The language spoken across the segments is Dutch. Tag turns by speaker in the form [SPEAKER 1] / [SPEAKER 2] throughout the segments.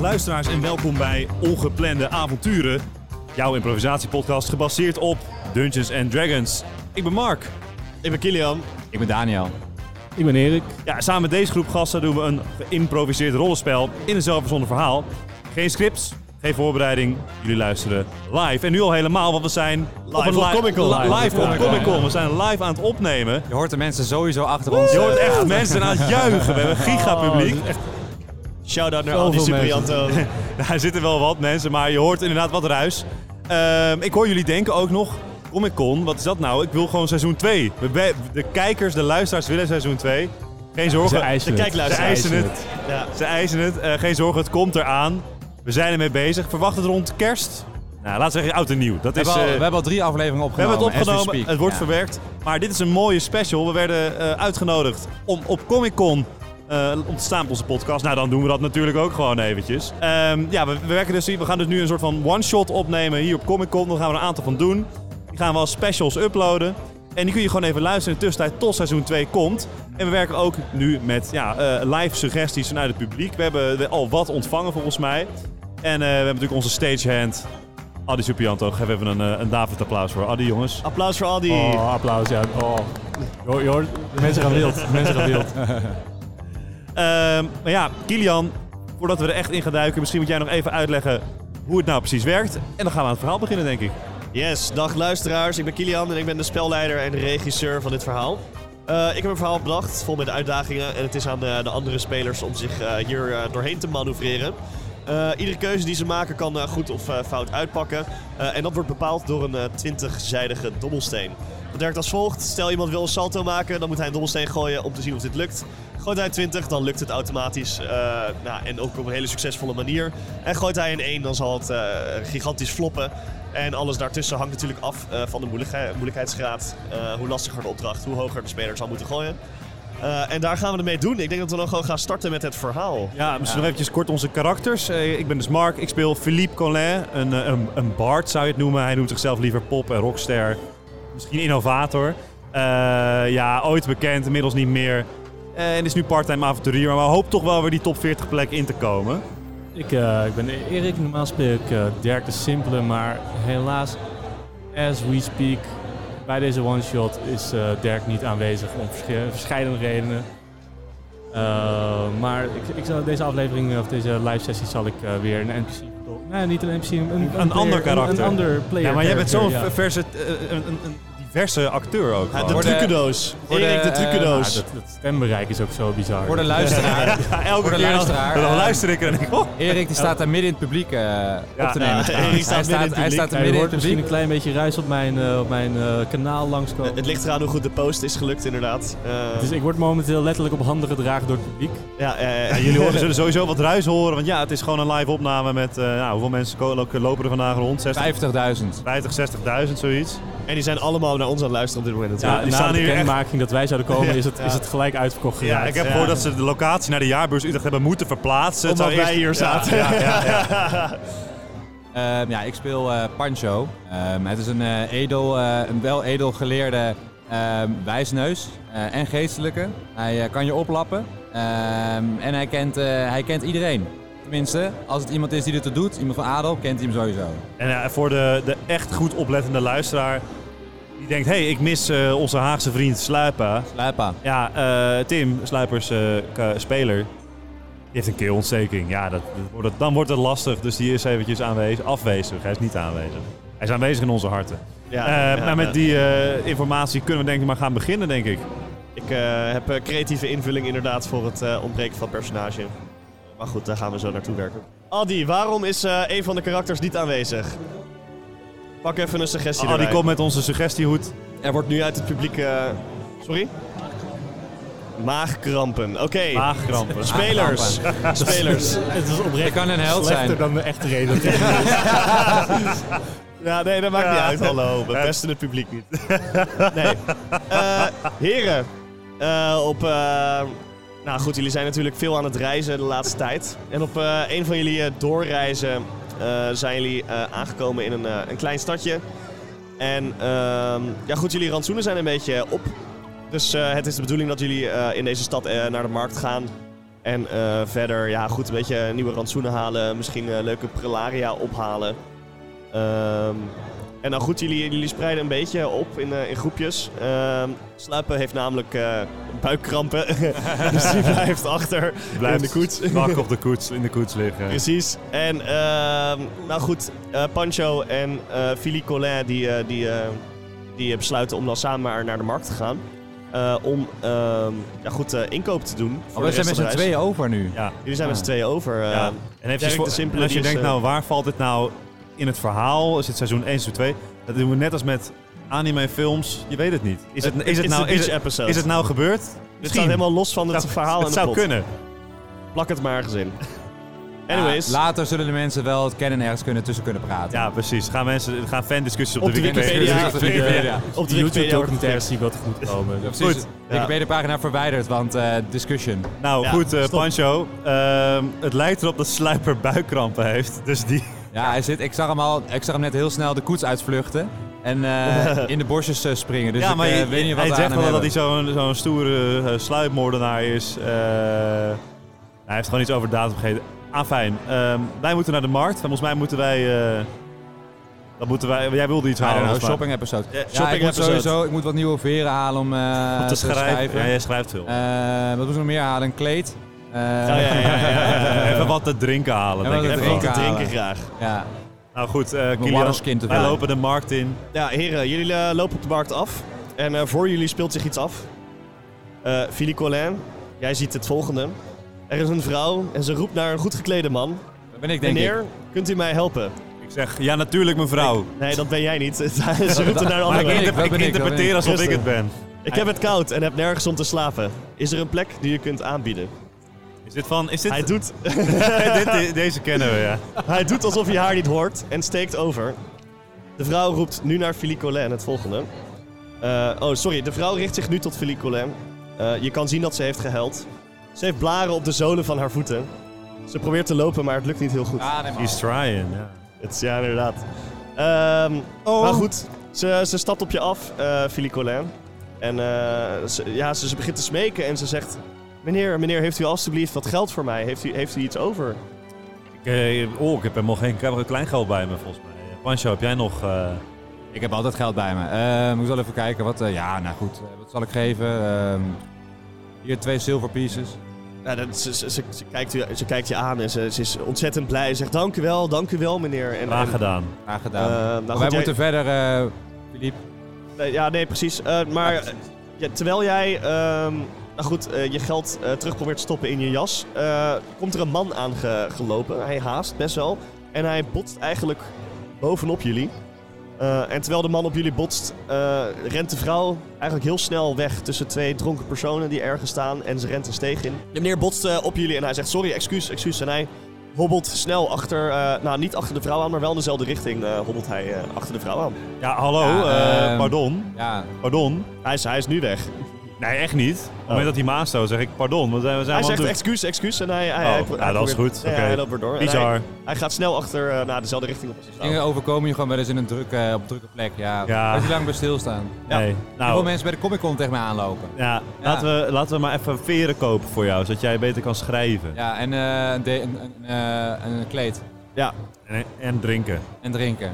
[SPEAKER 1] luisteraars en welkom bij Ongeplande Avonturen. Jouw improvisatiepodcast gebaseerd op Dungeons and Dragons. Ik ben Mark.
[SPEAKER 2] Ik ben Kilian.
[SPEAKER 3] Ik ben Daniel.
[SPEAKER 4] Ik ben Erik.
[SPEAKER 1] Ja, samen met deze groep gasten doen we een geïmproviseerd rollenspel in een zelfverzonnen verhaal. Geen scripts, geen voorbereiding. Jullie luisteren live. En nu al helemaal, want we zijn
[SPEAKER 2] Live op
[SPEAKER 1] li-
[SPEAKER 2] Comic-Con.
[SPEAKER 1] li-
[SPEAKER 2] Live
[SPEAKER 1] Live
[SPEAKER 2] op
[SPEAKER 1] op Comic
[SPEAKER 2] Comic-Con.
[SPEAKER 1] Con. We zijn live aan het opnemen.
[SPEAKER 3] Je hoort de mensen sowieso achter ons. eh,
[SPEAKER 1] Je hoort echt mensen aan het juichen. We hebben een gigapubliek.
[SPEAKER 2] Shout-out naar
[SPEAKER 4] Zoveel
[SPEAKER 2] Andy
[SPEAKER 4] mensen.
[SPEAKER 2] Subrianto.
[SPEAKER 1] Daar zitten wel wat mensen, maar je hoort inderdaad wat ruis. Ehm, ik hoor jullie denken ook nog, Comic Con, wat is dat nou? Ik wil gewoon seizoen 2. We- we- De kijkers, de luisteraars willen seizoen 2. Geen zorgen.
[SPEAKER 4] ze eisen
[SPEAKER 1] de
[SPEAKER 4] het.
[SPEAKER 1] kijkluisteraars
[SPEAKER 2] Ze
[SPEAKER 1] eisen
[SPEAKER 4] eisen
[SPEAKER 1] het.
[SPEAKER 2] Ja.
[SPEAKER 1] Ze eisen het. Eh, geen zorgen, het komt eraan. We zijn ermee bezig. Verwacht het rond kerst. Nou, laten we zeggen oud en nieuw. Dat
[SPEAKER 3] We,
[SPEAKER 1] is,
[SPEAKER 3] hebben al,
[SPEAKER 1] eh,
[SPEAKER 3] we hebben al drie afleveringen
[SPEAKER 1] we
[SPEAKER 3] opgenomen.
[SPEAKER 1] hebben het
[SPEAKER 3] as we
[SPEAKER 1] opgenomen,
[SPEAKER 3] speak.
[SPEAKER 1] het wordt
[SPEAKER 3] Ja.
[SPEAKER 1] verwerkt. Maar dit is een mooie special. We werden eh, uitgenodigd om op Comic Con eh om te staan op onze podcast. Nou, dan doen we dat natuurlijk ook gewoon eventjes. Ehm, ja, we, we, werken dus, hier- we gaan dus nu een soort van one-shot opnemen hier op Comic Con. Daar gaan we er een aantal van doen. Die gaan we als specials uploaden. En die kun je gewoon even luisteren in de tussentijd tot seizoen 2 komt. En we werken ook nu met ja, eh, live suggesties vanuit het publiek. We hebben al wat ontvangen volgens mij. En eh, we hebben natuurlijk onze stagehand, Adi Supianto. Geef even een, eh, een David applaus voor Adi, jongens.
[SPEAKER 2] Applaus voor Andy.
[SPEAKER 4] Oh, applaus, ja. Oh. Je hoort- je hoort- de mensen gaan wild. De mensen gaan wild.
[SPEAKER 1] Ehm, maar ja, Kilian, voordat we er echt in gaan duiken, misschien moet jij nog even uitleggen hoe het nou precies werkt. En dan gaan we aan het verhaal beginnen, denk ik.
[SPEAKER 2] Yes, dag luisteraars. Ik ben Kilian en ik ben de spelleider en de regisseur van dit verhaal. Eh, ik heb een verhaal bedacht, vol met uitdagingen. En het is aan eh, de, de andere spelers om zich eh, hier eh, doorheen te manoeuvreren. Eh, iedere keuze die ze maken kan eh, goed of eh, fout uitpakken. Eh, en dat wordt bepaald door een eh, twintigzijdige dobbelsteen. Dat werkt als volgt. Stel iemand wil een salto maken, dan moet hij een dobbelsteen gooien om te zien of dit lukt. Gooit hij 20, dan lukt het automatisch. eh, nou, en ook op een hele succesvolle manier. En gooit hij een 1, dan zal het eh, gigantisch floppen. En alles daartussen hangt natuurlijk af eh, van de moeilijkhe- moeilijkheidsgraad. Eh, hoe lastiger de opdracht, hoe hoger de speler zal moeten gooien. Eh, en daar gaan we ermee doen. Ik denk dat we dan gewoon gaan starten met het verhaal.
[SPEAKER 1] Ja, misschien nog eventjes kort onze karakters. Eh, ik ben dus Mark, ik speel Philippe Collin, een, eh, een, een bard zou je het noemen. Hij noemt zichzelf liever pop en rockster, misschien innovator. Eh, ja, ooit bekend, inmiddels niet meer. Eh, en is nu part-time avonturier, maar we hopen toch wel weer die top 40 plek in te komen.
[SPEAKER 4] Ik, eh, ik ben Erik. Normaal speel ik eh, Dirk de Simpele. Maar helaas, as we speak, bij deze one-shot is eh, Dirk niet aanwezig. Om versche- verschillende redenen. Eh, maar ik, ik zal deze aflevering, of deze live sessie, zal ik eh, weer een NPC... Nee, niet een NPC, een, een,
[SPEAKER 1] Een ander
[SPEAKER 4] player- Een,
[SPEAKER 1] karakter.
[SPEAKER 4] een ander player
[SPEAKER 1] Ja, maar jij bent zo'n
[SPEAKER 4] character, ja.
[SPEAKER 1] verse, eh, een, een, een diverse acteur ook.
[SPEAKER 2] Ja,
[SPEAKER 1] gewoon.
[SPEAKER 2] de
[SPEAKER 3] Worden-
[SPEAKER 2] trucendoos.
[SPEAKER 3] worden,
[SPEAKER 2] Erik, de
[SPEAKER 3] eh,
[SPEAKER 4] Ja,
[SPEAKER 1] nou,
[SPEAKER 2] trucendoos.
[SPEAKER 4] dat, dat stembereik is ook zo bizar.
[SPEAKER 3] Voor de luisteraar.
[SPEAKER 1] Ja, elke
[SPEAKER 3] Voor de
[SPEAKER 1] keer dan-
[SPEAKER 3] luisteraar,
[SPEAKER 1] dan
[SPEAKER 3] eh,
[SPEAKER 1] luister ik er en denk ik, oh,
[SPEAKER 3] Erik die staat daar midden in het publiek eh, op te nemen.
[SPEAKER 2] ja,
[SPEAKER 3] trouwens.
[SPEAKER 2] Erik staat
[SPEAKER 3] hij
[SPEAKER 2] midden in
[SPEAKER 3] staat, hij
[SPEAKER 2] het publiek.
[SPEAKER 3] staat er
[SPEAKER 4] Ja, je
[SPEAKER 3] midden in
[SPEAKER 4] hoort
[SPEAKER 3] het
[SPEAKER 4] misschien
[SPEAKER 3] publiek.
[SPEAKER 4] een klein beetje ruis op mijn, eh, op mijn eh, kanaal langskomen.
[SPEAKER 2] Het ligt eraan hoe goed de post is gelukt, inderdaad. Eh,
[SPEAKER 4] Dus ik word momenteel letterlijk op handen gedragen door het publiek.
[SPEAKER 2] ja, eh,
[SPEAKER 1] Ja, jullie horen, zullen sowieso wat ruis horen, want ja, het is gewoon een live opname met eh, nou, hoeveel mensen ko- lo- lopen er vandaag rond? 60,
[SPEAKER 3] 50.000.
[SPEAKER 1] 50 60.000, zoiets.
[SPEAKER 2] en die zijn allemaal naar ons aan het luisteren op dit moment.
[SPEAKER 1] Ja,
[SPEAKER 2] natuurlijk.
[SPEAKER 1] die
[SPEAKER 4] Na, na
[SPEAKER 1] staan
[SPEAKER 4] de
[SPEAKER 1] hier echt-
[SPEAKER 4] bekendmaking dat wij zouden komen, is, het,
[SPEAKER 2] Ja.
[SPEAKER 4] is het gelijk uitverkocht
[SPEAKER 1] Ja,
[SPEAKER 4] geraakt.
[SPEAKER 1] ik heb
[SPEAKER 2] ja.
[SPEAKER 1] gehoord dat ze de locatie naar de jaarbeurs Utrecht hebben moeten verplaatsen. Het
[SPEAKER 2] Omdat
[SPEAKER 1] zou
[SPEAKER 2] wij hier zaten.
[SPEAKER 1] Ja, ja, ja, ja.
[SPEAKER 3] Ehm, ja, ik speel eh, Pancho. Ehm, het is een, eh, edel, eh, een wel edel geleerde ehm, wijsneus eh, en geestelijke. Hij eh, kan je oplappen Ehm, en hij kent, eh, hij kent iedereen. Tenminste, als het iemand is die dit doet, iemand van adel, kent hij hem sowieso.
[SPEAKER 1] En eh, voor de, de echt goed oplettende luisteraar, die denkt, hé, hey, ik mis eh, onze Haagse vriend Sluipa.
[SPEAKER 3] Sluipa.
[SPEAKER 1] Ja, eh, Tim, Sluipers eh, k- speler, die heeft een keelontsteking. Ja, dat, dat wordt het- dan wordt het lastig. Dus die is eventjes aanwezig, afwezig. Hij is niet aanwezig. Hij is aanwezig in onze harten.
[SPEAKER 2] Ja,
[SPEAKER 1] Eh,
[SPEAKER 2] ja,
[SPEAKER 1] maar
[SPEAKER 2] ja.
[SPEAKER 1] met die eh, informatie kunnen we denk ik maar gaan beginnen, denk ik.
[SPEAKER 2] Ik eh, heb eh, creatieve invulling inderdaad voor het eh, ontbreken van personage. Maar goed, daar gaan we zo naartoe werken. Adi, waarom is eh, een van de karakters niet aanwezig? Pak even een suggestie
[SPEAKER 1] Ah, die
[SPEAKER 2] erbij.
[SPEAKER 1] komt met onze suggestiehoed.
[SPEAKER 2] Er wordt nu uit het publiek... eh, Sorry? Maagkrampen. Oké.
[SPEAKER 1] Maagkrampen.
[SPEAKER 2] Spelers. Spelers.
[SPEAKER 4] Het is
[SPEAKER 3] Ik
[SPEAKER 4] oprecht
[SPEAKER 3] kan een held zijn.
[SPEAKER 4] slechter dan de echte reden. dat ik-
[SPEAKER 2] Ja, nee, dat maakt niet
[SPEAKER 1] Ja.
[SPEAKER 2] uit. Hallo, we
[SPEAKER 1] Ja.
[SPEAKER 2] pesten het publiek niet. Nee. Eh, heren, eh, op... eh, nou goed, jullie zijn natuurlijk veel aan het reizen de laatste tijd. En op eh, een van jullie eh, doorreizen eh, zijn jullie eh, aangekomen in een, eh, een klein stadje. En ehm, ja goed, jullie rantsoenen zijn een beetje op. Dus eh, het is de bedoeling dat jullie eh, in deze stad eh, naar de markt gaan. En eh, verder, ja, goed, een beetje nieuwe rantsoenen halen. Misschien eh, leuke prelaria ophalen. Ehm, en nou goed, jullie, jullie spreiden een beetje op in, eh, in groepjes. Ehm Sluipen heeft namelijk eh, buikkrampen. dus die blijft achter.
[SPEAKER 1] Blijft
[SPEAKER 2] in de koets.
[SPEAKER 1] Wakker op de koets, in de koets liggen.
[SPEAKER 2] Precies. En ehm, nou goed, eh, Pancho en eh Philippe Collin die, eh, die, eh, die besluiten om dan samen maar naar de markt te gaan. Eh, om ehm, ja, goed eh, inkoop te doen. voor
[SPEAKER 3] Oh, we
[SPEAKER 2] de
[SPEAKER 3] zijn met
[SPEAKER 2] rest van
[SPEAKER 3] z'n
[SPEAKER 2] de reis.
[SPEAKER 3] tweeën over nu.
[SPEAKER 1] Ja.
[SPEAKER 2] Jullie zijn met z'n
[SPEAKER 3] Ah.
[SPEAKER 2] tweeën over. eh,
[SPEAKER 1] Ja. En eventjes
[SPEAKER 2] Dirk
[SPEAKER 1] voor,
[SPEAKER 2] de Simpele,
[SPEAKER 1] en als je
[SPEAKER 2] die is,
[SPEAKER 1] denkt,
[SPEAKER 2] eh,
[SPEAKER 1] nou waar valt dit nou in het verhaal? Is het seizoen 1, seizoen 2? Dat doen we net als met anime films. Je weet het niet. Is het, is het,
[SPEAKER 2] it's
[SPEAKER 1] nou,
[SPEAKER 2] a
[SPEAKER 1] is
[SPEAKER 2] beach
[SPEAKER 1] het,
[SPEAKER 2] episode.
[SPEAKER 1] is het nou gebeurd?
[SPEAKER 2] Dit staat helemaal los van het
[SPEAKER 1] zou-
[SPEAKER 2] verhaal en
[SPEAKER 1] Het
[SPEAKER 2] de
[SPEAKER 1] zou
[SPEAKER 2] plot.
[SPEAKER 1] kunnen.
[SPEAKER 2] Plak het maar eens in. Anyways.
[SPEAKER 3] Ja, later zullen de mensen wel het kennen en ergens kunnen tussen kunnen praten.
[SPEAKER 1] Ja, precies. Gaan mensen gaan fandiscussies op,
[SPEAKER 2] Op de Wikipedia.
[SPEAKER 1] Wikipedia.
[SPEAKER 3] Wikipedia.
[SPEAKER 2] op de Wikipedia
[SPEAKER 4] Die
[SPEAKER 2] wordt
[SPEAKER 4] YouTube-documentaire zie ik wel te goed komen.
[SPEAKER 3] Ja, precies.
[SPEAKER 1] Goed.
[SPEAKER 3] De Wikipedia-pagina verwijderd, want eh, discussion.
[SPEAKER 1] Nou
[SPEAKER 2] Ja,
[SPEAKER 1] goed, eh,
[SPEAKER 2] stop.
[SPEAKER 1] Pancho. ehm, het lijkt erop dat Sluiper buikkrampen heeft. Dus die...
[SPEAKER 3] Ja, hij zit, ik, zag hem al, ik zag hem net heel snel de koets uitvluchten. En eh, in de bosjes eh, springen. Dus
[SPEAKER 1] ja,
[SPEAKER 3] ik
[SPEAKER 1] maar
[SPEAKER 3] eh,
[SPEAKER 1] je-
[SPEAKER 3] weet niet wat
[SPEAKER 1] hij
[SPEAKER 3] we aan
[SPEAKER 1] zegt
[SPEAKER 3] hem
[SPEAKER 1] wel dat hij
[SPEAKER 3] hebben.
[SPEAKER 1] zo'n zo'n stoere eh, sluipmoordenaar is. Eh, hij heeft gewoon iets over datum gegeten. Afijn, ehm, wij moeten naar de markt. Volgens mij moeten wij... eh, dat moeten wij jij wilde iets
[SPEAKER 3] I don't
[SPEAKER 1] halen.
[SPEAKER 3] know,
[SPEAKER 1] volgens mij.
[SPEAKER 3] nou shopping episode. Ja,
[SPEAKER 2] shopping
[SPEAKER 3] ik moet
[SPEAKER 2] episode.
[SPEAKER 3] sowieso ik moet wat nieuwe veren halen om eh,
[SPEAKER 1] Om te
[SPEAKER 3] te
[SPEAKER 1] schrijven.
[SPEAKER 3] schrijven.
[SPEAKER 1] Ja, jij schrijft veel.
[SPEAKER 3] Eh, wat moeten we nog meer halen? Een kleed. Eh,
[SPEAKER 2] Ja, ja, ja, ja, ja.
[SPEAKER 1] Eh, even wat te drinken halen,
[SPEAKER 3] Ja,
[SPEAKER 1] denk
[SPEAKER 3] wat
[SPEAKER 1] ik.
[SPEAKER 3] te
[SPEAKER 2] Even wat te
[SPEAKER 3] drinken
[SPEAKER 2] drinken
[SPEAKER 3] halen.
[SPEAKER 2] graag.
[SPEAKER 3] ja.
[SPEAKER 1] Nou goed, eh, Kilian,
[SPEAKER 3] Warrens kind te
[SPEAKER 1] wij
[SPEAKER 3] vullen.
[SPEAKER 1] lopen de markt in.
[SPEAKER 2] Ja, heren, jullie eh, lopen op de markt af. En eh, voor jullie speelt zich iets af. Eh Philippe Collin, jij ziet het volgende. Er is een vrouw en ze roept naar een goed geklede man.
[SPEAKER 3] Dat ben ik denk ik.
[SPEAKER 2] Meneer, kunt u mij helpen?
[SPEAKER 1] Ik zeg, ja natuurlijk mevrouw.
[SPEAKER 2] Nee, dat ben jij niet. ze roept er naar een
[SPEAKER 1] Maar ik,
[SPEAKER 2] andere.
[SPEAKER 3] ben ik,
[SPEAKER 1] interp-
[SPEAKER 3] dat
[SPEAKER 1] ik
[SPEAKER 3] ben ik, dat ben
[SPEAKER 1] interpreteer
[SPEAKER 3] ik.
[SPEAKER 1] alsof ik
[SPEAKER 2] Rustig.
[SPEAKER 1] het ben.
[SPEAKER 2] Ik heb het koud en heb nergens om te slapen. Is er een plek die je kunt aanbieden?
[SPEAKER 1] Is dit van... Is dit,
[SPEAKER 2] Hij doet,
[SPEAKER 1] dit- deze kennen we, ja.
[SPEAKER 2] hij doet alsof hij haar niet hoort en steekt over. De vrouw roept nu naar Philippe Collin het volgende. Eh, oh, sorry. De vrouw richt zich nu tot Philippe Collin. Eh, je kan zien dat ze heeft gehuild. Ze heeft blaren op de zolen van haar voeten. Ze probeert te lopen, maar het lukt niet heel goed.
[SPEAKER 3] Ah, nee, man.
[SPEAKER 1] He's trying, ja.
[SPEAKER 2] Het is, ja, inderdaad. Ehm, Maar goed, ze, ze stapt op je af, eh Philippe Collin. En eh, ze, ja, ze, ze begint te smeken en ze zegt... Meneer, meneer, heeft u alstublieft wat geld voor mij? Heeft u, heeft u iets over?
[SPEAKER 1] Ik, eh, oh, ik heb helemaal geen ik heb er kleingeld bij me, volgens mij. Eh, Pancho, heb jij nog... eh,
[SPEAKER 3] Ik heb altijd geld bij me. Ehm ik zal even kijken. Wat, eh, ja, nou goed. Eh, wat zal ik geven? Ehm, hier twee silver pieces.
[SPEAKER 2] Nou, dat, ze, ze, ze, ze kijkt u, ze kijkt je aan en ze, ze is ontzettend blij. Ze zegt, dank u wel, dank u wel, meneer. En,
[SPEAKER 1] Graag
[SPEAKER 2] en,
[SPEAKER 1] gedaan.
[SPEAKER 3] Aangedaan.
[SPEAKER 2] Eh, nou
[SPEAKER 3] Maar
[SPEAKER 2] goed,
[SPEAKER 3] wij
[SPEAKER 2] jij-
[SPEAKER 3] moeten verder, eh Philippe.
[SPEAKER 2] Nee, ja, nee, precies. Eh, maar eh, ja, terwijl jij ehm, nou goed, eh, je geld eh, terug probeert te stoppen in je jas, eh, komt er een man aangelopen. Hij haast best wel. En hij botst eigenlijk bovenop jullie. Eh, en terwijl de man op jullie botst, eh, rent de vrouw eigenlijk heel snel weg tussen twee dronken personen die ergens staan. En ze rent een steeg in. De meneer botst eh, op jullie en hij zegt: Sorry, excuus, excuus. En hij hobbelt snel achter, eh, nou niet achter de vrouw aan, maar wel in dezelfde richting eh, hobbelt hij eh, achter de vrouw aan.
[SPEAKER 1] Ja, hallo,
[SPEAKER 3] Ja,
[SPEAKER 1] eh,
[SPEAKER 3] ehm,
[SPEAKER 1] pardon.
[SPEAKER 3] Ja,
[SPEAKER 2] Nou.
[SPEAKER 1] Pardon.
[SPEAKER 2] Hij is, hij is nu weg.
[SPEAKER 1] Nee, echt niet. Op het moment dat hij maast zou, zeg ik pardon. Want zijn we zijn
[SPEAKER 2] Hij
[SPEAKER 1] we aan
[SPEAKER 2] zegt
[SPEAKER 1] het
[SPEAKER 2] excuus, excuus en hij... hij,
[SPEAKER 1] Oh,
[SPEAKER 2] hij
[SPEAKER 1] nou,
[SPEAKER 2] hij
[SPEAKER 1] dat is
[SPEAKER 2] probeert-
[SPEAKER 1] goed.
[SPEAKER 2] Ja,
[SPEAKER 1] Oké.
[SPEAKER 2] hij loopt er door. En
[SPEAKER 1] Bizar.
[SPEAKER 2] Hij, hij gaat snel achter eh, naar dezelfde richting op als je staat.
[SPEAKER 3] dingen overkomen je gewoon wel eens in een drukke, op drukke plek. Ja.
[SPEAKER 1] Ja.
[SPEAKER 3] Als je lang bij stilstaan.
[SPEAKER 1] doen. Nee,
[SPEAKER 3] Hoeveel
[SPEAKER 1] nou...
[SPEAKER 3] mensen bij de Comic Con tegen me aanlopen.
[SPEAKER 1] Ja, Laten, we, laten we maar even veren kopen voor jou, zodat jij beter kan schrijven.
[SPEAKER 3] Ja, en eh, een, de- een, een, eh, een kleed.
[SPEAKER 2] Ja.
[SPEAKER 1] En, en drinken.
[SPEAKER 3] En drinken.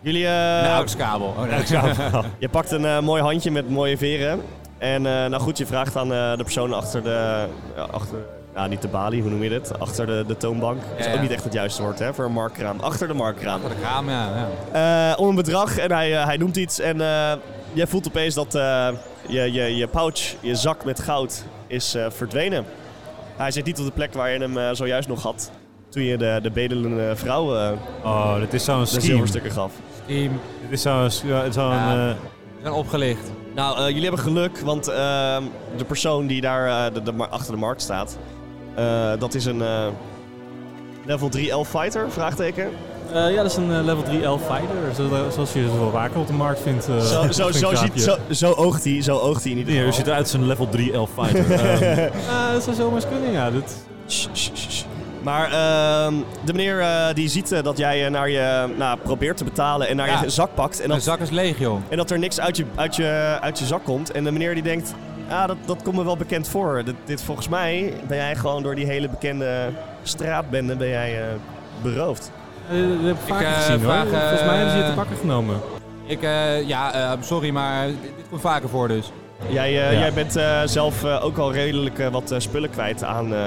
[SPEAKER 2] Jullie... eh,
[SPEAKER 3] En Een AUX-kabel. Oh, nee.
[SPEAKER 2] je pakt een eh, mooi handje met mooie veren. En eh, nou goed, je vraagt aan eh, de persoon achter de... ja, achter, ja, niet de balie, hoe noem je dit? Achter de, de toonbank. Dat is
[SPEAKER 3] Ja,
[SPEAKER 2] ook
[SPEAKER 3] ja.
[SPEAKER 2] niet echt het juiste woord hè, voor een markkraam. Achter de markkraam.
[SPEAKER 3] Voor de kraam, ja. ja.
[SPEAKER 2] Eh, om een bedrag en hij, eh, hij noemt iets. En eh, jij voelt opeens dat eh, je, je, je pouch, je zak met goud, is eh, verdwenen. Hij zit niet op de plek waar je hem eh, zojuist nog had. Toen je de, de bedelende vrouw eh,
[SPEAKER 1] Oh, dit is zo'n
[SPEAKER 2] de
[SPEAKER 1] scheme.
[SPEAKER 2] zilverstukken gaf.
[SPEAKER 3] Team.
[SPEAKER 1] Dit is zo'n... zo'n eh,
[SPEAKER 3] Ja. We zijn opgelicht.
[SPEAKER 2] Nou, eh, jullie hebben geluk, want ehm, de persoon die daar eh, de, de mar- achter de markt staat, eh, dat is een eh, level 3 elf fighter, vraagteken.
[SPEAKER 4] Eh, ja, dat is een eh, level 3 elf fighter. Zo- zoals je ze wel vaker op de markt vindt. eh,
[SPEAKER 2] zo, zo,
[SPEAKER 4] vind ik
[SPEAKER 2] zo,
[SPEAKER 4] raapje.
[SPEAKER 2] ziet, zo, zo oogt hij, zo oogt hij in ieder
[SPEAKER 1] nee, u
[SPEAKER 2] geval.
[SPEAKER 1] ziet eruit als een level 3 elf fighter. Ehm,
[SPEAKER 4] Eh, dat zou zomaar eens kunnen, ja. Dat,
[SPEAKER 2] Sst, sst, sst. Maar ehm, de meneer eh, die ziet eh, dat jij eh, naar je, nou, probeert te betalen en naar
[SPEAKER 3] Ja.
[SPEAKER 2] je zak pakt. En
[SPEAKER 3] Mijn
[SPEAKER 2] dat,
[SPEAKER 3] zak is leeg, joh.
[SPEAKER 2] en dat er niks uit je, uit, je, uit je zak komt. En de meneer die denkt, Ja, dat, dat komt me wel bekend voor. Dit, dit volgens mij ben jij gewoon door die hele bekende straatbende ben jij, eh, beroofd.
[SPEAKER 4] Eh, dat heb ik vaker
[SPEAKER 3] eh,
[SPEAKER 4] gezien
[SPEAKER 3] vraag,
[SPEAKER 4] hoor. Volgens mij hebben ze je te
[SPEAKER 3] eh,
[SPEAKER 4] pakken genomen.
[SPEAKER 3] Ik, eh, ja, eh, sorry, maar dit, dit komt vaker voor dus.
[SPEAKER 2] Jij, eh,
[SPEAKER 4] Ja.
[SPEAKER 2] jij bent eh, zelf eh, ook al redelijk eh, wat eh, spullen kwijt aan, eh,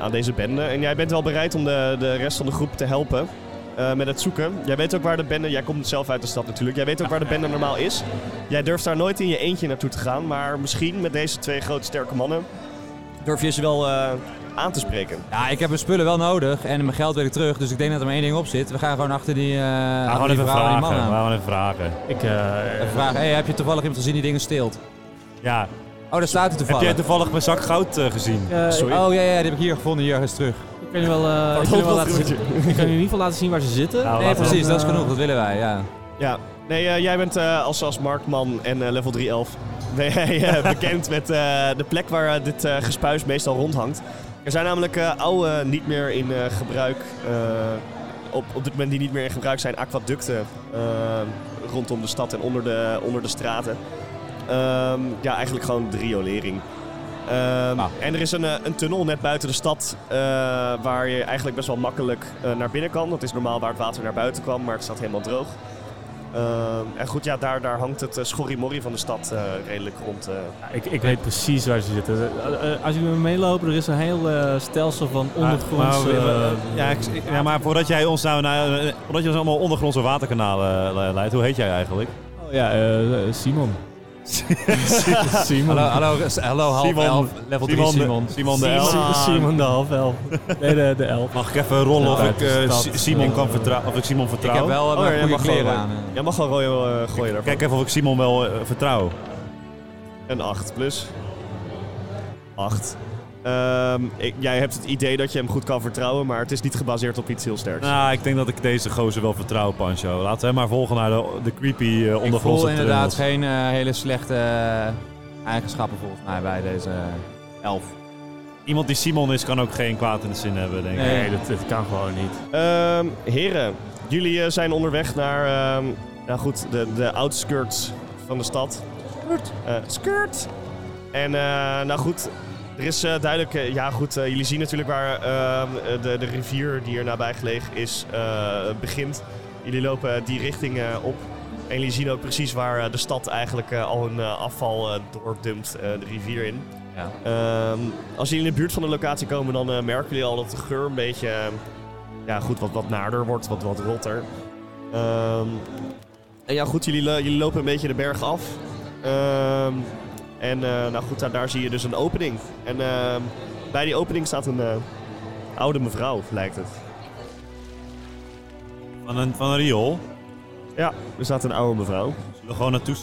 [SPEAKER 2] aan deze bende. En jij bent wel bereid om de, de rest van de groep te helpen eh, met het zoeken. Jij weet ook waar de bende... Jij komt zelf uit de stad natuurlijk. Jij weet ook waar de bende normaal is. Jij durft daar nooit in je eentje naartoe te gaan. Maar misschien met deze twee grote sterke mannen durf je ze wel eh, aan te spreken.
[SPEAKER 3] Ja, ik heb mijn spullen wel nodig en mijn geld wil ik terug. Dus ik denk dat er maar één ding op zit. We gaan gewoon achter die, eh
[SPEAKER 5] We
[SPEAKER 3] achter
[SPEAKER 5] gaan
[SPEAKER 3] die
[SPEAKER 5] even
[SPEAKER 3] vrouw en die
[SPEAKER 5] vragen.
[SPEAKER 3] man
[SPEAKER 5] We
[SPEAKER 3] aan.
[SPEAKER 5] gaan even vragen.
[SPEAKER 4] Ik, eh,
[SPEAKER 3] Even vragen, hey, heb je toevallig iemand gezien die dingen steelt?
[SPEAKER 5] Ja.
[SPEAKER 3] Oh, daar staat hij
[SPEAKER 5] Heb
[SPEAKER 3] toevallig.
[SPEAKER 5] jij toevallig mijn zak goud eh, gezien?
[SPEAKER 4] eh,
[SPEAKER 2] Sorry.
[SPEAKER 3] Oh ja, ja, die heb ik hier gevonden. Hier is terug.
[SPEAKER 4] ik kan je wel, eh, ik kan je wel laten zien. Ik kan je in ieder geval laten zien waar ze zitten.
[SPEAKER 5] Nou,
[SPEAKER 3] Nee,
[SPEAKER 5] laten we
[SPEAKER 3] precies,
[SPEAKER 4] dan,
[SPEAKER 3] dat is
[SPEAKER 4] eh,
[SPEAKER 3] genoeg. Dat willen wij, ja.
[SPEAKER 2] Ja, nee, eh, jij bent eh, als, als marktman en eh, level 311 ben jij eh, bekend met eh, de plek waar eh, dit eh, gespuis meestal rondhangt. Er zijn namelijk eh, oude, niet meer in eh, gebruik, eh, op, op dit moment die niet meer in gebruik zijn, aquaducten eh, rondom de stad en onder de, onder de straten. Ehm, ja, eigenlijk gewoon de riolering. Ehm,
[SPEAKER 3] Nou.
[SPEAKER 2] En er is een, eh, een tunnel net buiten de stad eh, waar je eigenlijk best wel makkelijk eh, naar binnen kan. Dat is normaal waar het water naar buiten kwam, maar het staat helemaal droog. Ehm, en goed, ja, daar, daar hangt het eh, schorrimorrie van de stad eh, redelijk rond. eh.
[SPEAKER 4] Ja, ik, ik weet precies waar ze zitten. Eh, eh, als jullie me meelopen, er is een heel eh, stelsel van ondergronds...
[SPEAKER 5] Maar, maar,
[SPEAKER 4] eh,
[SPEAKER 5] ja, ik- ja, maar voordat jij ons nou naar, eh, voordat je ons allemaal ondergrondse waterkanalen eh, leidt, hoe heet jij eigenlijk?
[SPEAKER 4] oh, ja, eh, eh, Simon. Simon.
[SPEAKER 3] Hallo, hallo, s- hallo half
[SPEAKER 5] Simon.
[SPEAKER 3] elf, level 3 Simon.
[SPEAKER 5] de- Simon de Elf.
[SPEAKER 4] Simon, Simon de half elf. Nee, de, de elf.
[SPEAKER 5] Mag ik even rollen of
[SPEAKER 4] Ja,
[SPEAKER 5] ik
[SPEAKER 4] het is
[SPEAKER 5] eh,
[SPEAKER 4] dat,
[SPEAKER 5] Si- Simon
[SPEAKER 4] eh,
[SPEAKER 5] kan vertrouwen? Of ik Simon
[SPEAKER 3] Ik heb
[SPEAKER 5] vertrouw?
[SPEAKER 3] wel
[SPEAKER 2] Oh,
[SPEAKER 3] mijn
[SPEAKER 2] ja,
[SPEAKER 3] goede
[SPEAKER 2] mag wel,
[SPEAKER 3] kleren
[SPEAKER 2] eh,
[SPEAKER 3] aan. eh.
[SPEAKER 2] Jij mag wel royal eh, gooien daarvan.
[SPEAKER 5] Kijk even of ik Simon wel eh, vertrouw.
[SPEAKER 2] Een 8 plus. 8. jij hebt het idee dat je hem goed kan vertrouwen, maar het is niet gebaseerd op iets heel sterks.
[SPEAKER 5] Nou, ik denk dat ik deze gozer wel vertrouw, Pancho. Laten we hem maar volgen naar de, de creepy eh
[SPEAKER 3] Ik voel
[SPEAKER 5] ondergrondse
[SPEAKER 3] inderdaad
[SPEAKER 5] tunnels.
[SPEAKER 3] geen eh, hele slechte eh, eigenschappen volgens mij bij deze elf.
[SPEAKER 5] Iemand die Simon is, kan ook geen kwaad in de zin hebben, denk ik.
[SPEAKER 3] Nee.
[SPEAKER 4] Nee, dat, dat kan gewoon niet.
[SPEAKER 2] Ehm, heren, jullie eh, zijn onderweg naar ehm, nou goed, de, de outskirts van de stad. Eh, skirt! En eh, nou goed, er is eh, duidelijk... eh, ja goed, eh, jullie zien natuurlijk waar ehm, eh, de, de rivier die er nabij gelegen is eh, begint. Jullie lopen eh, die richting eh, op. En jullie zien ook precies waar eh, de stad eigenlijk eh, al hun eh, afval eh, doordumpt eh, de rivier in.
[SPEAKER 3] Ja.
[SPEAKER 2] Ehm, als jullie in de buurt van de locatie komen, dan eh, merken jullie al dat de geur een beetje... eh, ja, goed, wat, wat naarder wordt, wat, wat rotter. Ehm, en ja, goed, jullie, lo- jullie lopen een beetje de berg af. Ehm, en eh, nou goed, daar, daar zie je dus een opening. En ehm, bij die opening staat een eh, oude mevrouw, lijkt het.
[SPEAKER 5] Van een, van een riool.
[SPEAKER 2] Ja, er staat een oude mevrouw.
[SPEAKER 5] Zullen we gewoon naartoe...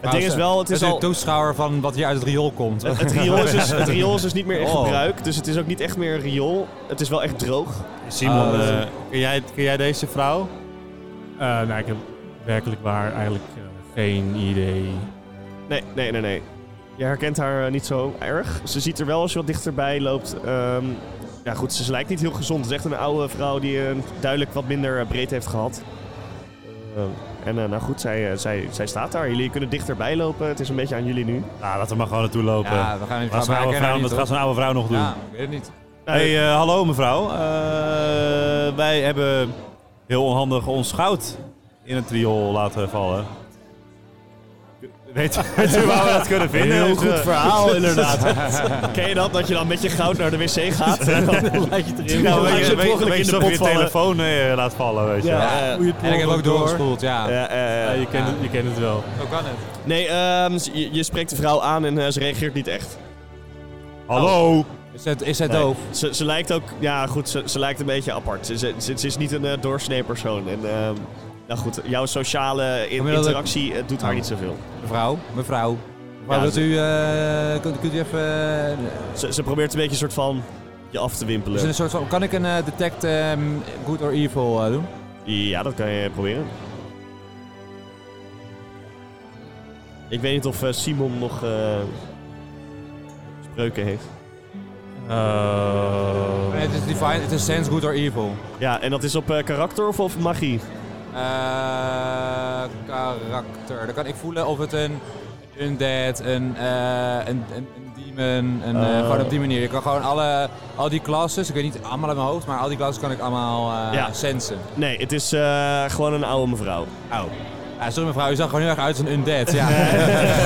[SPEAKER 2] Het ding is wel, het is
[SPEAKER 3] een
[SPEAKER 2] al...
[SPEAKER 3] toeschouwer van wat hier uit het riool komt.
[SPEAKER 2] Het, het riool is dus, het riool is dus niet meer in
[SPEAKER 3] Oh.
[SPEAKER 2] gebruik, dus het is ook niet echt meer een riool. Het is wel echt droog.
[SPEAKER 5] Simon,
[SPEAKER 3] Oh,
[SPEAKER 5] eh, kun, jij, kun jij deze vrouw?
[SPEAKER 4] Eh, nou, ik heb werkelijk waar eigenlijk eh, geen idee.
[SPEAKER 2] Nee, nee, nee, nee. Je herkent haar eh, niet zo erg. Ze ziet er wel als je wat dichterbij loopt. ehm, ja, goed, ze lijkt niet heel gezond. Het is echt een oude vrouw die eh, duidelijk wat minder eh, breed heeft gehad. Ehm, en eh, nou goed, zij, eh, zij, zij staat daar. Jullie kunnen dichterbij lopen. Het is een beetje aan jullie nu.
[SPEAKER 5] Nou, laten we maar gewoon naartoe lopen.
[SPEAKER 3] Ja, we gaan even
[SPEAKER 5] Laat zo'n oude vrouw, dat gaat zo'n oude vrouw nog doen.
[SPEAKER 3] Ja, ik weet het niet.
[SPEAKER 5] Hey, eh, hallo mevrouw. Eh, wij hebben heel onhandig ons goud in het riool laten vallen. Weet, weet u waar we dat kunnen vinden?
[SPEAKER 2] Heel
[SPEAKER 5] Heeft,
[SPEAKER 2] goed
[SPEAKER 5] eh,
[SPEAKER 2] verhaal, inderdaad. Ken je dat? Dat je dan met je goud naar de wc gaat. En dan laat je het erin.
[SPEAKER 5] Nou,
[SPEAKER 2] Dan laat
[SPEAKER 5] weet
[SPEAKER 2] je
[SPEAKER 5] je,
[SPEAKER 2] het
[SPEAKER 5] weet,
[SPEAKER 2] mogelijk in
[SPEAKER 5] weet je
[SPEAKER 2] de
[SPEAKER 5] dat je
[SPEAKER 2] pot
[SPEAKER 5] je
[SPEAKER 2] vallen.
[SPEAKER 5] telefoon eh, laat vallen, weet je wel.
[SPEAKER 2] Ja, eh,
[SPEAKER 3] En ik heb ook doorgespoeld, ja.
[SPEAKER 2] ja, eh,
[SPEAKER 4] Ja, je, kent het, je kent het wel.
[SPEAKER 3] Zo kan het.
[SPEAKER 2] Nee, ehm, ze- je, je spreekt de vrouw aan en eh, ze reageert niet echt. Oh.
[SPEAKER 5] Hallo!
[SPEAKER 3] Is het, is het
[SPEAKER 2] Nee.
[SPEAKER 3] doof?
[SPEAKER 2] Ze, ze lijkt ook, ja goed, ze, ze lijkt een beetje apart. Ze, ze, ze- ze is niet een eh, doorsnee persoon. En, ehm, nou goed, jouw sociale in-
[SPEAKER 3] Gemiddelde-
[SPEAKER 2] interactie eh, doet haar
[SPEAKER 3] Oh.
[SPEAKER 2] niet zoveel.
[SPEAKER 3] Mevrouw, mevrouw. Mevrouw,
[SPEAKER 2] Ja,
[SPEAKER 3] wilt
[SPEAKER 2] ze-
[SPEAKER 3] u, eh, kunt, kunt u even... eh,
[SPEAKER 2] Ze, ze probeert een beetje een soort van je af te
[SPEAKER 3] is er
[SPEAKER 2] wimpelen.
[SPEAKER 3] een soort van, kan ik een eh, detect ehm, good or evil eh, doen?
[SPEAKER 2] Ja, dat kan je proberen. Ik weet niet of eh, Simon nog eh, spreuken heeft.
[SPEAKER 4] Eh,
[SPEAKER 3] Nee, het is divine, het is sense good or evil.
[SPEAKER 2] Ja, en dat is op eh, karakter of, of magie?
[SPEAKER 3] Eh, karakter. Dan kan ik voelen of het een undead, een, eh, een, een, een demon. Een, eh,
[SPEAKER 1] Oh.
[SPEAKER 3] gewoon op die manier. Ik kan gewoon alle, al die classes, ik weet niet allemaal uit mijn hoofd, maar al die classes kan ik allemaal eh,
[SPEAKER 2] Ja.
[SPEAKER 3] sensen.
[SPEAKER 2] Nee, het is eh, gewoon een oude mevrouw.
[SPEAKER 3] Oh. Ja, sorry mevrouw, u zag gewoon heel erg uit als een undead. Ja,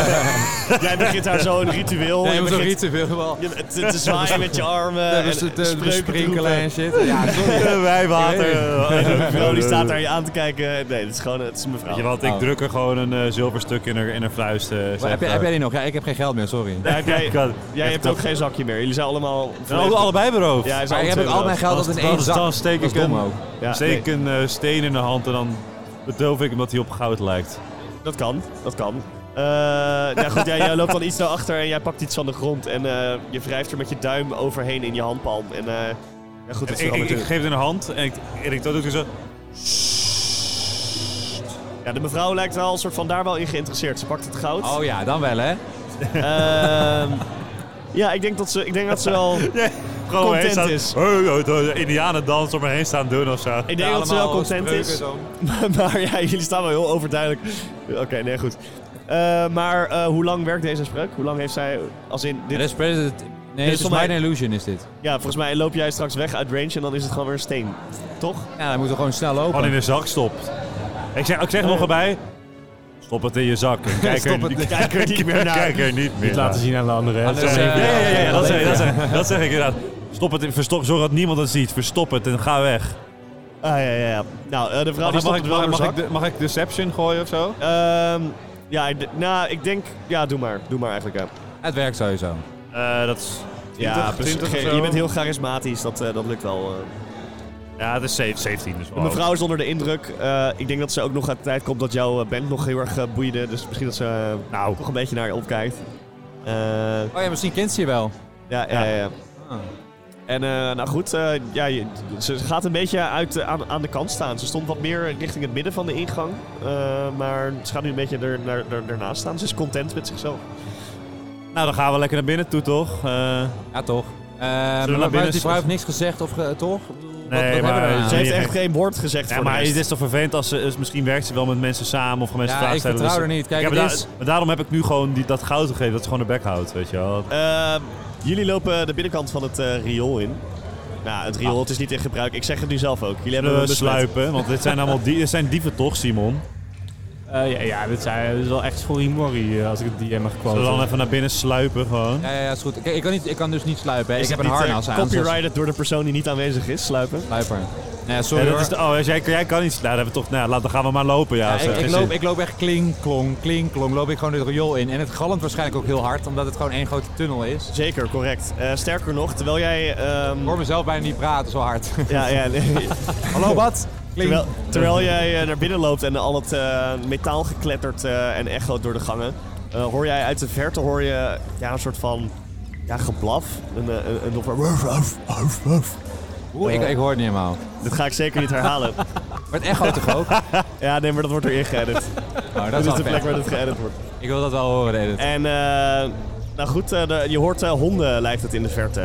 [SPEAKER 2] Jij begint daar zo een ritueel.
[SPEAKER 3] nee,
[SPEAKER 2] je
[SPEAKER 3] maar zo'n
[SPEAKER 2] begint
[SPEAKER 3] ritueel wel.
[SPEAKER 2] je- te, te zwaaien met je armen.
[SPEAKER 3] Ja,
[SPEAKER 2] en
[SPEAKER 3] dus het, eh,
[SPEAKER 2] spreuken te
[SPEAKER 3] besprinkelen en
[SPEAKER 2] roepen.
[SPEAKER 3] shit. Ja, sorry.
[SPEAKER 1] Wijwater.
[SPEAKER 2] En de vrouw die staat daar je aan te kijken. Nee, het is gewoon het is een mevrouw.
[SPEAKER 1] Weet je wat, ik
[SPEAKER 3] Oh.
[SPEAKER 1] druk er gewoon een eh, zilverstuk in haar, in haar vuist. eh, zeg,
[SPEAKER 3] Maar heb, jij-
[SPEAKER 1] eh.
[SPEAKER 3] heb jij die nog? Ja, ik heb geen geld meer, sorry.
[SPEAKER 2] Ja, heb jij
[SPEAKER 1] Ik had-
[SPEAKER 2] jij hebt ook geen zakje meer. Jullie zijn allemaal...
[SPEAKER 1] En ook allebei beroofd.
[SPEAKER 2] Ja, hij is
[SPEAKER 3] Maar ik heb ook al mijn geld
[SPEAKER 1] Als-
[SPEAKER 3] dat in
[SPEAKER 1] als-
[SPEAKER 3] één
[SPEAKER 1] als-
[SPEAKER 3] zak.
[SPEAKER 1] dan steek
[SPEAKER 3] Dat is
[SPEAKER 1] ik
[SPEAKER 3] dom
[SPEAKER 1] hem.
[SPEAKER 3] ook.
[SPEAKER 2] Ja,
[SPEAKER 1] Steek een eh, steen in de hand en dan bedoof ik hem dat hij op goud lijkt.
[SPEAKER 2] nee, dat kan, dat kan. Eh, nou goed, jij, jij loopt dan iets naar achter en jij pakt iets van de grond. En eh, je wrijft er met je duim overheen in je handpalm. En eh, ja, goed, dat
[SPEAKER 1] Ik,
[SPEAKER 2] is
[SPEAKER 1] ik,
[SPEAKER 2] wel
[SPEAKER 1] ik
[SPEAKER 2] natuurlijk.
[SPEAKER 1] geef het in de hand en ik, en ik dat doe ik zo.
[SPEAKER 2] Ja, de mevrouw lijkt wel een soort van daar wel in geïnteresseerd. Ze pakt het goud.
[SPEAKER 3] Oh ja, dan wel hè.
[SPEAKER 2] Ehm, ja, ik denk dat ze, ik denk dat ze wel,
[SPEAKER 1] Gewoon
[SPEAKER 2] Content
[SPEAKER 1] heen staan.
[SPEAKER 2] is.
[SPEAKER 1] Hey, oh, de Indianendans om me heen staan doen of zo.
[SPEAKER 2] ik denk dat ze wel content is. maar ja, jullie staan wel heel overduidelijk. Oké, nee, goed. Eh, maar eh, hoe lang werkt deze spreuk? Hoe lang heeft zij, als in dit...
[SPEAKER 3] Dit is President. Nee, dit is
[SPEAKER 2] volgens mij-
[SPEAKER 3] Might and Illusion is dit.
[SPEAKER 2] Ja, volgens mij loop jij straks weg uit range en dan is het gewoon weer een steen. Toch?
[SPEAKER 3] Ja, dan moeten we gewoon snel
[SPEAKER 1] Gewoon in
[SPEAKER 3] lopen.
[SPEAKER 1] de zak stopt. Ik zeg, ik zeg er nog erbij. Stop het in je zak. En kijk,
[SPEAKER 3] Stop
[SPEAKER 1] er,
[SPEAKER 3] het-
[SPEAKER 1] niet-
[SPEAKER 2] Kijk er niet meer naar.
[SPEAKER 1] kijk er niet meer
[SPEAKER 4] Niet laten zien aan de anderen. hè.
[SPEAKER 3] Anders,
[SPEAKER 4] Zo-
[SPEAKER 3] eh,
[SPEAKER 1] Ja, ja, ja, ja, dat, zeg, dat,
[SPEAKER 3] Ja.
[SPEAKER 1] zeg, dat zeg ik inderdaad. Stop het, in- verstop, zorg dat niemand het ziet. Verstop het en ga weg.
[SPEAKER 2] Ah, ja, ja, ja. Nou, eh, de vrouw die stopt het wel in haar zak.
[SPEAKER 1] deception gooien of zo?
[SPEAKER 2] Ehm, ja, ik d- nou, ik denk... Ja, doe maar. Doe maar eigenlijk, ja.
[SPEAKER 3] Het werkt sowieso.
[SPEAKER 1] Eh, dat is...
[SPEAKER 2] Ja,
[SPEAKER 1] 20, 20 of
[SPEAKER 2] precies.
[SPEAKER 1] zo.
[SPEAKER 2] Je bent heel charismatisch, dat, eh, dat lukt wel. eh.
[SPEAKER 1] Ja, het is zeven- 17 dus
[SPEAKER 2] De
[SPEAKER 1] wel.
[SPEAKER 2] mevrouw is onder de indruk. Eh, ik denk dat ze ook nog aan de tijd komt dat jouw eh, band nog heel erg eh, boeide. Dus misschien dat ze eh,
[SPEAKER 1] Nou,
[SPEAKER 2] toch een beetje naar je opkijkt. Eh,
[SPEAKER 3] Oh ja, misschien kent ze je wel.
[SPEAKER 2] ja, ja, ja. ja.
[SPEAKER 3] Ah.
[SPEAKER 2] En eh, nou goed, eh, ja, je- ze ze gaat een beetje uit, eh, aan, aan de kant staan. Ze stond wat meer richting het midden van de ingang. eh, maar ze gaat nu een beetje er, daar- daar- daarnaast staan. Ze is content met zichzelf.
[SPEAKER 1] nou, dan gaan we lekker naar binnen toe, toch? Eh,
[SPEAKER 3] Ja, toch. Eh, maar
[SPEAKER 1] naar binnen
[SPEAKER 3] maar die vrouw
[SPEAKER 1] stappen?
[SPEAKER 3] heeft niks gezegd, of ge- toch? Ik bedoel, wat-
[SPEAKER 1] Nee,
[SPEAKER 3] wat
[SPEAKER 1] maar-
[SPEAKER 3] hebben we nou?
[SPEAKER 2] Ze heeft
[SPEAKER 1] je
[SPEAKER 2] echt
[SPEAKER 1] merkt-
[SPEAKER 2] geen woord gezegd
[SPEAKER 1] Ah, ja,
[SPEAKER 2] voor
[SPEAKER 1] maar
[SPEAKER 2] de rest.
[SPEAKER 1] het is toch vervelend als ze... dus misschien werkt ze wel met mensen samen of gaan mensen
[SPEAKER 3] Ja,
[SPEAKER 1] vragen
[SPEAKER 3] ik
[SPEAKER 1] stellen.
[SPEAKER 3] vertrouw
[SPEAKER 1] dus-
[SPEAKER 3] haar niet. Kijk,
[SPEAKER 1] Ik heb
[SPEAKER 3] het
[SPEAKER 1] da-
[SPEAKER 3] is-
[SPEAKER 1] maar daarom heb ik nu gewoon die, dat goud gegeven, dat ze gewoon de bek houdt, weet je wel.
[SPEAKER 2] Eh, jullie lopen de binnenkant van het eh, riool in. Nou, het riool het is niet in gebruik. Ik zeg het nu zelf ook. Jullie hebben
[SPEAKER 1] Ah. We
[SPEAKER 2] een besluit.
[SPEAKER 1] sluipen, want dit zijn allemaal die, dit zijn dieven toch, Simon?
[SPEAKER 4] Eh, ja, ja, dit, zijn, dit is wel echt schorimori eh, als ik het DM mag
[SPEAKER 1] Zullen we dan
[SPEAKER 4] quoten.
[SPEAKER 1] even naar binnen sluipen gewoon?
[SPEAKER 3] Ja, ja, ja, is goed. Kijk, ik kan, niet, ik kan dus niet sluipen. Hè. Ik
[SPEAKER 2] Is
[SPEAKER 3] heb
[SPEAKER 2] het
[SPEAKER 3] een
[SPEAKER 2] niet, eh,
[SPEAKER 3] harnas aan. dus zoals-
[SPEAKER 2] Copyrighted door de persoon die niet aanwezig is, sluipen.
[SPEAKER 3] Sluiper. Nee,
[SPEAKER 1] Ja,
[SPEAKER 3] sorry
[SPEAKER 1] dat
[SPEAKER 3] hoor.
[SPEAKER 1] is de- oh, als jij, jij kan niet. Nou, dan, hebben we toch, nou, laat- dan gaan we maar lopen. Ja,
[SPEAKER 3] Ja,
[SPEAKER 1] als er
[SPEAKER 3] ik, ik
[SPEAKER 1] geen
[SPEAKER 3] loop,
[SPEAKER 1] zin-
[SPEAKER 3] ik loop echt klink, klonk, klink, klonk. Loop ik gewoon dit riool in. En het galmt waarschijnlijk ook heel hard, omdat het gewoon één grote tunnel is.
[SPEAKER 2] Zeker, correct. Eh, sterker nog, terwijl jij... ehm,
[SPEAKER 3] Ik hoor mezelf bijna niet praten zo hard.
[SPEAKER 2] ja, ja, nee.
[SPEAKER 3] Hallo, wat?
[SPEAKER 2] Terwijl, terwijl jij eh, naar binnen loopt en al het eh, metaal gekletterd eh, en echo door de gangen, eh, hoor jij uit de verte hoor je, ja, een soort van ja, geblaf. Een, eh, een, een doffe wuf, wuf, wuf, wuf.
[SPEAKER 3] Oeh, ik, ik hoor het niet helemaal.
[SPEAKER 2] Dit ga ik zeker niet herhalen.
[SPEAKER 3] Maar het echo toch ook? Oh,
[SPEAKER 2] ja, nee, maar dat wordt erin geëdit.
[SPEAKER 3] dat
[SPEAKER 2] Dit
[SPEAKER 3] is
[SPEAKER 2] is
[SPEAKER 3] wel
[SPEAKER 2] de
[SPEAKER 3] vet.
[SPEAKER 2] plek waar dit geëdit wordt.
[SPEAKER 3] Ik wil dat wel horen, de edit.
[SPEAKER 2] En eh, nou goed, eh, de- je hoort eh, honden lijkt het in de verte.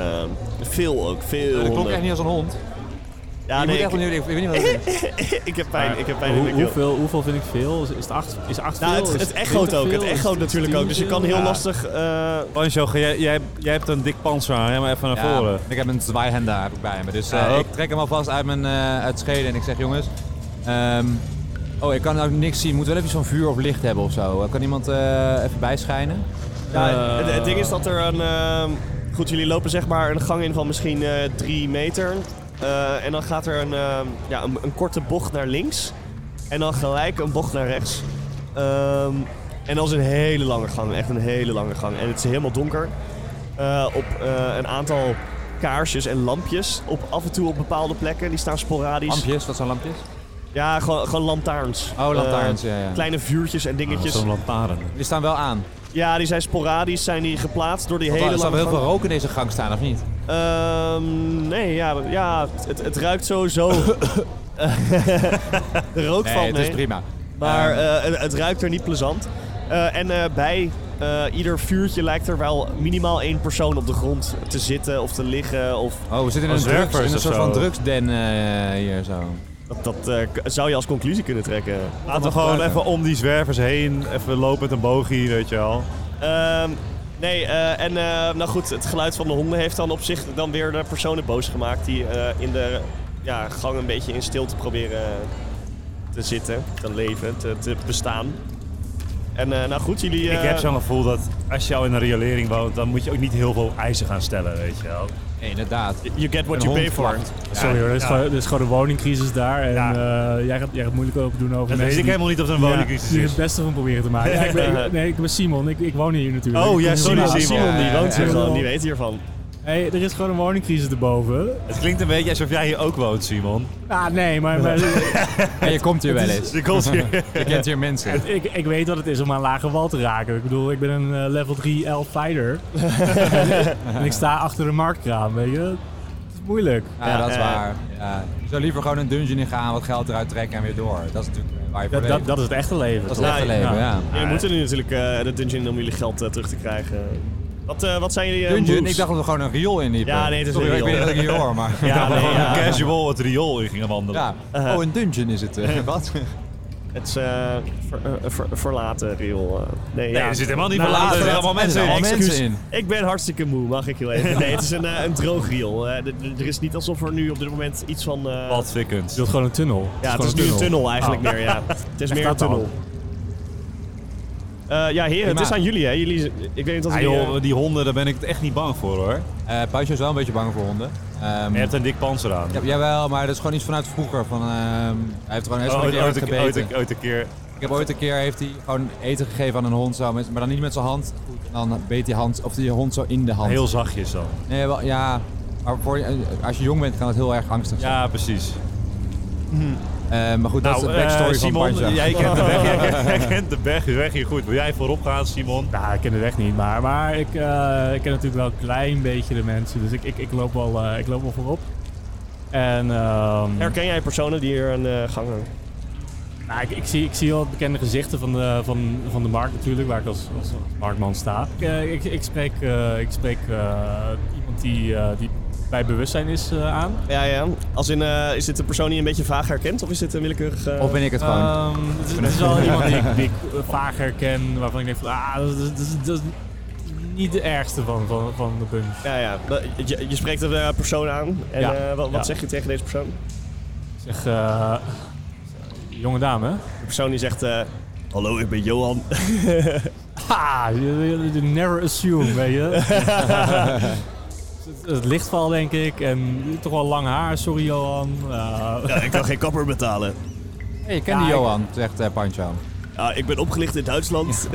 [SPEAKER 2] Veel ook, veel
[SPEAKER 3] Dat klonk
[SPEAKER 2] honden.
[SPEAKER 3] echt niet als een hond.
[SPEAKER 2] ja,
[SPEAKER 3] ik
[SPEAKER 2] Ah, nee,
[SPEAKER 3] moet echt
[SPEAKER 2] ik,
[SPEAKER 3] benieuwd, ik, ik weet niet wat het is.
[SPEAKER 2] ik heb pijn, ik heb pijn in
[SPEAKER 4] Hoe-
[SPEAKER 2] de keel.
[SPEAKER 4] hoeveel, hoeveel vind ik veel? Is, is het acht, is acht
[SPEAKER 2] Nou,
[SPEAKER 4] veel?
[SPEAKER 2] het,
[SPEAKER 4] Is
[SPEAKER 2] het echoot
[SPEAKER 4] 20
[SPEAKER 2] ook. Het
[SPEAKER 4] veel? Is
[SPEAKER 2] echoot natuurlijk
[SPEAKER 4] 10
[SPEAKER 2] ook. Dus je kan
[SPEAKER 4] veel?
[SPEAKER 2] heel
[SPEAKER 1] Ja.
[SPEAKER 2] lastig. eh,
[SPEAKER 1] Pancho, ga jij, jij, jij hebt een dik panzer aan. Jij maar even naar
[SPEAKER 3] Ja,
[SPEAKER 1] voren.
[SPEAKER 3] ik heb een zwaaihenda heb ik bij me. Dus eh,
[SPEAKER 1] Ja, ook.
[SPEAKER 3] ik trek hem alvast uit mijn eh, uit Schede en ik zeg jongens. ehm, oh, ik kan ook niks zien. Moet wel even zo'n vuur of licht hebben of zo. Eh, Kan iemand eh, even bijschijnen?
[SPEAKER 2] ja,
[SPEAKER 4] Eh.
[SPEAKER 2] het, het ding is dat er een. ehm, goed, jullie lopen zeg maar een gang in van misschien eh, drie meter. Eh, en dan gaat er een, ehm, ja, een, een korte bocht naar links. En dan gelijk een bocht naar rechts. Ehm, en dat is een hele lange gang. Echt een hele lange gang. En het is helemaal donker. Eh, op eh, een aantal kaarsjes en lampjes. Op, af en toe op bepaalde plekken. Die staan sporadisch.
[SPEAKER 3] Lampjes, wat zijn lampjes?
[SPEAKER 2] Ja, gewoon, gewoon lantaarns.
[SPEAKER 3] Oh, lantaarns,
[SPEAKER 2] Eh,
[SPEAKER 3] ja, Oh, ja.
[SPEAKER 2] Kleine vuurtjes en dingetjes.
[SPEAKER 1] Zo'n lantaarn.
[SPEAKER 3] Die staan wel aan.
[SPEAKER 2] Ja, die zijn sporadisch zijn die geplaatst door die
[SPEAKER 3] Want
[SPEAKER 2] hele
[SPEAKER 3] er staat
[SPEAKER 2] lange
[SPEAKER 3] wel heel veel
[SPEAKER 2] gang.
[SPEAKER 3] rook in deze gang staan, of niet?
[SPEAKER 2] Ehm, nee, ja, ja het, het ruikt sowieso. de rook
[SPEAKER 3] Nee,
[SPEAKER 2] valt
[SPEAKER 3] het
[SPEAKER 2] mee,
[SPEAKER 3] is prima.
[SPEAKER 2] maar
[SPEAKER 3] Ehm,
[SPEAKER 2] eh, het, het ruikt er niet plezant. Eh, en eh, bij eh, ieder vuurtje lijkt er wel minimaal één persoon op de grond te zitten of te liggen. Of
[SPEAKER 3] oh, we zitten in
[SPEAKER 1] als
[SPEAKER 3] een, drugs,
[SPEAKER 1] werkers
[SPEAKER 3] in een
[SPEAKER 1] of
[SPEAKER 3] soort
[SPEAKER 1] zo.
[SPEAKER 3] van drugsden eh, hier zo.
[SPEAKER 2] dat dat eh, k- zou je als conclusie kunnen trekken.
[SPEAKER 1] Laten we gewoon
[SPEAKER 3] gebruiken.
[SPEAKER 1] even om die zwervers heen. Even lopen met een bogie, weet je wel.
[SPEAKER 2] Ehm, nee, eh, en eh, nou goed, het geluid van de honden heeft dan op zich dan weer de personen boos gemaakt die eh, in de ja, gang een beetje in stilte proberen te zitten, te leven, te, te bestaan. En eh, nou goed, jullie...
[SPEAKER 1] Ik
[SPEAKER 2] eh,
[SPEAKER 1] heb zo'n gevoel dat als je al in een riolering woont, dan moet je ook niet heel veel eisen gaan stellen, weet je wel.
[SPEAKER 3] Nee, inderdaad.
[SPEAKER 2] You get what
[SPEAKER 3] Een
[SPEAKER 2] you pay
[SPEAKER 3] hond
[SPEAKER 2] for.
[SPEAKER 3] plakt.
[SPEAKER 4] Sorry hoor, er is,
[SPEAKER 1] ja.
[SPEAKER 4] gewoon, er is gewoon een woningcrisis daar. En
[SPEAKER 1] Ja.
[SPEAKER 4] eh, jij, gaat, jij gaat moeilijk over doen over
[SPEAKER 1] Dat weet
[SPEAKER 4] mensen
[SPEAKER 1] ik
[SPEAKER 4] die-
[SPEAKER 1] helemaal niet of er een
[SPEAKER 4] Ja,
[SPEAKER 1] woningcrisis
[SPEAKER 4] die er
[SPEAKER 1] is.
[SPEAKER 4] het beste van proberen te maken. Ja, ik ben, ik- nee, ik ben Simon. Ik, ik woon hier natuurlijk.
[SPEAKER 5] Oh,
[SPEAKER 4] Ik kom
[SPEAKER 5] ja,
[SPEAKER 4] hier
[SPEAKER 5] sorry,
[SPEAKER 4] vandaan.
[SPEAKER 5] Simon.
[SPEAKER 2] Simon die
[SPEAKER 3] Ja,
[SPEAKER 2] woont
[SPEAKER 3] ja,
[SPEAKER 2] hier
[SPEAKER 4] ja.
[SPEAKER 2] gewoon, die weet hiervan.
[SPEAKER 4] Hey, er is gewoon een woningcrisis erboven.
[SPEAKER 5] Het klinkt een beetje alsof jij hier ook woont, Simon.
[SPEAKER 4] Ah, nee, maar, maar
[SPEAKER 3] En je komt hier wel
[SPEAKER 1] Dus
[SPEAKER 3] eens.
[SPEAKER 5] Je komt hier.
[SPEAKER 3] Je kent hier mensen.
[SPEAKER 4] ik, ik weet wat het is om aan lage wal te raken. Ik bedoel, ik ben een eh, level 3 L fighter. en ik sta achter de marktkraam, weet je. Het is moeilijk.
[SPEAKER 3] Ja, dat is waar. Ja. Je zou liever gewoon een dungeon in gaan, wat geld eruit trekken en weer door. Dat is natuurlijk eh, waar je voor
[SPEAKER 4] Dat,
[SPEAKER 3] leeft.
[SPEAKER 4] dat, dat is het echte leven.
[SPEAKER 3] Dat is
[SPEAKER 4] toch?
[SPEAKER 3] het echte leven,
[SPEAKER 4] Ja.
[SPEAKER 3] ja.
[SPEAKER 2] Jullie moeten nu natuurlijk eh, de dungeon om jullie geld eh, terug te krijgen. Wat, eh, wat zijn jullie eh,
[SPEAKER 3] Dungeon,
[SPEAKER 2] moves?
[SPEAKER 3] ik dacht dat we gewoon een riool inliepen.
[SPEAKER 2] Ja, nee, het is
[SPEAKER 3] Sorry,
[SPEAKER 2] een
[SPEAKER 3] Ik weet
[SPEAKER 2] riool.
[SPEAKER 3] dat ik hier hoor, maar...
[SPEAKER 1] Ja,
[SPEAKER 2] Ja,
[SPEAKER 1] maar
[SPEAKER 2] nee,
[SPEAKER 1] gewoon
[SPEAKER 2] ja.
[SPEAKER 1] casual het riool in gingen wandelen.
[SPEAKER 3] Ja. Oh, een dungeon is het. eh, wat?
[SPEAKER 2] Het is eh, ver- eh, ver- verlaten, Riel. eh. nee,
[SPEAKER 1] Nee,
[SPEAKER 2] ja.
[SPEAKER 1] er zitten helemaal niet
[SPEAKER 2] Nou,
[SPEAKER 1] verlaten. Er
[SPEAKER 2] laten
[SPEAKER 1] zitten
[SPEAKER 2] we-
[SPEAKER 1] allemaal mensen in.
[SPEAKER 3] allemaal
[SPEAKER 1] Excuus.
[SPEAKER 3] mensen in.
[SPEAKER 2] Ik ben hartstikke moe, mag ik heel even. Nee, het is een, eh, een droog riool. Eh, d- d- er is niet alsof er nu op dit moment iets van... eh,
[SPEAKER 1] Wat fikkend.
[SPEAKER 4] Je wilt gewoon een tunnel.
[SPEAKER 2] Ja, het
[SPEAKER 4] gewoon
[SPEAKER 2] is nu een tunnel eigenlijk meer, ja. Het is meer een
[SPEAKER 4] dat dan?
[SPEAKER 2] tunnel. Eh, ja, heren, het
[SPEAKER 3] Prima.
[SPEAKER 2] is aan jullie, hè. Jullie, ik weet niet of
[SPEAKER 1] Ah,
[SPEAKER 2] jullie... eh,
[SPEAKER 1] joh, die honden, daar ben ik echt niet bang voor hoor.
[SPEAKER 3] Eh Pausje is wel een beetje bang voor honden. Ehm,
[SPEAKER 1] Je hebt een dik panzer aan.
[SPEAKER 3] ja, jawel, maar dat is gewoon iets vanuit vroeger. Van, ehm, hij heeft gewoon hij is
[SPEAKER 1] Oh,
[SPEAKER 3] gewoon een
[SPEAKER 1] ooit,
[SPEAKER 3] keer
[SPEAKER 1] ooit,
[SPEAKER 3] hard
[SPEAKER 1] ooit,
[SPEAKER 3] gebeten.
[SPEAKER 1] ooit- ooit een keer.
[SPEAKER 3] Ik heb ooit een keer heeft hij gewoon eten gegeven aan een hond, zo, met- maar dan niet met zijn hand. En dan beet die, hand, of die hond zo in de hand.
[SPEAKER 1] Heel zachtjes dan.
[SPEAKER 3] Nee, wel, ja. Maar voor, als je jong bent kan het heel erg angstig zijn.
[SPEAKER 1] Ja, precies.
[SPEAKER 3] Eh, maar goed, dat is de
[SPEAKER 1] eh,
[SPEAKER 3] backstory van
[SPEAKER 1] Simon,
[SPEAKER 3] Pancho.
[SPEAKER 1] jij kent de weg, jij kent- jij kent de weg, weg hier goed. Wil jij voorop gaan, Simon?
[SPEAKER 4] Nou, ik ken de weg niet, maar, maar ik, eh, ik ken natuurlijk wel een klein beetje de mensen. Dus ik, ik, ik, loop, wel, eh, ik loop wel voorop. En ehm,
[SPEAKER 2] Herken jij personen die hier aan de gang hangen?
[SPEAKER 4] nou, ik, ik, zie, ik zie wel bekende gezichten van de, van, van de markt natuurlijk, waar ik als, als marktman sta. Ik, eh, ik, ik spreek, eh, ik spreek eh, iemand die, eh, die bij bewustzijn is eh, aan.
[SPEAKER 2] Ja, ja. Als in, eh, is dit een persoon die je een beetje vaag herkent? Of is dit een willekeurig... eh,
[SPEAKER 3] Of ben ik het gewoon?
[SPEAKER 4] Ehm, het, is, het is wel iemand die ik, die ik eh, vaag herken, waarvan ik denk van, ah, dat is, dat is, dat is niet de ergste van, van, van de bunch.
[SPEAKER 2] Ja, ja. Je, je spreekt een eh, persoon aan. En
[SPEAKER 4] Ja.
[SPEAKER 2] eh, wat, wat
[SPEAKER 4] Ja.
[SPEAKER 2] zeg je tegen deze persoon?
[SPEAKER 4] Ik zeg, eh, jonge dame,
[SPEAKER 2] De persoon die zegt... eh, Hallo, ik ben Johan.
[SPEAKER 4] Ha, you, you- you never assume, weet je. Het- Het lichtval, denk ik. En toch wel lang haar, sorry Johan. Eh,
[SPEAKER 2] Ja, ik kan geen kapper betalen.
[SPEAKER 3] hey, ik ken die
[SPEAKER 4] Ja, ik-
[SPEAKER 3] Johan, zegt eh Pancho.
[SPEAKER 2] Ja, ik ben opgelicht in Duitsland.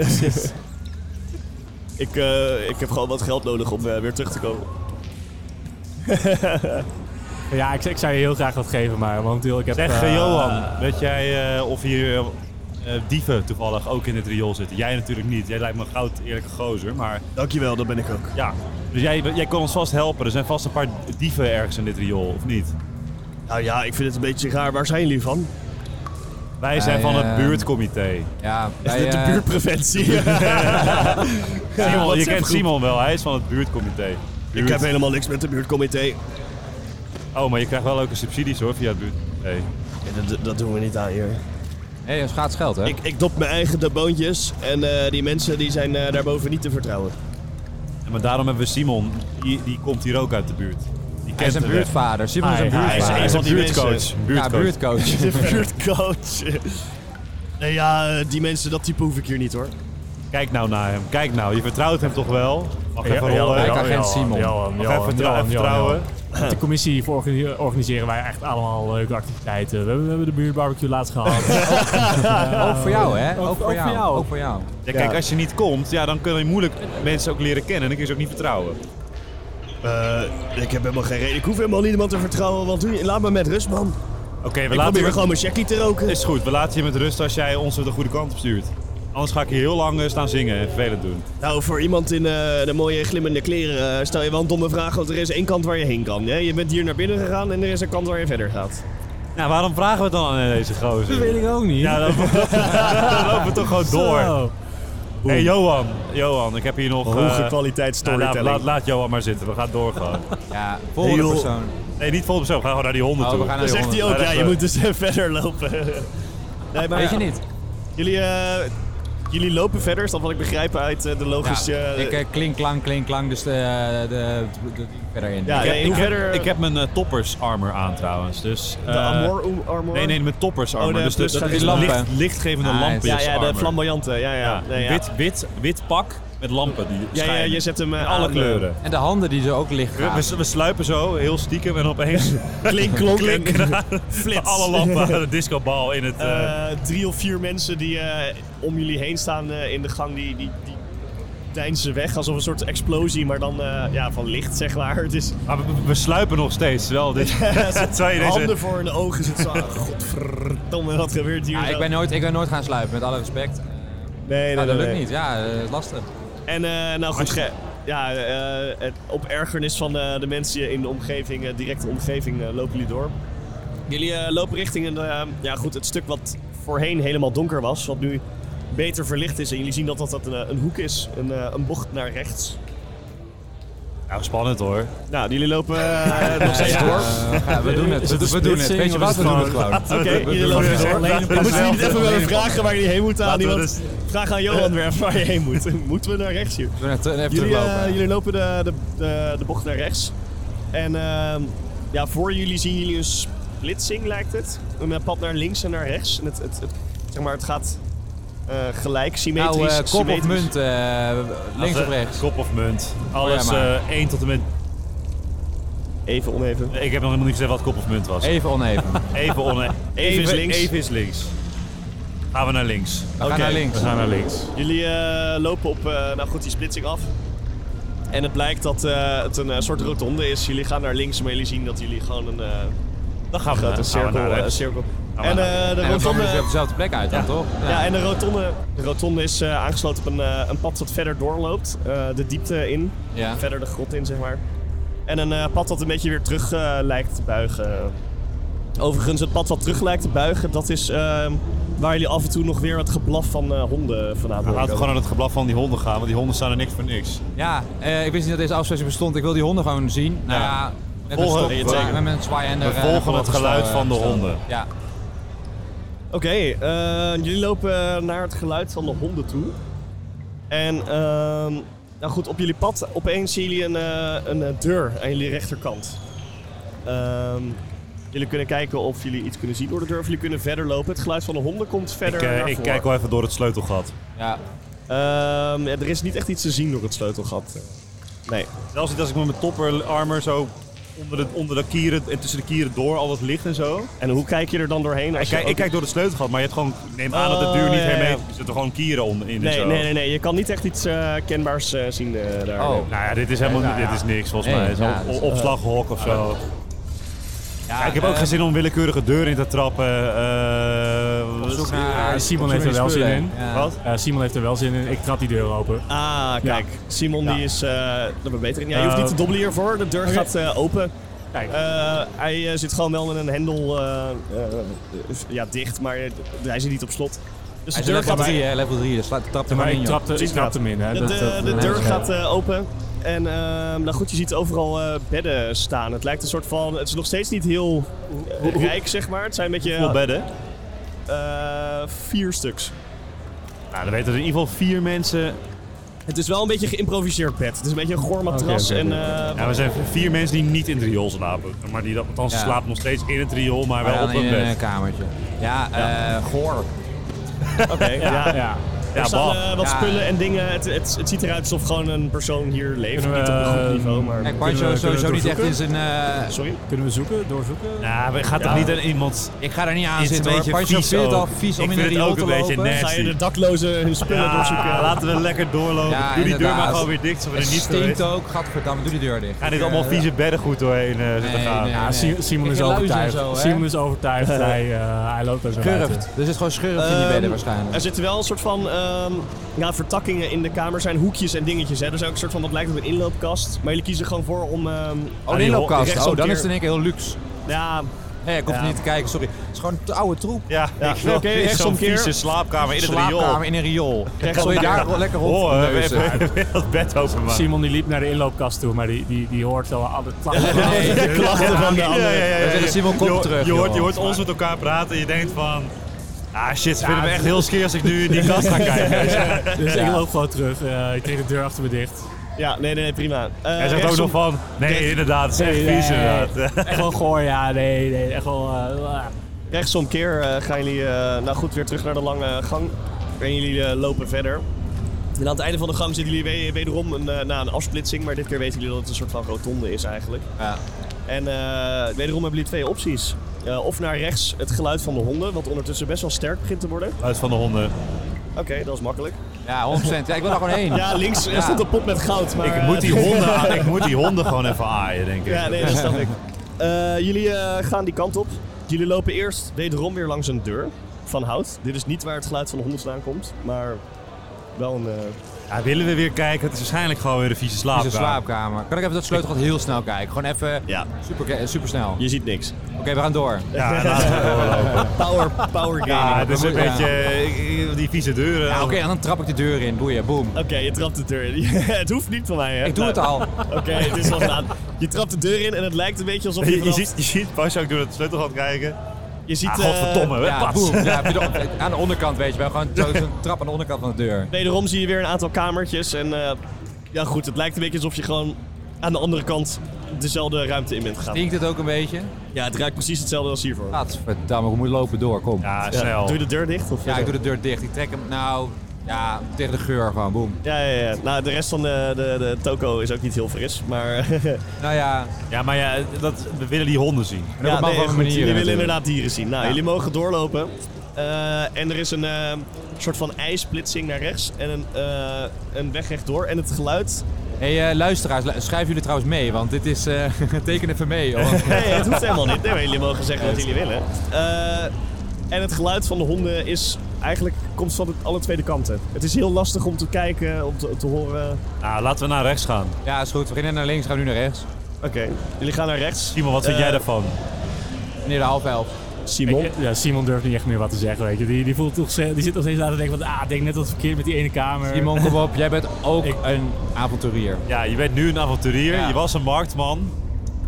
[SPEAKER 2] ik, eh, ik heb gewoon wat geld nodig om eh, weer terug te komen.
[SPEAKER 4] ja, ik, ik zou je heel graag wat geven, maar momenteel ik heb...
[SPEAKER 1] Zeg eh,
[SPEAKER 4] eh,
[SPEAKER 1] Johan, weet jij eh, of hier eh, dieven toevallig ook in het riool zitten? Jij natuurlijk niet. Jij lijkt me een goud eerlijke gozer, maar
[SPEAKER 2] Dankjewel, dat ben ik ook.
[SPEAKER 1] ja. Dus jij, jij kon ons vast helpen. Er zijn vast een paar dieven ergens in dit riool, of niet?
[SPEAKER 2] Nou ja, ik vind het een beetje raar. Waar zijn jullie van?
[SPEAKER 1] Wij zijn van
[SPEAKER 3] eh,
[SPEAKER 1] het buurtcomité.
[SPEAKER 3] Ja,
[SPEAKER 2] Is
[SPEAKER 3] wij,
[SPEAKER 2] dit de
[SPEAKER 3] eh,
[SPEAKER 2] buurtpreventie?
[SPEAKER 1] Simon, je
[SPEAKER 2] WhatsApp
[SPEAKER 1] kent
[SPEAKER 2] groep.
[SPEAKER 1] Simon wel, hij is van het buurtcomité.
[SPEAKER 2] ik
[SPEAKER 1] Buurt-
[SPEAKER 2] heb helemaal niks met de buurtcomité.
[SPEAKER 1] Oh, maar je krijgt wel leuke subsidies hoor, via het buurtcomité.
[SPEAKER 2] Ja, dat, dat doen we niet aan hier.
[SPEAKER 3] hey, dat gaat geld, hè?
[SPEAKER 2] Ik, ik dop mijn eigen daboontjes. En eh, die mensen die zijn eh, daarboven niet te vertrouwen.
[SPEAKER 1] En maar daarom hebben we Simon, die, die komt hier ook uit de buurt. Die
[SPEAKER 3] hij is
[SPEAKER 1] kent
[SPEAKER 3] een
[SPEAKER 1] de weg.
[SPEAKER 3] buurtvader. Simon is een
[SPEAKER 4] Hij-
[SPEAKER 2] is-
[SPEAKER 4] hij
[SPEAKER 3] buurtvader.
[SPEAKER 2] hij
[SPEAKER 1] Hij is
[SPEAKER 2] van
[SPEAKER 1] een
[SPEAKER 2] die
[SPEAKER 1] buurtcoach.
[SPEAKER 2] mensen.
[SPEAKER 3] ja,
[SPEAKER 1] buurtcoach.
[SPEAKER 3] buurtcoach.
[SPEAKER 2] De buurtcoach. Nee, ja, eh, die mensen, dat type hoef ik hier niet hoor.
[SPEAKER 1] Kijk nou naar hem, kijk nou. Je vertrouwt hem toch wel? Mag
[SPEAKER 4] Ja,
[SPEAKER 1] even
[SPEAKER 4] ja,
[SPEAKER 1] rollen.
[SPEAKER 4] ja,
[SPEAKER 3] Lijkt
[SPEAKER 4] ja,
[SPEAKER 3] agent
[SPEAKER 4] ja,
[SPEAKER 3] Simon.
[SPEAKER 4] Johan,
[SPEAKER 1] Mag even
[SPEAKER 4] Johan,
[SPEAKER 1] vertrou-
[SPEAKER 4] Johan,
[SPEAKER 1] even
[SPEAKER 4] Johan,
[SPEAKER 1] vertrouwen.
[SPEAKER 4] Johan. Met de commissie verorgani- organiseren wij echt allemaal leuke activiteiten. We hebben, we hebben de buurtbarbecue laatst gehad.
[SPEAKER 3] Ook voor jou, hè? Ook, voor,
[SPEAKER 4] ook
[SPEAKER 3] jou.
[SPEAKER 4] voor jou.
[SPEAKER 3] Ook voor jou.
[SPEAKER 1] Ja, kijk, als je niet komt, ja, dan kun je moeilijk mensen ook leren kennen. En dan kun je ze ook niet vertrouwen.
[SPEAKER 2] Eh, ik heb helemaal geen reden. Ik hoef helemaal niemand te vertrouwen, want doe je- laat me met rust, man.
[SPEAKER 1] Oké, we
[SPEAKER 2] Ik probeer
[SPEAKER 1] laten
[SPEAKER 2] gewoon
[SPEAKER 1] je...
[SPEAKER 2] mijn checkie te roken.
[SPEAKER 1] Is goed, we laten je met rust als jij ons de goede kant op stuurt. Anders ga ik hier heel lang eh, staan zingen en vervelend doen.
[SPEAKER 2] Nou, voor iemand in eh, de mooie glimmende kleren eh, stel je wel een domme vraag, want er is één kant waar je heen kan. Hè? Je bent hier naar binnen gegaan en er is een kant waar je verder gaat.
[SPEAKER 1] Nou, waarom vragen we het dan aan deze gozer?
[SPEAKER 4] ik ook niet.
[SPEAKER 1] Ja, dan, dan lopen we toch gewoon door.
[SPEAKER 4] Zo.
[SPEAKER 1] Hé, hey, Johan. Johan, ik heb hier nog... eh,
[SPEAKER 2] kwaliteit
[SPEAKER 1] nou, laat, laat, laat Johan maar zitten, we gaan door gewoon.
[SPEAKER 3] Ja, volgende
[SPEAKER 2] Hey, joh.
[SPEAKER 3] persoon.
[SPEAKER 1] nee, niet vol op zo, we gaan gewoon naar die honden
[SPEAKER 3] Oh, we
[SPEAKER 1] toe. Dus-
[SPEAKER 3] gaan naar
[SPEAKER 2] Dan
[SPEAKER 3] die
[SPEAKER 2] zegt hij
[SPEAKER 3] honden.
[SPEAKER 2] ook,
[SPEAKER 1] Ja,
[SPEAKER 2] ja,
[SPEAKER 1] dat
[SPEAKER 2] je
[SPEAKER 1] is-
[SPEAKER 2] moet dus eh, verder lopen. nee, maar
[SPEAKER 3] Weet
[SPEAKER 2] ja,
[SPEAKER 3] je niet?
[SPEAKER 2] jullie eh, Jullie lopen verder, is dat wat ik begrijp uit eh, de logische...
[SPEAKER 3] Ja, ik
[SPEAKER 2] eh,
[SPEAKER 3] eh, klink, klank, klink, klank, dus de, de, de, de- verder in.
[SPEAKER 2] Ja,
[SPEAKER 1] ik, heb,
[SPEAKER 2] nee,
[SPEAKER 1] ik,
[SPEAKER 2] verder-
[SPEAKER 1] heb, ik heb mijn eh, toppers armor aan trouwens. Dus,
[SPEAKER 2] de
[SPEAKER 1] eh,
[SPEAKER 2] Amor um, Armor?
[SPEAKER 1] Nee, nee, mijn toppers armor.
[SPEAKER 2] Oh, de
[SPEAKER 1] dus de,
[SPEAKER 2] plus-
[SPEAKER 1] dat
[SPEAKER 2] die
[SPEAKER 1] is
[SPEAKER 3] lampen.
[SPEAKER 1] licht, lichtgevende
[SPEAKER 3] Nice.
[SPEAKER 1] lampen.
[SPEAKER 2] Ja, ja, de
[SPEAKER 1] armor.
[SPEAKER 2] flamboyante. Ja, ja.
[SPEAKER 1] Ja,
[SPEAKER 2] nee, ja.
[SPEAKER 1] Wit, wit, wit pak met lampen die
[SPEAKER 2] Ja, ja,
[SPEAKER 1] schijnen.
[SPEAKER 2] je zet hem eh,
[SPEAKER 1] In alle
[SPEAKER 2] aan, eh,
[SPEAKER 1] kleuren.
[SPEAKER 3] En de handen die zo ook licht
[SPEAKER 1] We,
[SPEAKER 3] gaan.
[SPEAKER 1] we, we sluipen zo, heel stiekem, en opeens klink, klonk, klink, en dan flits. alle lampen aan de discobal in het... eh,
[SPEAKER 2] Eh, drie of vier mensen die eh, om jullie heen staan eh, in de gang, die, die, die deinzen weg. Alsof een soort explosie, maar dan eh, ja, van licht, zeg maar. Het is
[SPEAKER 1] maar we, we- we sluipen nog steeds wel. Dit, terwijl je
[SPEAKER 2] handen
[SPEAKER 1] deze,
[SPEAKER 2] voor hun ogen. Zit zo, ah, godverdomme, wat gebeurt hier?
[SPEAKER 3] Ja,
[SPEAKER 2] zo?
[SPEAKER 3] ik, ben nooit, ik ben nooit gaan sluipen, met alle respect. Eh,
[SPEAKER 2] nee, nee,
[SPEAKER 3] nou, dat
[SPEAKER 2] nee,
[SPEAKER 3] lukt
[SPEAKER 2] nee.
[SPEAKER 3] niet, ja, eh, dat is lastig.
[SPEAKER 2] En eh, nou goed, ge- ja, eh, het, op ergernis van eh, de mensen in de omgeving, eh, directe omgeving, eh, lopen jullie door. Jullie eh, lopen richting een, eh, ja, goed, het stuk wat voorheen helemaal donker was, wat nu beter verlicht is. En jullie zien dat dat, dat een, eh, een hoek is, een, eh, een bocht naar rechts.
[SPEAKER 1] nou, spannend hoor.
[SPEAKER 2] Nou, jullie lopen eh, nog steeds
[SPEAKER 3] Eh,
[SPEAKER 2] door.
[SPEAKER 3] we gaan- we doen het,
[SPEAKER 4] Is
[SPEAKER 3] we,
[SPEAKER 4] het een
[SPEAKER 3] we doen het.
[SPEAKER 4] splitsing
[SPEAKER 3] Weet je
[SPEAKER 4] of
[SPEAKER 3] wat,
[SPEAKER 4] is
[SPEAKER 3] we
[SPEAKER 4] het
[SPEAKER 3] doen het
[SPEAKER 4] gewoon-
[SPEAKER 3] gewoon.
[SPEAKER 2] Oké, jullie lopen
[SPEAKER 1] we- we- we-
[SPEAKER 2] door.
[SPEAKER 1] we-
[SPEAKER 2] Dan moeten
[SPEAKER 1] we-
[SPEAKER 2] jullie even
[SPEAKER 1] we-
[SPEAKER 2] wel
[SPEAKER 1] we-
[SPEAKER 2] vragen waar jullie heen moeten aan
[SPEAKER 1] Laten we
[SPEAKER 2] iemand. Vraag aan Johan weer even waar je heen moet. Moeten we naar rechts hier?
[SPEAKER 3] We doen het even
[SPEAKER 2] Jullie, eh,
[SPEAKER 3] teruglopen.
[SPEAKER 2] jullie lopen de, de, de, de bocht naar rechts. En ehm, ja, voor jullie zien jullie een splitsing, lijkt het. Een eh, pad naar links en naar rechts. En het, het, het- zeg maar, het gaat eh, gelijk, symmetrisch.
[SPEAKER 3] nou, eh, kop of
[SPEAKER 2] symmetrisch.
[SPEAKER 3] munt, eh, links
[SPEAKER 1] Als,
[SPEAKER 3] of
[SPEAKER 1] eh,
[SPEAKER 3] rechts.
[SPEAKER 1] Kop of munt. Alles
[SPEAKER 3] ja, maar.
[SPEAKER 1] eh, één tot en met...
[SPEAKER 2] Even oneven.
[SPEAKER 1] Ik heb nog helemaal niet gezegd wat kop of munt was.
[SPEAKER 3] Even oneven.
[SPEAKER 1] Even on... Even,
[SPEAKER 2] is links.
[SPEAKER 1] Even is links. Gaan we naar links.
[SPEAKER 3] We gaan naar links.
[SPEAKER 4] We gaan naar links.
[SPEAKER 2] Jullie eh, lopen op, eh, nou goed, die splitsing af. En het blijkt dat eh, het een eh, soort rotonde is. Jullie gaan naar links, maar jullie zien dat jullie gewoon een eh,
[SPEAKER 1] Dan gaan we,
[SPEAKER 2] grote
[SPEAKER 1] dan gaan we
[SPEAKER 2] cirkel...
[SPEAKER 1] naar
[SPEAKER 2] eh,
[SPEAKER 1] rechts.
[SPEAKER 2] cirkel.
[SPEAKER 1] Gaan we
[SPEAKER 2] En
[SPEAKER 1] naar
[SPEAKER 2] eh, de
[SPEAKER 3] En we komen
[SPEAKER 2] rotonde...
[SPEAKER 3] dus weer op dezelfde plek uit dan, toch?
[SPEAKER 2] Ja, en de rotonde, de rotonde is eh, aangesloten op een, eh, een pad dat verder doorloopt. eh, de diepte in.
[SPEAKER 3] Ja.
[SPEAKER 2] Verder de grot in, zeg maar. En een eh, pad dat een beetje weer terug eh, lijkt te buigen. Overigens, het pad wat terug lijkt te buigen, dat is ehm, waar jullie af en toe nog weer het geblaf van eh, honden vandaan
[SPEAKER 1] Laten we
[SPEAKER 2] horen komen.
[SPEAKER 1] gewoon aan het geblaf van die honden gaan, want die honden staan er niks voor niks.
[SPEAKER 3] Ja, eh, ik wist niet dat deze afspraak bestond. Ik wil die honden gewoon zien. Nou
[SPEAKER 1] Ja.
[SPEAKER 3] ja, met
[SPEAKER 1] Volgen,
[SPEAKER 3] een
[SPEAKER 1] je
[SPEAKER 3] stok,
[SPEAKER 1] tegen.
[SPEAKER 3] ja, met een zwaaiender.
[SPEAKER 1] We
[SPEAKER 3] eh,
[SPEAKER 1] volgen
[SPEAKER 3] gewoon
[SPEAKER 1] het
[SPEAKER 3] opgestaan,
[SPEAKER 1] geluid
[SPEAKER 3] eh,
[SPEAKER 1] van de
[SPEAKER 3] opgestaan.
[SPEAKER 1] honden.
[SPEAKER 3] Ja.
[SPEAKER 2] Oké, eh, jullie lopen naar het geluid van de honden toe. En ehm, nou goed, op jullie pad opeens zien jullie een, eh, een eh, deur aan jullie rechterkant. Ehm, jullie kunnen kijken of jullie iets kunnen zien door de deur of jullie kunnen verder lopen. Het geluid van de honden komt
[SPEAKER 1] Ik,
[SPEAKER 2] verder
[SPEAKER 1] eh,
[SPEAKER 2] naar
[SPEAKER 1] ik
[SPEAKER 2] voren.
[SPEAKER 1] kijk wel even door het sleutelgat.
[SPEAKER 3] ja.
[SPEAKER 2] Ehm, ja, er is niet echt iets te zien door het sleutelgat. Nee.
[SPEAKER 1] Zelfs niet als ik met mijn topper armor zo onder de, onder de kieren en tussen de kieren door al dat licht en zo.
[SPEAKER 2] En hoe kijk je er dan doorheen? Als
[SPEAKER 1] Ik
[SPEAKER 2] je
[SPEAKER 1] kijk,
[SPEAKER 2] ook-
[SPEAKER 1] ik kijk door het sleutelgat, maar je hebt gewoon, ik neem aan dat
[SPEAKER 2] Oh,
[SPEAKER 1] de deur niet
[SPEAKER 2] ja, ja.
[SPEAKER 1] hermetisch is. Er zitten gewoon kieren onder in en
[SPEAKER 2] nee,
[SPEAKER 1] zo.
[SPEAKER 2] nee, nee, nee. Je kan niet echt iets eh, kenbaars eh, zien eh, daar.
[SPEAKER 3] Oh.
[SPEAKER 2] Nee.
[SPEAKER 1] Nou ja, dit is helemaal
[SPEAKER 3] Nee, nou
[SPEAKER 1] dit is niks volgens
[SPEAKER 3] Nee,
[SPEAKER 1] mij. Het is
[SPEAKER 3] ja,
[SPEAKER 1] een
[SPEAKER 3] dat is-
[SPEAKER 1] op- opslaghok of zo.
[SPEAKER 3] ja.
[SPEAKER 1] ik heb ook
[SPEAKER 3] eh,
[SPEAKER 1] geen zin om willekeurige deuren in te trappen. eh,
[SPEAKER 3] op zoek
[SPEAKER 1] wat-
[SPEAKER 3] naar-
[SPEAKER 4] Ja, Simon
[SPEAKER 3] op zoek
[SPEAKER 4] heeft er
[SPEAKER 3] naar
[SPEAKER 4] wel
[SPEAKER 3] die
[SPEAKER 4] zin
[SPEAKER 3] spullen.
[SPEAKER 4] in.
[SPEAKER 3] Ja.
[SPEAKER 1] Wat?
[SPEAKER 4] Eh, Simon heeft er wel zin in. Ik trap die deur open.
[SPEAKER 2] Ah, kijk. Simon die is eh de verbetering. Ja, je hoeft
[SPEAKER 4] Eh,
[SPEAKER 2] niet te dobbelen hiervoor. De deur gaat eh, open.
[SPEAKER 4] Kijk.
[SPEAKER 2] Eh, hij eh, zit gewoon wel met een hendel eh, eh, ja, dicht, maar eh, hij zit niet op slot. Dus
[SPEAKER 3] Hij
[SPEAKER 2] de
[SPEAKER 3] is
[SPEAKER 2] deur
[SPEAKER 3] level
[SPEAKER 2] gaat
[SPEAKER 3] 3, hè? Level 3, dus laat- trap er
[SPEAKER 4] maar
[SPEAKER 3] maar in, joh.
[SPEAKER 4] ik trapte, ik
[SPEAKER 2] Precies,
[SPEAKER 4] trapte eh, hem in. Hè.
[SPEAKER 2] De,
[SPEAKER 4] Dat-
[SPEAKER 2] de,
[SPEAKER 4] dat-
[SPEAKER 2] de deur
[SPEAKER 4] dat-
[SPEAKER 2] gaat eh, open. En ehm, nou goed, je ziet overal eh, bedden staan. Het lijkt een soort van. Het is nog steeds niet heel eh, rijk, zeg maar. Het zijn een beetje.
[SPEAKER 1] Hoeveel bedden?
[SPEAKER 2] eh, vier stuks.
[SPEAKER 1] Nou, dan weten er in ieder geval vier mensen.
[SPEAKER 2] Het is wel een beetje geïmproviseerd bed. Het is een beetje een goor matras.
[SPEAKER 4] Oké, oké,
[SPEAKER 2] en, eh,
[SPEAKER 1] Ja, we zijn vier mensen die niet in het riool slapen. Maar die dat, althans,
[SPEAKER 3] Ja.
[SPEAKER 1] slapen nog steeds in het riool, maar
[SPEAKER 3] Maar
[SPEAKER 1] wel
[SPEAKER 3] dan
[SPEAKER 1] op hun
[SPEAKER 3] in een
[SPEAKER 1] bed.
[SPEAKER 3] eh, kamertje. Ja, eh, goor.
[SPEAKER 2] eh, Oké, ja.
[SPEAKER 4] Ja.
[SPEAKER 1] Ja,
[SPEAKER 2] er staan
[SPEAKER 1] bah.
[SPEAKER 2] eh, wat
[SPEAKER 3] Ja.
[SPEAKER 2] spullen en dingen. Het, het, het ziet eruit alsof gewoon een persoon hier leeft.
[SPEAKER 4] Kunnen we,
[SPEAKER 2] Niet op een goed
[SPEAKER 4] eh,
[SPEAKER 2] niveau, maar...
[SPEAKER 3] Kijk,
[SPEAKER 4] Kunnen
[SPEAKER 3] Pancho
[SPEAKER 4] we-
[SPEAKER 3] is sowieso
[SPEAKER 4] kunnen we
[SPEAKER 3] niet echt in zijn... eh,
[SPEAKER 2] Sorry?
[SPEAKER 4] Kunnen we zoeken, doorzoeken?
[SPEAKER 1] Nou, we gaan toch niet aan iemand
[SPEAKER 3] ik ga er niet aan
[SPEAKER 1] Is
[SPEAKER 3] zitten,
[SPEAKER 1] een
[SPEAKER 3] hoor.
[SPEAKER 1] beetje
[SPEAKER 3] Pancho
[SPEAKER 1] vies
[SPEAKER 3] vindt het al
[SPEAKER 1] ook.
[SPEAKER 3] vies om
[SPEAKER 1] Ik
[SPEAKER 3] in
[SPEAKER 1] vind
[SPEAKER 3] een
[SPEAKER 1] het
[SPEAKER 3] riool
[SPEAKER 1] ook
[SPEAKER 3] te
[SPEAKER 1] een beetje
[SPEAKER 3] lopen.
[SPEAKER 1] nasty.
[SPEAKER 2] Ga je de daklozen hun spullen
[SPEAKER 1] Ja,
[SPEAKER 2] doorzoeken?
[SPEAKER 1] Laten we lekker doorlopen.
[SPEAKER 3] Ja,
[SPEAKER 1] Doe die deur maar
[SPEAKER 3] inderdaad.
[SPEAKER 1] gewoon weer dicht, zodat we er
[SPEAKER 3] Het
[SPEAKER 1] niet
[SPEAKER 3] stinkt
[SPEAKER 1] doorheen-
[SPEAKER 3] ook. Gadverdamme, doe die deur dicht.
[SPEAKER 1] Gaan dit allemaal vieze bedden goed doorheen eh, zitten
[SPEAKER 3] Nee,
[SPEAKER 1] gaan.
[SPEAKER 3] nee.
[SPEAKER 4] Ja, Si- Simon
[SPEAKER 3] Kijk,
[SPEAKER 4] is
[SPEAKER 3] je luizen en
[SPEAKER 4] overtuigd.
[SPEAKER 3] zo, hè?
[SPEAKER 4] Simon is overtuigd. Hij, eh, hij loopt daar zo buiten.
[SPEAKER 3] Schurft. Er zit Dus gewoon schurft in die bedden
[SPEAKER 2] Ehm,
[SPEAKER 3] waarschijnlijk.
[SPEAKER 2] Er zitten wel een soort van ehm, ja, vertakkingen in de kamer. zijn hoekjes en dingetjes. Hè. Er is ook een soort van, dat lijkt op een inloopkast. Maar jullie kiezen gewoon voor om... ehm,
[SPEAKER 3] Oh, de
[SPEAKER 1] Ah, die
[SPEAKER 3] inloopkast.
[SPEAKER 2] rechtsom
[SPEAKER 3] Oh, dan
[SPEAKER 2] keer-
[SPEAKER 3] is het in één keer heel luxe.
[SPEAKER 2] ja,
[SPEAKER 3] Nee, ik hoef niet te kijken, sorry. Het is gewoon een oude troep.
[SPEAKER 1] Ja, ik
[SPEAKER 2] oké,
[SPEAKER 1] wil niet zo'n
[SPEAKER 2] rechtsomkeer.
[SPEAKER 1] vieze slaapkamer in het
[SPEAKER 3] Slaapkamer
[SPEAKER 1] riool.
[SPEAKER 3] in een riool.
[SPEAKER 2] Rechtsomkeer.
[SPEAKER 3] Wil je daar wel lekker rond?
[SPEAKER 1] Oh, eh, we
[SPEAKER 3] neuzen?
[SPEAKER 1] hebben we hebben het bed open maar.
[SPEAKER 4] Simon die liep naar de inloopkast toe, maar die, die, die hoort al alle klachten.
[SPEAKER 1] De klachten
[SPEAKER 2] van de ander.
[SPEAKER 1] ja, ja, ja, ja.
[SPEAKER 3] We zeggen, Simon, kom
[SPEAKER 1] Je ho-
[SPEAKER 3] terug,
[SPEAKER 1] Je hoort, je
[SPEAKER 3] joh.
[SPEAKER 1] hoort ons met elkaar praten en je denkt van... Ah shit, ze vinden me echt heel skeer als ik nu in die kast ga kijken.
[SPEAKER 4] Dus ik loop gewoon terug. Eh, ik kreeg de deur achter me dicht.
[SPEAKER 2] Ja, nee, nee, nee, prima. Eh,
[SPEAKER 1] Hij zegt ook nog
[SPEAKER 2] rechtsom-
[SPEAKER 1] van, nee inderdaad, het is echt vies inderdaad.
[SPEAKER 4] Echt wel goor, ja. Nee, nee. Echt wel... eh,
[SPEAKER 2] Rechtsomkeer eh, gaan jullie eh, nou goed weer terug naar de lange gang. En jullie eh, lopen verder. En aan het einde van de gang zitten jullie we- wederom een, eh, na een afsplitsing. Maar dit keer weten jullie dat het een soort van rotonde is eigenlijk.
[SPEAKER 3] Ja.
[SPEAKER 2] En eh, wederom hebben jullie twee opties. Eh, of naar rechts het geluid van de honden, wat ondertussen best wel sterk begint te worden.
[SPEAKER 1] Uit van de honden.
[SPEAKER 2] Oké, dat is makkelijk.
[SPEAKER 3] Ja, 100%. Ja, ik wil daar gewoon heen.
[SPEAKER 2] Ja, links eh,
[SPEAKER 3] Ja.
[SPEAKER 2] stond een pot met goud. Maar,
[SPEAKER 1] Ik moet, die
[SPEAKER 2] eh,
[SPEAKER 1] honden aan- ik moet die honden gewoon even aaien, denk ik.
[SPEAKER 2] Ja, nee, dat snap ik. Eh, jullie eh, gaan die kant op. Jullie lopen eerst wederom weer langs een deur van hout. Dit is niet waar het geluid van de hond vandaan komt, maar wel een... eh,
[SPEAKER 1] Ja, willen we weer kijken? Het is waarschijnlijk gewoon weer een vieze
[SPEAKER 3] In
[SPEAKER 1] slaapkamer.
[SPEAKER 3] zijn slaapkamer. Kan ik even dat sleutelgat heel snel kijken? Gewoon even
[SPEAKER 2] ja,
[SPEAKER 3] super, eh, supersnel. Oké,
[SPEAKER 2] je ziet niks.
[SPEAKER 3] we gaan door.
[SPEAKER 1] Ja, laten we doorlopen.
[SPEAKER 2] Power, power gaming.
[SPEAKER 1] Ja, het is een
[SPEAKER 3] Ja.
[SPEAKER 1] beetje eh, eh, die vieze deuren.
[SPEAKER 3] Ja, Oké, en dan trap ik de deur in. Boeien, boem.
[SPEAKER 2] Oké, je trapt de deur in. het hoeft niet van mij, hè?
[SPEAKER 3] Ik doe het
[SPEAKER 2] Nou,
[SPEAKER 3] al.
[SPEAKER 2] Oké, het is wel gedaan. Je trapt de deur in en het lijkt een beetje alsof je
[SPEAKER 1] Je, je
[SPEAKER 2] vanaf-
[SPEAKER 1] ziet, je ziet Bas ook door het sleutelgat kijken.
[SPEAKER 2] je ziet
[SPEAKER 1] Ah,
[SPEAKER 2] eh,
[SPEAKER 1] godverdomme, hè?
[SPEAKER 3] Ja,
[SPEAKER 1] Pas.
[SPEAKER 3] boem. Ja, heb je de- aan de onderkant, weet je wel. Gewoon zo- zo'n trap aan de onderkant van de deur.
[SPEAKER 2] Wederom zie je weer een aantal kamertjes en... eh, ja, goed, het lijkt een beetje alsof je gewoon aan de andere kant dezelfde ruimte in bent gegaan.
[SPEAKER 3] Stinkt het ook een beetje?
[SPEAKER 2] Ja, het ruikt precies hetzelfde als hiervoor.
[SPEAKER 3] Ah, Gadverdamme, we moeten lopen door. Kom.
[SPEAKER 1] Ja,
[SPEAKER 2] Ja,
[SPEAKER 1] Ah, snel.
[SPEAKER 2] Doe je de deur dicht? Of
[SPEAKER 3] Ja, ik doe de deur dicht. Ik trek hem nou ja, tegen de geur gewoon, boem.
[SPEAKER 2] Ja, ja, ja. Nou, de rest van de, de, de toko is ook niet heel fris, maar...
[SPEAKER 3] Nou ja,
[SPEAKER 1] Ja, maar ja, dat, we willen die honden zien.
[SPEAKER 3] op een bepaalde manier
[SPEAKER 2] jullie willen
[SPEAKER 3] natuurlijk.
[SPEAKER 2] inderdaad dieren zien. Nou, jullie mogen doorlopen. Eh, en er is een eh, soort van ijsplitsing naar rechts en een, eh, een weg rechtdoor. En het geluid...
[SPEAKER 3] hey, eh, luisteraars, lu- schrijven jullie trouwens mee, want dit is eh teken even mee. Hoor.
[SPEAKER 2] Nee, het hoeft helemaal niet. Nee, maar jullie mogen zeggen wat jullie willen. Eh, en het geluid van de honden is eigenlijk komt van alle twee kanten. Het is heel lastig om te kijken, om te, te horen.
[SPEAKER 1] Nou, laten we naar rechts gaan.
[SPEAKER 3] Ja, is goed. We beginnen naar links, gaan we nu naar rechts.
[SPEAKER 2] Oké, jullie gaan naar rechts.
[SPEAKER 1] Simon, wat vind jij
[SPEAKER 2] Eh,
[SPEAKER 1] daarvan?
[SPEAKER 3] Meneer de half elf.
[SPEAKER 2] Simon.
[SPEAKER 4] Ik- ja, Simon durft niet echt meer wat te zeggen, weet je. Die, die, voelt toch, ze- die zit nog steeds aan te denken van, ah, ik denk net wat verkeerd met die ene kamer.
[SPEAKER 3] Simon, kom op. Jij bent ook
[SPEAKER 4] Ik-
[SPEAKER 3] een avonturier.
[SPEAKER 1] Ja, je bent nu een avonturier.
[SPEAKER 3] Ja.
[SPEAKER 1] Je was een marktman.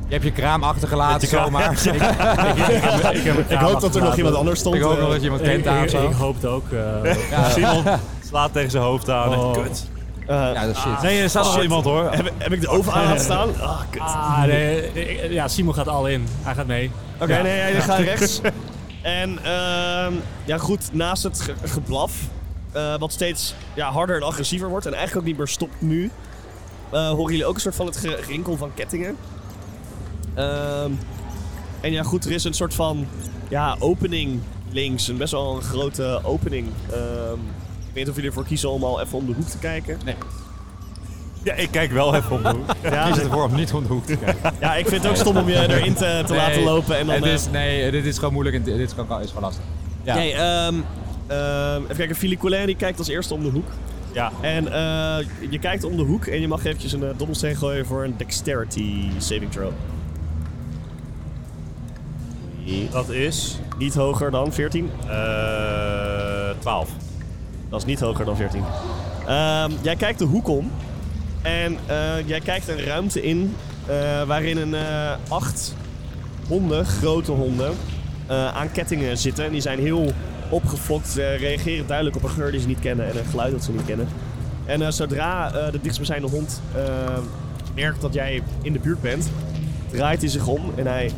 [SPEAKER 3] Je hebt je kraam achtergelaten
[SPEAKER 1] kraam-
[SPEAKER 3] zomaar.
[SPEAKER 4] ik, heb een
[SPEAKER 2] Ik hoop dat
[SPEAKER 4] kamer
[SPEAKER 2] er nog
[SPEAKER 4] achtergelaten.
[SPEAKER 2] iemand anders stond.
[SPEAKER 3] Ik hoop nog
[SPEAKER 2] eh.
[SPEAKER 3] dat je iemand
[SPEAKER 4] Ik,
[SPEAKER 3] kent aan
[SPEAKER 4] ik,
[SPEAKER 3] of zo.
[SPEAKER 4] ik hoop het ook. eh,
[SPEAKER 1] Simon slaat tegen zijn hoofd aan.
[SPEAKER 4] Oh.
[SPEAKER 1] En, kut.
[SPEAKER 2] Eh,
[SPEAKER 3] Ja, dat is Ah, shit.
[SPEAKER 1] Nee, er staat nog
[SPEAKER 2] shit.
[SPEAKER 1] iemand hoor.
[SPEAKER 2] Heb, heb ik de oven aan laten staan? Ah, kut.
[SPEAKER 4] ah, nee, ik- ja, Simon gaat al in. Hij gaat mee.
[SPEAKER 2] Oké, nee, hij gaat rechts. En ehm, ja, goed, naast het ge- geblaf, eh, wat steeds ja, harder en agressiever wordt en eigenlijk ook niet meer stopt nu, eh, horen jullie ook een soort van het ge- gerinkel van kettingen. Ehm, en ja, goed, er is een soort van ja, opening links, een best wel een grote opening. Ehm, ik weet niet of jullie ervoor kiezen om al even om de hoek te kijken.
[SPEAKER 1] Ja, ik kijk wel even op. de hoek.
[SPEAKER 3] Die zit ervoor om niet om de hoek te kijken.
[SPEAKER 2] Ja, ik vind het ook stom om je erin te, te laten
[SPEAKER 3] Nee,
[SPEAKER 2] lopen en dan...
[SPEAKER 3] het
[SPEAKER 2] eh,
[SPEAKER 3] is, nee, dit is gewoon moeilijk en dit is gewoon, is gewoon lastig. Ja.
[SPEAKER 2] Nee, ehm, ehm, even kijken. Philly Coulain die kijkt als eerste om de hoek.
[SPEAKER 1] Ja.
[SPEAKER 2] En eh, je kijkt om de hoek en je mag eventjes een eh, dobbelsteen gooien voor een dexterity saving throw.
[SPEAKER 1] Dat is
[SPEAKER 2] Niet hoger dan 14.
[SPEAKER 1] eh 12.
[SPEAKER 2] Dat is niet hoger dan 14. Ehm, jij kijkt de hoek om. En eh, jij kijkt een ruimte in eh, waarin een eh, acht honden, grote honden, eh, aan kettingen zitten. En die zijn heel opgefokt, eh, reageren duidelijk op een geur die ze niet kennen en een geluid dat ze niet kennen. En eh, zodra eh, de dichtstbijzijnde hond eh, merkt dat jij in de buurt bent, draait hij zich om en hij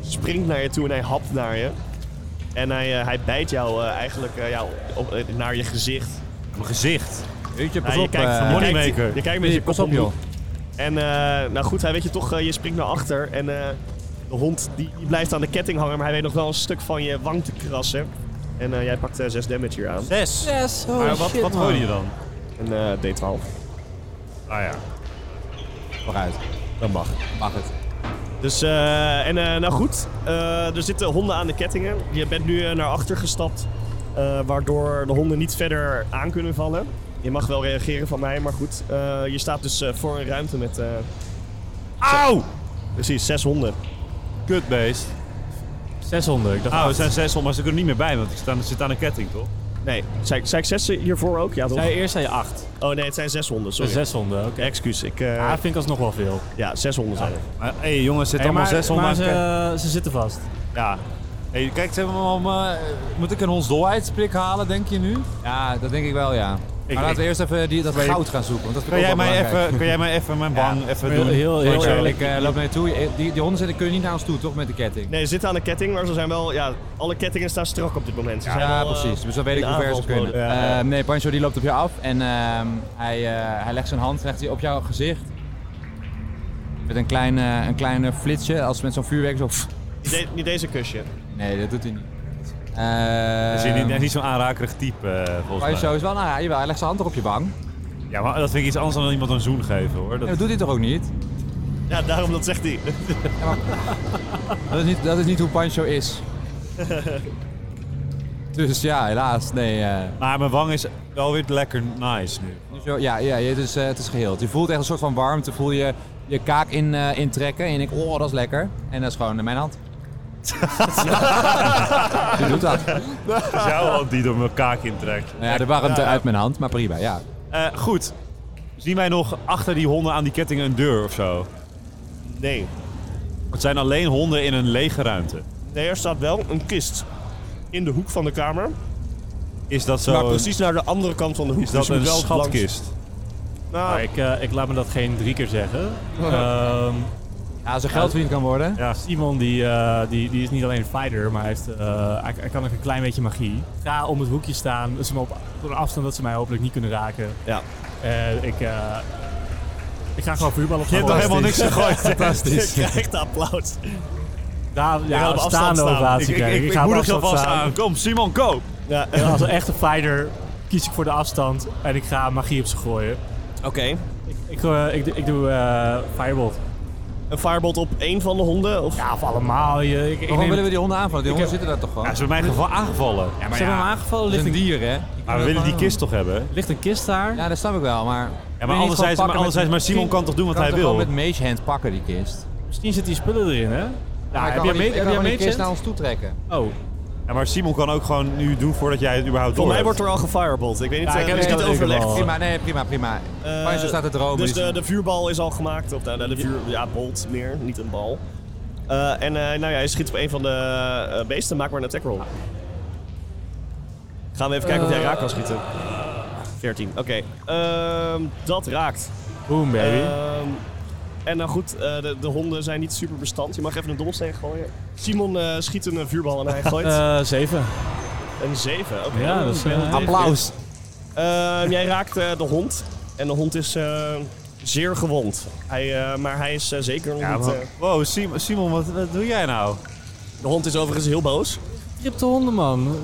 [SPEAKER 2] springt naar je toe en hij hapt naar je. En hij, eh, hij bijt jou eh, eigenlijk eh, ja, op, eh, naar je gezicht.
[SPEAKER 1] Mijn gezicht.
[SPEAKER 3] Weet je, pas
[SPEAKER 2] Ja, je
[SPEAKER 3] op.
[SPEAKER 2] kijkt,
[SPEAKER 3] eh,
[SPEAKER 2] je kijkt-
[SPEAKER 1] Moneymaker.
[SPEAKER 2] Je kijkt met
[SPEAKER 3] Willy,
[SPEAKER 2] je
[SPEAKER 3] pas
[SPEAKER 2] kop
[SPEAKER 3] op, joh.
[SPEAKER 2] En eh, nou goed, hij weet je toch, eh, je springt naar achter. En eh, de hond die, die blijft aan de ketting hangen, maar hij weet nog wel een stuk van je wang te krassen. En eh, jij pakt eh, 6 damage hier aan.
[SPEAKER 1] 6. maar wat, wat hoorde je dan?
[SPEAKER 2] En eh, D12.
[SPEAKER 1] Ah ja.
[SPEAKER 3] Vooruit.
[SPEAKER 2] Dat mag.
[SPEAKER 3] Mag het.
[SPEAKER 2] Dus, eh, en eh, nou goed, eh, er zitten honden aan de kettingen. Je bent nu eh, naar achter gestapt, eh, waardoor de honden niet verder aan kunnen vallen. Je mag wel reageren van mij, maar goed. eh, je staat dus eh, voor een ruimte met eh,
[SPEAKER 1] Auw!
[SPEAKER 2] precies zes honden.
[SPEAKER 1] Kutbeest.
[SPEAKER 4] 600. Ik dacht,
[SPEAKER 1] Oh, we zijn 600, maar ze kunnen niet meer bij, want ik sta, zit aan een ketting, toch?
[SPEAKER 2] Nee, zei, ik- zei ik zes hiervoor ook? Ja, toch?
[SPEAKER 4] zei, eerst zei je 8.
[SPEAKER 2] Oh nee, het zijn zes honden, sorry.
[SPEAKER 4] 600, oké.
[SPEAKER 2] Excuus, ik... eh,
[SPEAKER 4] Ja, vind ik alsnog wel veel.
[SPEAKER 2] ja, zes honden zijn er.
[SPEAKER 1] Maar, eh, hé jongens, zit
[SPEAKER 4] Hey,
[SPEAKER 1] allemaal
[SPEAKER 4] maar
[SPEAKER 1] 600
[SPEAKER 4] maar
[SPEAKER 1] aan een
[SPEAKER 4] ze, ze zitten vast.
[SPEAKER 1] ketting. Ja.
[SPEAKER 5] Hey, kijk, ze hebben hem al, eh, moet ik een hondsdolheidsprik halen, denk je nu?
[SPEAKER 3] Ja, dat denk ik wel, ja.
[SPEAKER 5] Ik-
[SPEAKER 3] maar laten we
[SPEAKER 5] ik-
[SPEAKER 3] eerst even die, dat
[SPEAKER 5] Kan je-
[SPEAKER 3] goud gaan zoeken. Want dat vind
[SPEAKER 5] Kan
[SPEAKER 3] ik
[SPEAKER 5] jij,
[SPEAKER 3] ook wel
[SPEAKER 5] mij
[SPEAKER 3] belangrijk.
[SPEAKER 5] even, kan jij mij even mijn
[SPEAKER 3] Ja.
[SPEAKER 5] bang even
[SPEAKER 4] Heel-
[SPEAKER 5] doen?
[SPEAKER 4] heel- heel
[SPEAKER 5] Want ik-
[SPEAKER 4] eerlijk.
[SPEAKER 3] Ik eh, loop naar je toe. Eh, Die, die honden zitten, kunnen niet naar ons toe, toch? Met de ketting.
[SPEAKER 2] Nee, ze zitten aan een ketting, maar ze zijn wel... Ja, alle kettingen staan strak op dit moment. Ze
[SPEAKER 3] Ja,
[SPEAKER 2] zijn wel, eh,
[SPEAKER 3] precies. Dus dan weet ik
[SPEAKER 2] in
[SPEAKER 3] hoe ver ze
[SPEAKER 2] aanvalsmodus.
[SPEAKER 3] kunnen. Eh, nee, Pancho die loopt op jou af en ehm, hij, eh, hij legt zijn hand legt hij op jouw gezicht. Met een klein, eh, een klein eh, flitsje, als met zo'n vuurwerk. Zo. pff.
[SPEAKER 2] Niet de- niet deze kusje.
[SPEAKER 3] Nee, dat doet hij niet.
[SPEAKER 1] Hij is niet- hij is
[SPEAKER 3] Uh,
[SPEAKER 1] niet zo'n aanrakerig type, eh, volgens mij.
[SPEAKER 3] Pancho is wel, nou ja, jawel, hij legt zijn hand toch op je wang.
[SPEAKER 1] Ja, maar dat vind ik iets anders dan iemand een zoen geven, hoor.
[SPEAKER 3] Ja,
[SPEAKER 1] Dat,
[SPEAKER 3] dat doet hij toch ook niet?
[SPEAKER 2] Ja, daarom dat zegt hij.
[SPEAKER 3] Dat is niet, dat is niet hoe Pancho is. dus ja, helaas. Nee, eh,
[SPEAKER 1] maar mijn wang is wel weer lekker nice nu.
[SPEAKER 3] Dus Zo, ja, ja het, is, eh, het is geheeld. Je voelt echt een soort van warmte. Voel je je kaak in, eh, intrekken. En je denkt, oh, dat is lekker. En dat is gewoon eh, mijn hand. Je doet dat. Nou
[SPEAKER 1] Het is jouw hand die door mijn kaak intrekt.
[SPEAKER 3] ja, de warmte uit mijn hand, maar prima, ja.
[SPEAKER 1] Eh, goed. Zien wij nog achter die honden aan die ketting een deur of zo?
[SPEAKER 2] Nee.
[SPEAKER 1] Het zijn alleen honden in een lege ruimte.
[SPEAKER 2] Nee, er staat wel een kist in de hoek van de kamer.
[SPEAKER 1] Is dat
[SPEAKER 2] Maar
[SPEAKER 1] zo?
[SPEAKER 2] precies naar de andere kant van de hoek.
[SPEAKER 1] Is dat
[SPEAKER 2] dus je moet
[SPEAKER 1] een
[SPEAKER 2] wel langs-
[SPEAKER 1] schatkist?
[SPEAKER 2] Nou,
[SPEAKER 4] Maar ik, eh, ik laat me dat geen drie keer zeggen.
[SPEAKER 1] Oh,
[SPEAKER 4] Ehm,
[SPEAKER 3] Ja, als er geld verdiend kan worden.
[SPEAKER 1] Ja.
[SPEAKER 4] Simon die, eh, die, die is niet alleen een fighter, maar hij, heeft, eh, hij, hij kan ook een klein beetje magie. Ik Ga om het hoekje staan, dus me op door een afstand dat ze mij hopelijk niet kunnen raken.
[SPEAKER 2] ja.
[SPEAKER 4] En ik, eh, ik ga gewoon vuurballen
[SPEAKER 1] Je hebt nog helemaal niks gegooid.
[SPEAKER 2] Fantastisch. Kijk, de applaus.
[SPEAKER 4] Daar,
[SPEAKER 2] gaat
[SPEAKER 4] ja,
[SPEAKER 2] op
[SPEAKER 4] een
[SPEAKER 2] afstand
[SPEAKER 4] staande
[SPEAKER 2] staan.
[SPEAKER 4] ovatie krijgen.
[SPEAKER 1] ik,
[SPEAKER 4] ga op
[SPEAKER 1] moedig je
[SPEAKER 4] afstand
[SPEAKER 1] vast
[SPEAKER 4] staan.
[SPEAKER 1] aan. Kom, Simon, go!
[SPEAKER 2] Ja,
[SPEAKER 4] En als een echte fighter kies ik voor de afstand en ik ga magie op ze gooien.
[SPEAKER 2] oké.
[SPEAKER 4] Ik, eh, ik, doe- ik doe eh firebolt.
[SPEAKER 2] Een firebolt op één van de honden? Of?
[SPEAKER 4] Ja, of allemaal. Je, ik, ik
[SPEAKER 3] Waarom
[SPEAKER 4] neem-
[SPEAKER 3] willen we die honden aanvallen? Die honden zitten daar toch
[SPEAKER 1] Hij
[SPEAKER 3] gewoon?
[SPEAKER 1] is bij mij geva- aangevallen.
[SPEAKER 4] Ja,
[SPEAKER 1] maar,
[SPEAKER 4] maar
[SPEAKER 3] ja,
[SPEAKER 4] ze hebben hem aangevallen.
[SPEAKER 3] Dat is
[SPEAKER 4] Ligt
[SPEAKER 3] een
[SPEAKER 4] een,
[SPEAKER 3] dier, hè? Die kunnen
[SPEAKER 1] we willen die
[SPEAKER 3] gewoon-
[SPEAKER 1] kist toch hebben?
[SPEAKER 4] ligt een kist daar.
[SPEAKER 3] Ja, dat snap ik wel,
[SPEAKER 1] Ja,
[SPEAKER 3] maar... Kun
[SPEAKER 1] maar
[SPEAKER 3] je niet gewoon
[SPEAKER 1] anderzijds, maar,
[SPEAKER 3] pakken met-
[SPEAKER 1] anderzijds, maar Simon kan toch doen wat
[SPEAKER 3] kan
[SPEAKER 1] hij
[SPEAKER 3] toch gewoon
[SPEAKER 1] wil?
[SPEAKER 3] met mage hand pakken, die kist?
[SPEAKER 4] Misschien zitten die spullen erin, hè?
[SPEAKER 3] Hij
[SPEAKER 4] Ja, heb
[SPEAKER 3] kan
[SPEAKER 4] jij
[SPEAKER 3] gewoon die-
[SPEAKER 4] mee?
[SPEAKER 3] hij kan
[SPEAKER 4] Heb
[SPEAKER 3] gewoon
[SPEAKER 4] jij
[SPEAKER 3] die kist
[SPEAKER 4] mee?
[SPEAKER 3] naar ons toe trekken.
[SPEAKER 4] Oh,
[SPEAKER 1] Ja, maar Simon kan ook gewoon nu doen voordat jij het überhaupt
[SPEAKER 2] Voor
[SPEAKER 1] door
[SPEAKER 2] mij
[SPEAKER 1] hebt.
[SPEAKER 2] wordt er al gefirebolt. Ik weet niet,
[SPEAKER 4] Ja,
[SPEAKER 2] eh,
[SPEAKER 4] ik heb
[SPEAKER 2] het is
[SPEAKER 4] het
[SPEAKER 2] niet
[SPEAKER 4] ook
[SPEAKER 2] overlegd.
[SPEAKER 1] Oh.
[SPEAKER 4] wel.
[SPEAKER 3] Prima, nee, prima, prima.
[SPEAKER 2] Eh,
[SPEAKER 3] Pancho staat te dromen.
[SPEAKER 2] Dus
[SPEAKER 3] die-
[SPEAKER 2] de, de vuurbal is al gemaakt. Of nou, de vuur, ja, bolt meer, niet een bal. Eh, en eh, nou ja, je schiet op een van de eh, beesten, maak maar een attack roll. Gaan we even kijken of jij raak kan schieten. 14, oké. Ehm, dat raakt.
[SPEAKER 4] boom baby.
[SPEAKER 2] Ehm, en nou goed, eh, de, de honden zijn niet super bestand. Je mag even een dobbelsteen gooien. Simon eh, schiet een eh, vuurbal en hij gooit
[SPEAKER 4] Eh, Zeven.
[SPEAKER 2] een 7. Oké,
[SPEAKER 4] ja, dat is,
[SPEAKER 2] ben
[SPEAKER 4] eh,
[SPEAKER 2] tegen.
[SPEAKER 3] Applaus.
[SPEAKER 2] Ehm, jij raakt eh, de hond. En de hond is eh, zeer gewond. Hij, eh, maar hij is eh, zeker nog
[SPEAKER 1] Ja,
[SPEAKER 2] niet...
[SPEAKER 1] maar-
[SPEAKER 2] eh,
[SPEAKER 1] Wow, Simon, Simon wat, wat doe jij nou?
[SPEAKER 2] de hond is overigens heel boos.
[SPEAKER 4] Tripte honden, man.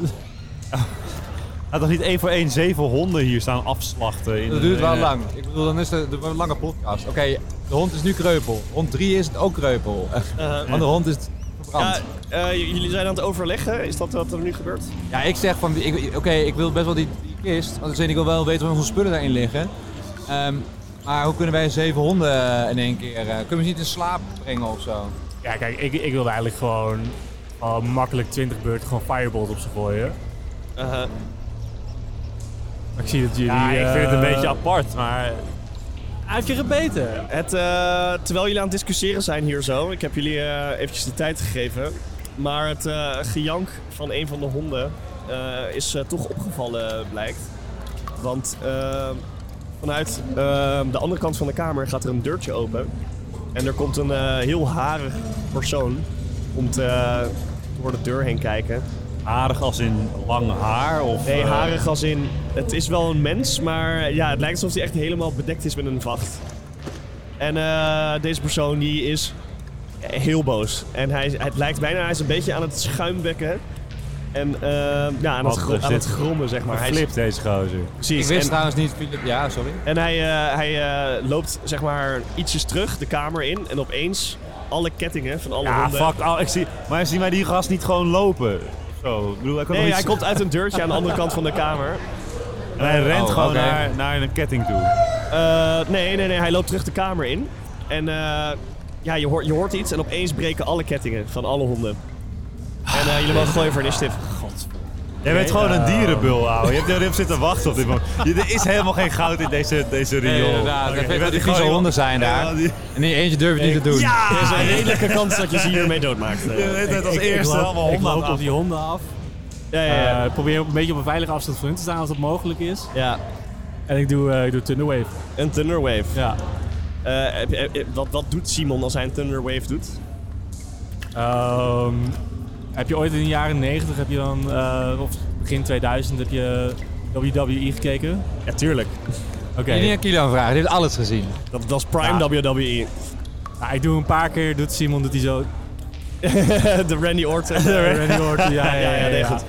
[SPEAKER 1] Had toch niet één voor één zeven honden hier staan afslachten? In
[SPEAKER 3] Dat
[SPEAKER 1] de-
[SPEAKER 3] duurt wel
[SPEAKER 1] in-
[SPEAKER 3] lang. Ik bedoel, dan is het een een lange podcast. Oké, de hond is nu kreupel. Hond 3 is het ook kreupel.
[SPEAKER 2] Eh,
[SPEAKER 3] Andere hond is verbrand.
[SPEAKER 2] ja,
[SPEAKER 3] Ja,
[SPEAKER 2] eh, j- jullie zijn aan het overleggen. Is dat wat er nu gebeurt?
[SPEAKER 3] ik zeg van, ik- oké, ik wil best wel die, die kist. Want ik weet ik wil wel weten waar onze spullen daarin liggen. Ehm, maar hoe kunnen wij zeven honden eh, in één keer... eh, kunnen we ze niet in slaap brengen of zo?
[SPEAKER 4] Ja, kijk, ik, ik wilde eigenlijk gewoon al makkelijk 20 beurten gewoon firebolt op ze gooien.
[SPEAKER 2] Eh,
[SPEAKER 4] Maar ik zie dat jullie...
[SPEAKER 1] Ja, ik vind het een
[SPEAKER 4] eh,
[SPEAKER 1] beetje apart, maar...
[SPEAKER 4] Hij heeft je gebeten.
[SPEAKER 2] het, eh, terwijl jullie aan het discussiëren zijn hier zo... Ik heb jullie eh, eventjes de tijd gegeven. Maar het eh, gejank van een van de honden eh, is eh, toch opgevallen, blijkt. Want eh, vanuit eh, de andere kant van de kamer gaat er een deurtje open. En er komt een eh, heel harig persoon. Komt eh, door de deur heen kijken.
[SPEAKER 1] Aardig als in lang haar of...
[SPEAKER 2] Nee,
[SPEAKER 1] eh,
[SPEAKER 2] harig als in... Het is wel een mens, maar ja, het lijkt alsof hij echt helemaal bedekt is met een vacht. En eh, deze persoon die is heel boos. En hij, het lijkt bijna, hij is een beetje aan het schuimbekken. En eh, ja, aan,
[SPEAKER 1] Wat
[SPEAKER 2] het, gro-
[SPEAKER 1] is
[SPEAKER 2] aan
[SPEAKER 1] dit?
[SPEAKER 2] het grommen, zeg maar. Hij is-
[SPEAKER 1] Flip deze gozer.
[SPEAKER 2] precies.
[SPEAKER 3] Ik wist
[SPEAKER 2] En-
[SPEAKER 3] trouwens niet, Filip. Ja, sorry.
[SPEAKER 2] en hij, eh, hij eh, loopt zeg maar ietsjes terug de kamer in en opeens alle kettingen van alle
[SPEAKER 1] Ja,
[SPEAKER 2] honden.
[SPEAKER 1] fuck. al- ik zie, maar zien wij die gast niet gewoon lopen? Zo, ik bedoel, hij kan
[SPEAKER 2] Nee,
[SPEAKER 1] nog
[SPEAKER 2] hij
[SPEAKER 1] iets-
[SPEAKER 2] komt uit een deurtje aan de andere kant van de kamer.
[SPEAKER 1] en hij rent
[SPEAKER 3] Oh,
[SPEAKER 1] gewoon
[SPEAKER 3] oké.
[SPEAKER 1] naar, naar een ketting toe.
[SPEAKER 2] Eh, nee, nee, nee, hij loopt terug de kamer in. En eh, ja, je hoort, je hoort iets en opeens breken alle kettingen van alle honden. En eh, jullie mogen gooien voor initiative. God.
[SPEAKER 1] Jij bent gewoon een dierenbul, ouwe. Je hebt erop zitten wachten op dit moment. Je- Er is helemaal geen goud in deze, deze riool.
[SPEAKER 3] Nee, inderdaad.
[SPEAKER 1] Oké,
[SPEAKER 3] Dat
[SPEAKER 1] je
[SPEAKER 3] weet
[SPEAKER 1] bent
[SPEAKER 3] dat die
[SPEAKER 1] gewoon
[SPEAKER 3] vieze honden
[SPEAKER 1] iemand-
[SPEAKER 3] zijn daar.
[SPEAKER 1] Ja, die-
[SPEAKER 3] En die eentje durf je niet te doen.
[SPEAKER 2] Er is een redelijke kans dat je ze hiermee doodmaakt.
[SPEAKER 1] Je
[SPEAKER 2] eh.
[SPEAKER 1] weet het als
[SPEAKER 4] Ik- ik
[SPEAKER 1] eerste
[SPEAKER 4] loop-
[SPEAKER 1] allemaal
[SPEAKER 4] ik
[SPEAKER 1] honden
[SPEAKER 4] loop
[SPEAKER 1] aan
[SPEAKER 4] op die honden af.
[SPEAKER 2] Ja, ja, ja.
[SPEAKER 4] Eh, probeer een beetje op een veilige afstand van hun te staan als dat mogelijk is.
[SPEAKER 2] ja.
[SPEAKER 4] En ik doe, eh ik doe Thunderwave.
[SPEAKER 2] Een Thunderwave.
[SPEAKER 4] Ja.
[SPEAKER 2] Eh, heb je- eh, eh, wat, wat doet Simon als hij een Thunderwave doet?
[SPEAKER 4] Ehm, heb je ooit in de jaren 90, heb je dan, eh, of begin 2000, heb je WWE gekeken?
[SPEAKER 2] Ja, tuurlijk.
[SPEAKER 4] Oké.
[SPEAKER 3] Je niet aan Kilian vragen, die heeft alles gezien.
[SPEAKER 2] Dat, dat is Prime E. WWE.
[SPEAKER 4] Nou, ik doe een paar keer, doet Simon, doet hij zo.
[SPEAKER 2] de Randy Orton. eh.
[SPEAKER 4] Randy Orton, ja, ja, ja,
[SPEAKER 2] ja, nee,
[SPEAKER 4] ja.
[SPEAKER 2] goed.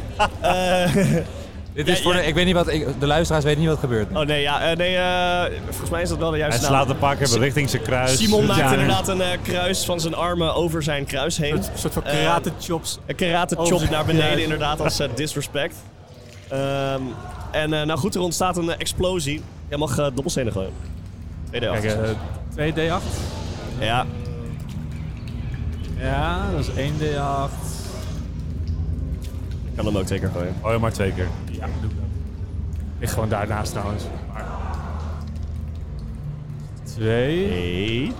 [SPEAKER 3] Dit is
[SPEAKER 2] Ja,
[SPEAKER 3] voor
[SPEAKER 2] ja.
[SPEAKER 3] de, ik weet niet wat, ik, de luisteraars weten niet wat er gebeurt. nu.
[SPEAKER 2] Oh nee, ja, eh, nee, eh, volgens mij is dat wel de
[SPEAKER 1] Hij
[SPEAKER 2] juiste naam.
[SPEAKER 1] slaat een paar keer richting zijn kruis.
[SPEAKER 2] Simon maakt
[SPEAKER 4] Ja.
[SPEAKER 2] inderdaad een eh, kruis van zijn armen over zijn kruis heen. Ehm,
[SPEAKER 4] Een soort van karate chops.
[SPEAKER 2] Een karate
[SPEAKER 4] Over
[SPEAKER 2] chop
[SPEAKER 4] zijn
[SPEAKER 2] naar beneden
[SPEAKER 4] kruis.
[SPEAKER 2] inderdaad als eh, disrespect. Ehm, en eh, nou goed, er ontstaat een eh, explosie. Jij mag eh dobbelstenen gooien. 2
[SPEAKER 4] Kijk, eh, 2D8.
[SPEAKER 2] Ja,
[SPEAKER 4] Ja, dat is 1D8.
[SPEAKER 2] ik kan hem ook twee keer gooien.
[SPEAKER 1] Oh ja, maar twee keer.
[SPEAKER 4] Ja, doe ik dat. Ligt gewoon daarnaast trouwens. Maar... Twee.
[SPEAKER 2] Eén.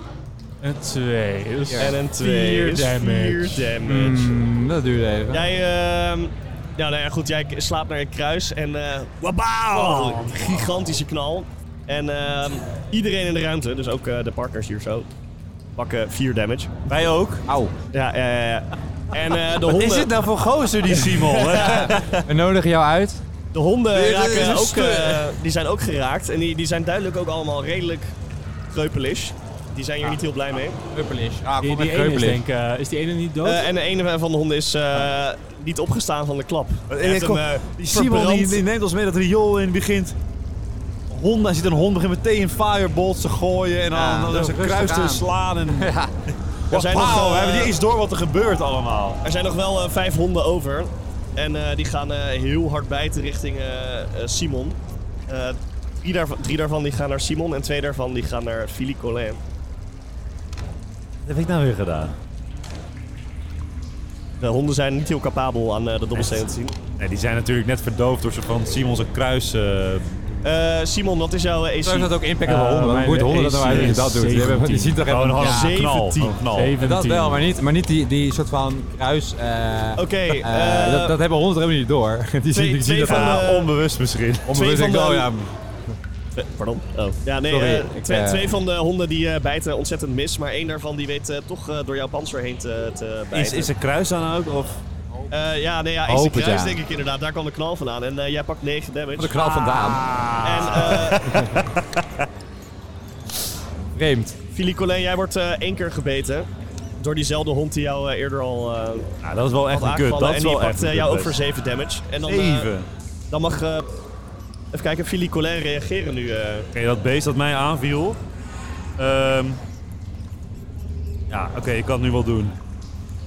[SPEAKER 4] En twee. Dus
[SPEAKER 2] En een 2
[SPEAKER 4] Vier
[SPEAKER 2] is
[SPEAKER 4] damage. Mm.
[SPEAKER 2] 4 damage.
[SPEAKER 3] Hmm, dat duurde even.
[SPEAKER 2] Jij, ehm ja, nou ja, goed, jij slaapt naar je kruis en eh wabauw,
[SPEAKER 4] Oh.
[SPEAKER 2] gigantische knal. En ehm, iedereen in de ruimte, dus ook eh, de partners hier zo, pakken 4 damage.
[SPEAKER 1] Wij ook.
[SPEAKER 3] Auw.
[SPEAKER 2] Ja, ja, ja. ja. En eh, de
[SPEAKER 1] Is
[SPEAKER 2] honden,
[SPEAKER 1] dit nou voor gozer, die Simon?
[SPEAKER 3] We nodigen jou uit.
[SPEAKER 2] de honden
[SPEAKER 1] dit is
[SPEAKER 2] raken
[SPEAKER 1] een
[SPEAKER 2] ook,
[SPEAKER 1] stu-
[SPEAKER 2] eh, die zijn ook geraakt en die, die zijn duidelijk ook allemaal redelijk kreupelish. Die zijn
[SPEAKER 1] Ah.
[SPEAKER 2] hier niet heel blij mee.
[SPEAKER 3] Kreupelish. Ah,
[SPEAKER 4] Die,
[SPEAKER 3] kom met
[SPEAKER 4] die ene is,
[SPEAKER 3] kreupelish.
[SPEAKER 4] denk, ik, eh, is die ene niet dood?
[SPEAKER 2] Eh, en de ene van de honden is eh, niet opgestaan van de klap. Hij heeft
[SPEAKER 1] kom-
[SPEAKER 2] hem, eh,
[SPEAKER 1] Die Simon die,
[SPEAKER 2] verbrand.
[SPEAKER 1] die neemt ons mee dat riool in begint. Honden, hij ziet een hond, begint meteen firebolts te gooien en dan,
[SPEAKER 3] Ja,
[SPEAKER 1] dan
[SPEAKER 3] doe
[SPEAKER 1] zijn
[SPEAKER 3] rustig
[SPEAKER 1] kruis te
[SPEAKER 3] aan.
[SPEAKER 1] slaan. En...
[SPEAKER 3] Ja.
[SPEAKER 2] Er zijn nog,
[SPEAKER 1] Wauw,
[SPEAKER 2] eh,
[SPEAKER 1] we hebben niet eens door wat er gebeurt allemaal.
[SPEAKER 2] Er zijn nog wel eh, vijf honden over. En eh, die gaan eh, heel hard bijten richting eh, eh, Simon. Eh, drie, daarvan, drie daarvan die gaan naar Simon en twee daarvan die gaan naar Philippe Collin.
[SPEAKER 1] Wat heb ik nou weer gedaan?
[SPEAKER 2] De honden zijn niet heel capabel aan eh, de dobbelsteen te zien.
[SPEAKER 1] Nee, die zijn natuurlijk net verdoofd door soort van Simon zijn kruis. eh,
[SPEAKER 2] Eh, Simon, wat is jouw eh, AC?
[SPEAKER 3] Zo is dat ook impeccable
[SPEAKER 4] Eh,
[SPEAKER 3] honden.
[SPEAKER 4] mijn
[SPEAKER 3] Hoe moet honden dat nou
[SPEAKER 4] AC
[SPEAKER 3] eigenlijk dat
[SPEAKER 4] is
[SPEAKER 3] doet? Die hebben- Die
[SPEAKER 4] 17.
[SPEAKER 3] ziet toch
[SPEAKER 1] E gewoon
[SPEAKER 3] even...
[SPEAKER 1] een harde
[SPEAKER 3] Ja.
[SPEAKER 4] Oh,
[SPEAKER 1] knal.
[SPEAKER 2] 17.
[SPEAKER 1] Een knal.
[SPEAKER 4] Zeven.
[SPEAKER 3] Dat
[SPEAKER 4] 17.
[SPEAKER 3] wel, maar niet, maar niet die, die soort van kruis... eh,
[SPEAKER 2] Oké, eh,
[SPEAKER 3] eh, dat, dat hebben honden er helemaal niet door. Die zien, die zien
[SPEAKER 2] twee
[SPEAKER 3] dat
[SPEAKER 2] van
[SPEAKER 3] aan.
[SPEAKER 2] de-
[SPEAKER 1] Ah, onbewust misschien.
[SPEAKER 3] Onbewust
[SPEAKER 2] van
[SPEAKER 3] denk ik,
[SPEAKER 2] de-
[SPEAKER 3] oh ja,
[SPEAKER 2] Eh, Pardon? Oh. Ja, nee,
[SPEAKER 3] Sorry,
[SPEAKER 2] eh,
[SPEAKER 3] ik,
[SPEAKER 2] twee,
[SPEAKER 3] eh,
[SPEAKER 2] twee van de honden die eh, bijten ontzettend mis. Maar één daarvan die weet eh, toch eh, door jouw panzer heen te, te bijten.
[SPEAKER 1] Is, is een kruis dan ook? Of?
[SPEAKER 2] Eh, ja, nee, ja,
[SPEAKER 3] Hoop
[SPEAKER 2] AC
[SPEAKER 3] het,
[SPEAKER 2] kruis
[SPEAKER 3] ja.
[SPEAKER 2] denk ik inderdaad. Daar kwam de knal vandaan. En eh, jij pakt 9 damage.
[SPEAKER 3] wat een knal vandaan.
[SPEAKER 2] En
[SPEAKER 1] Ah.
[SPEAKER 2] eh
[SPEAKER 3] Vreemd.
[SPEAKER 2] Philippe Collin, jij wordt eh, één keer gebeten. Door diezelfde hond die jou eh, eerder al eh
[SPEAKER 1] Nou, dat is wel echt
[SPEAKER 2] had
[SPEAKER 1] een kut.
[SPEAKER 2] aangevallen.
[SPEAKER 1] Dat
[SPEAKER 2] En
[SPEAKER 1] is
[SPEAKER 2] die
[SPEAKER 1] wel
[SPEAKER 2] pakt
[SPEAKER 1] echt
[SPEAKER 2] eh,
[SPEAKER 1] een
[SPEAKER 2] jou ook
[SPEAKER 1] kut.
[SPEAKER 2] voor 7 damage. En dan, eh,
[SPEAKER 1] Even.
[SPEAKER 2] dan mag... eh, even kijken, Philippe Collin reageren nu. eh.
[SPEAKER 1] Oké, dat beest dat mij aanviel. Ehm, ja, oké, ik kan het nu wel doen.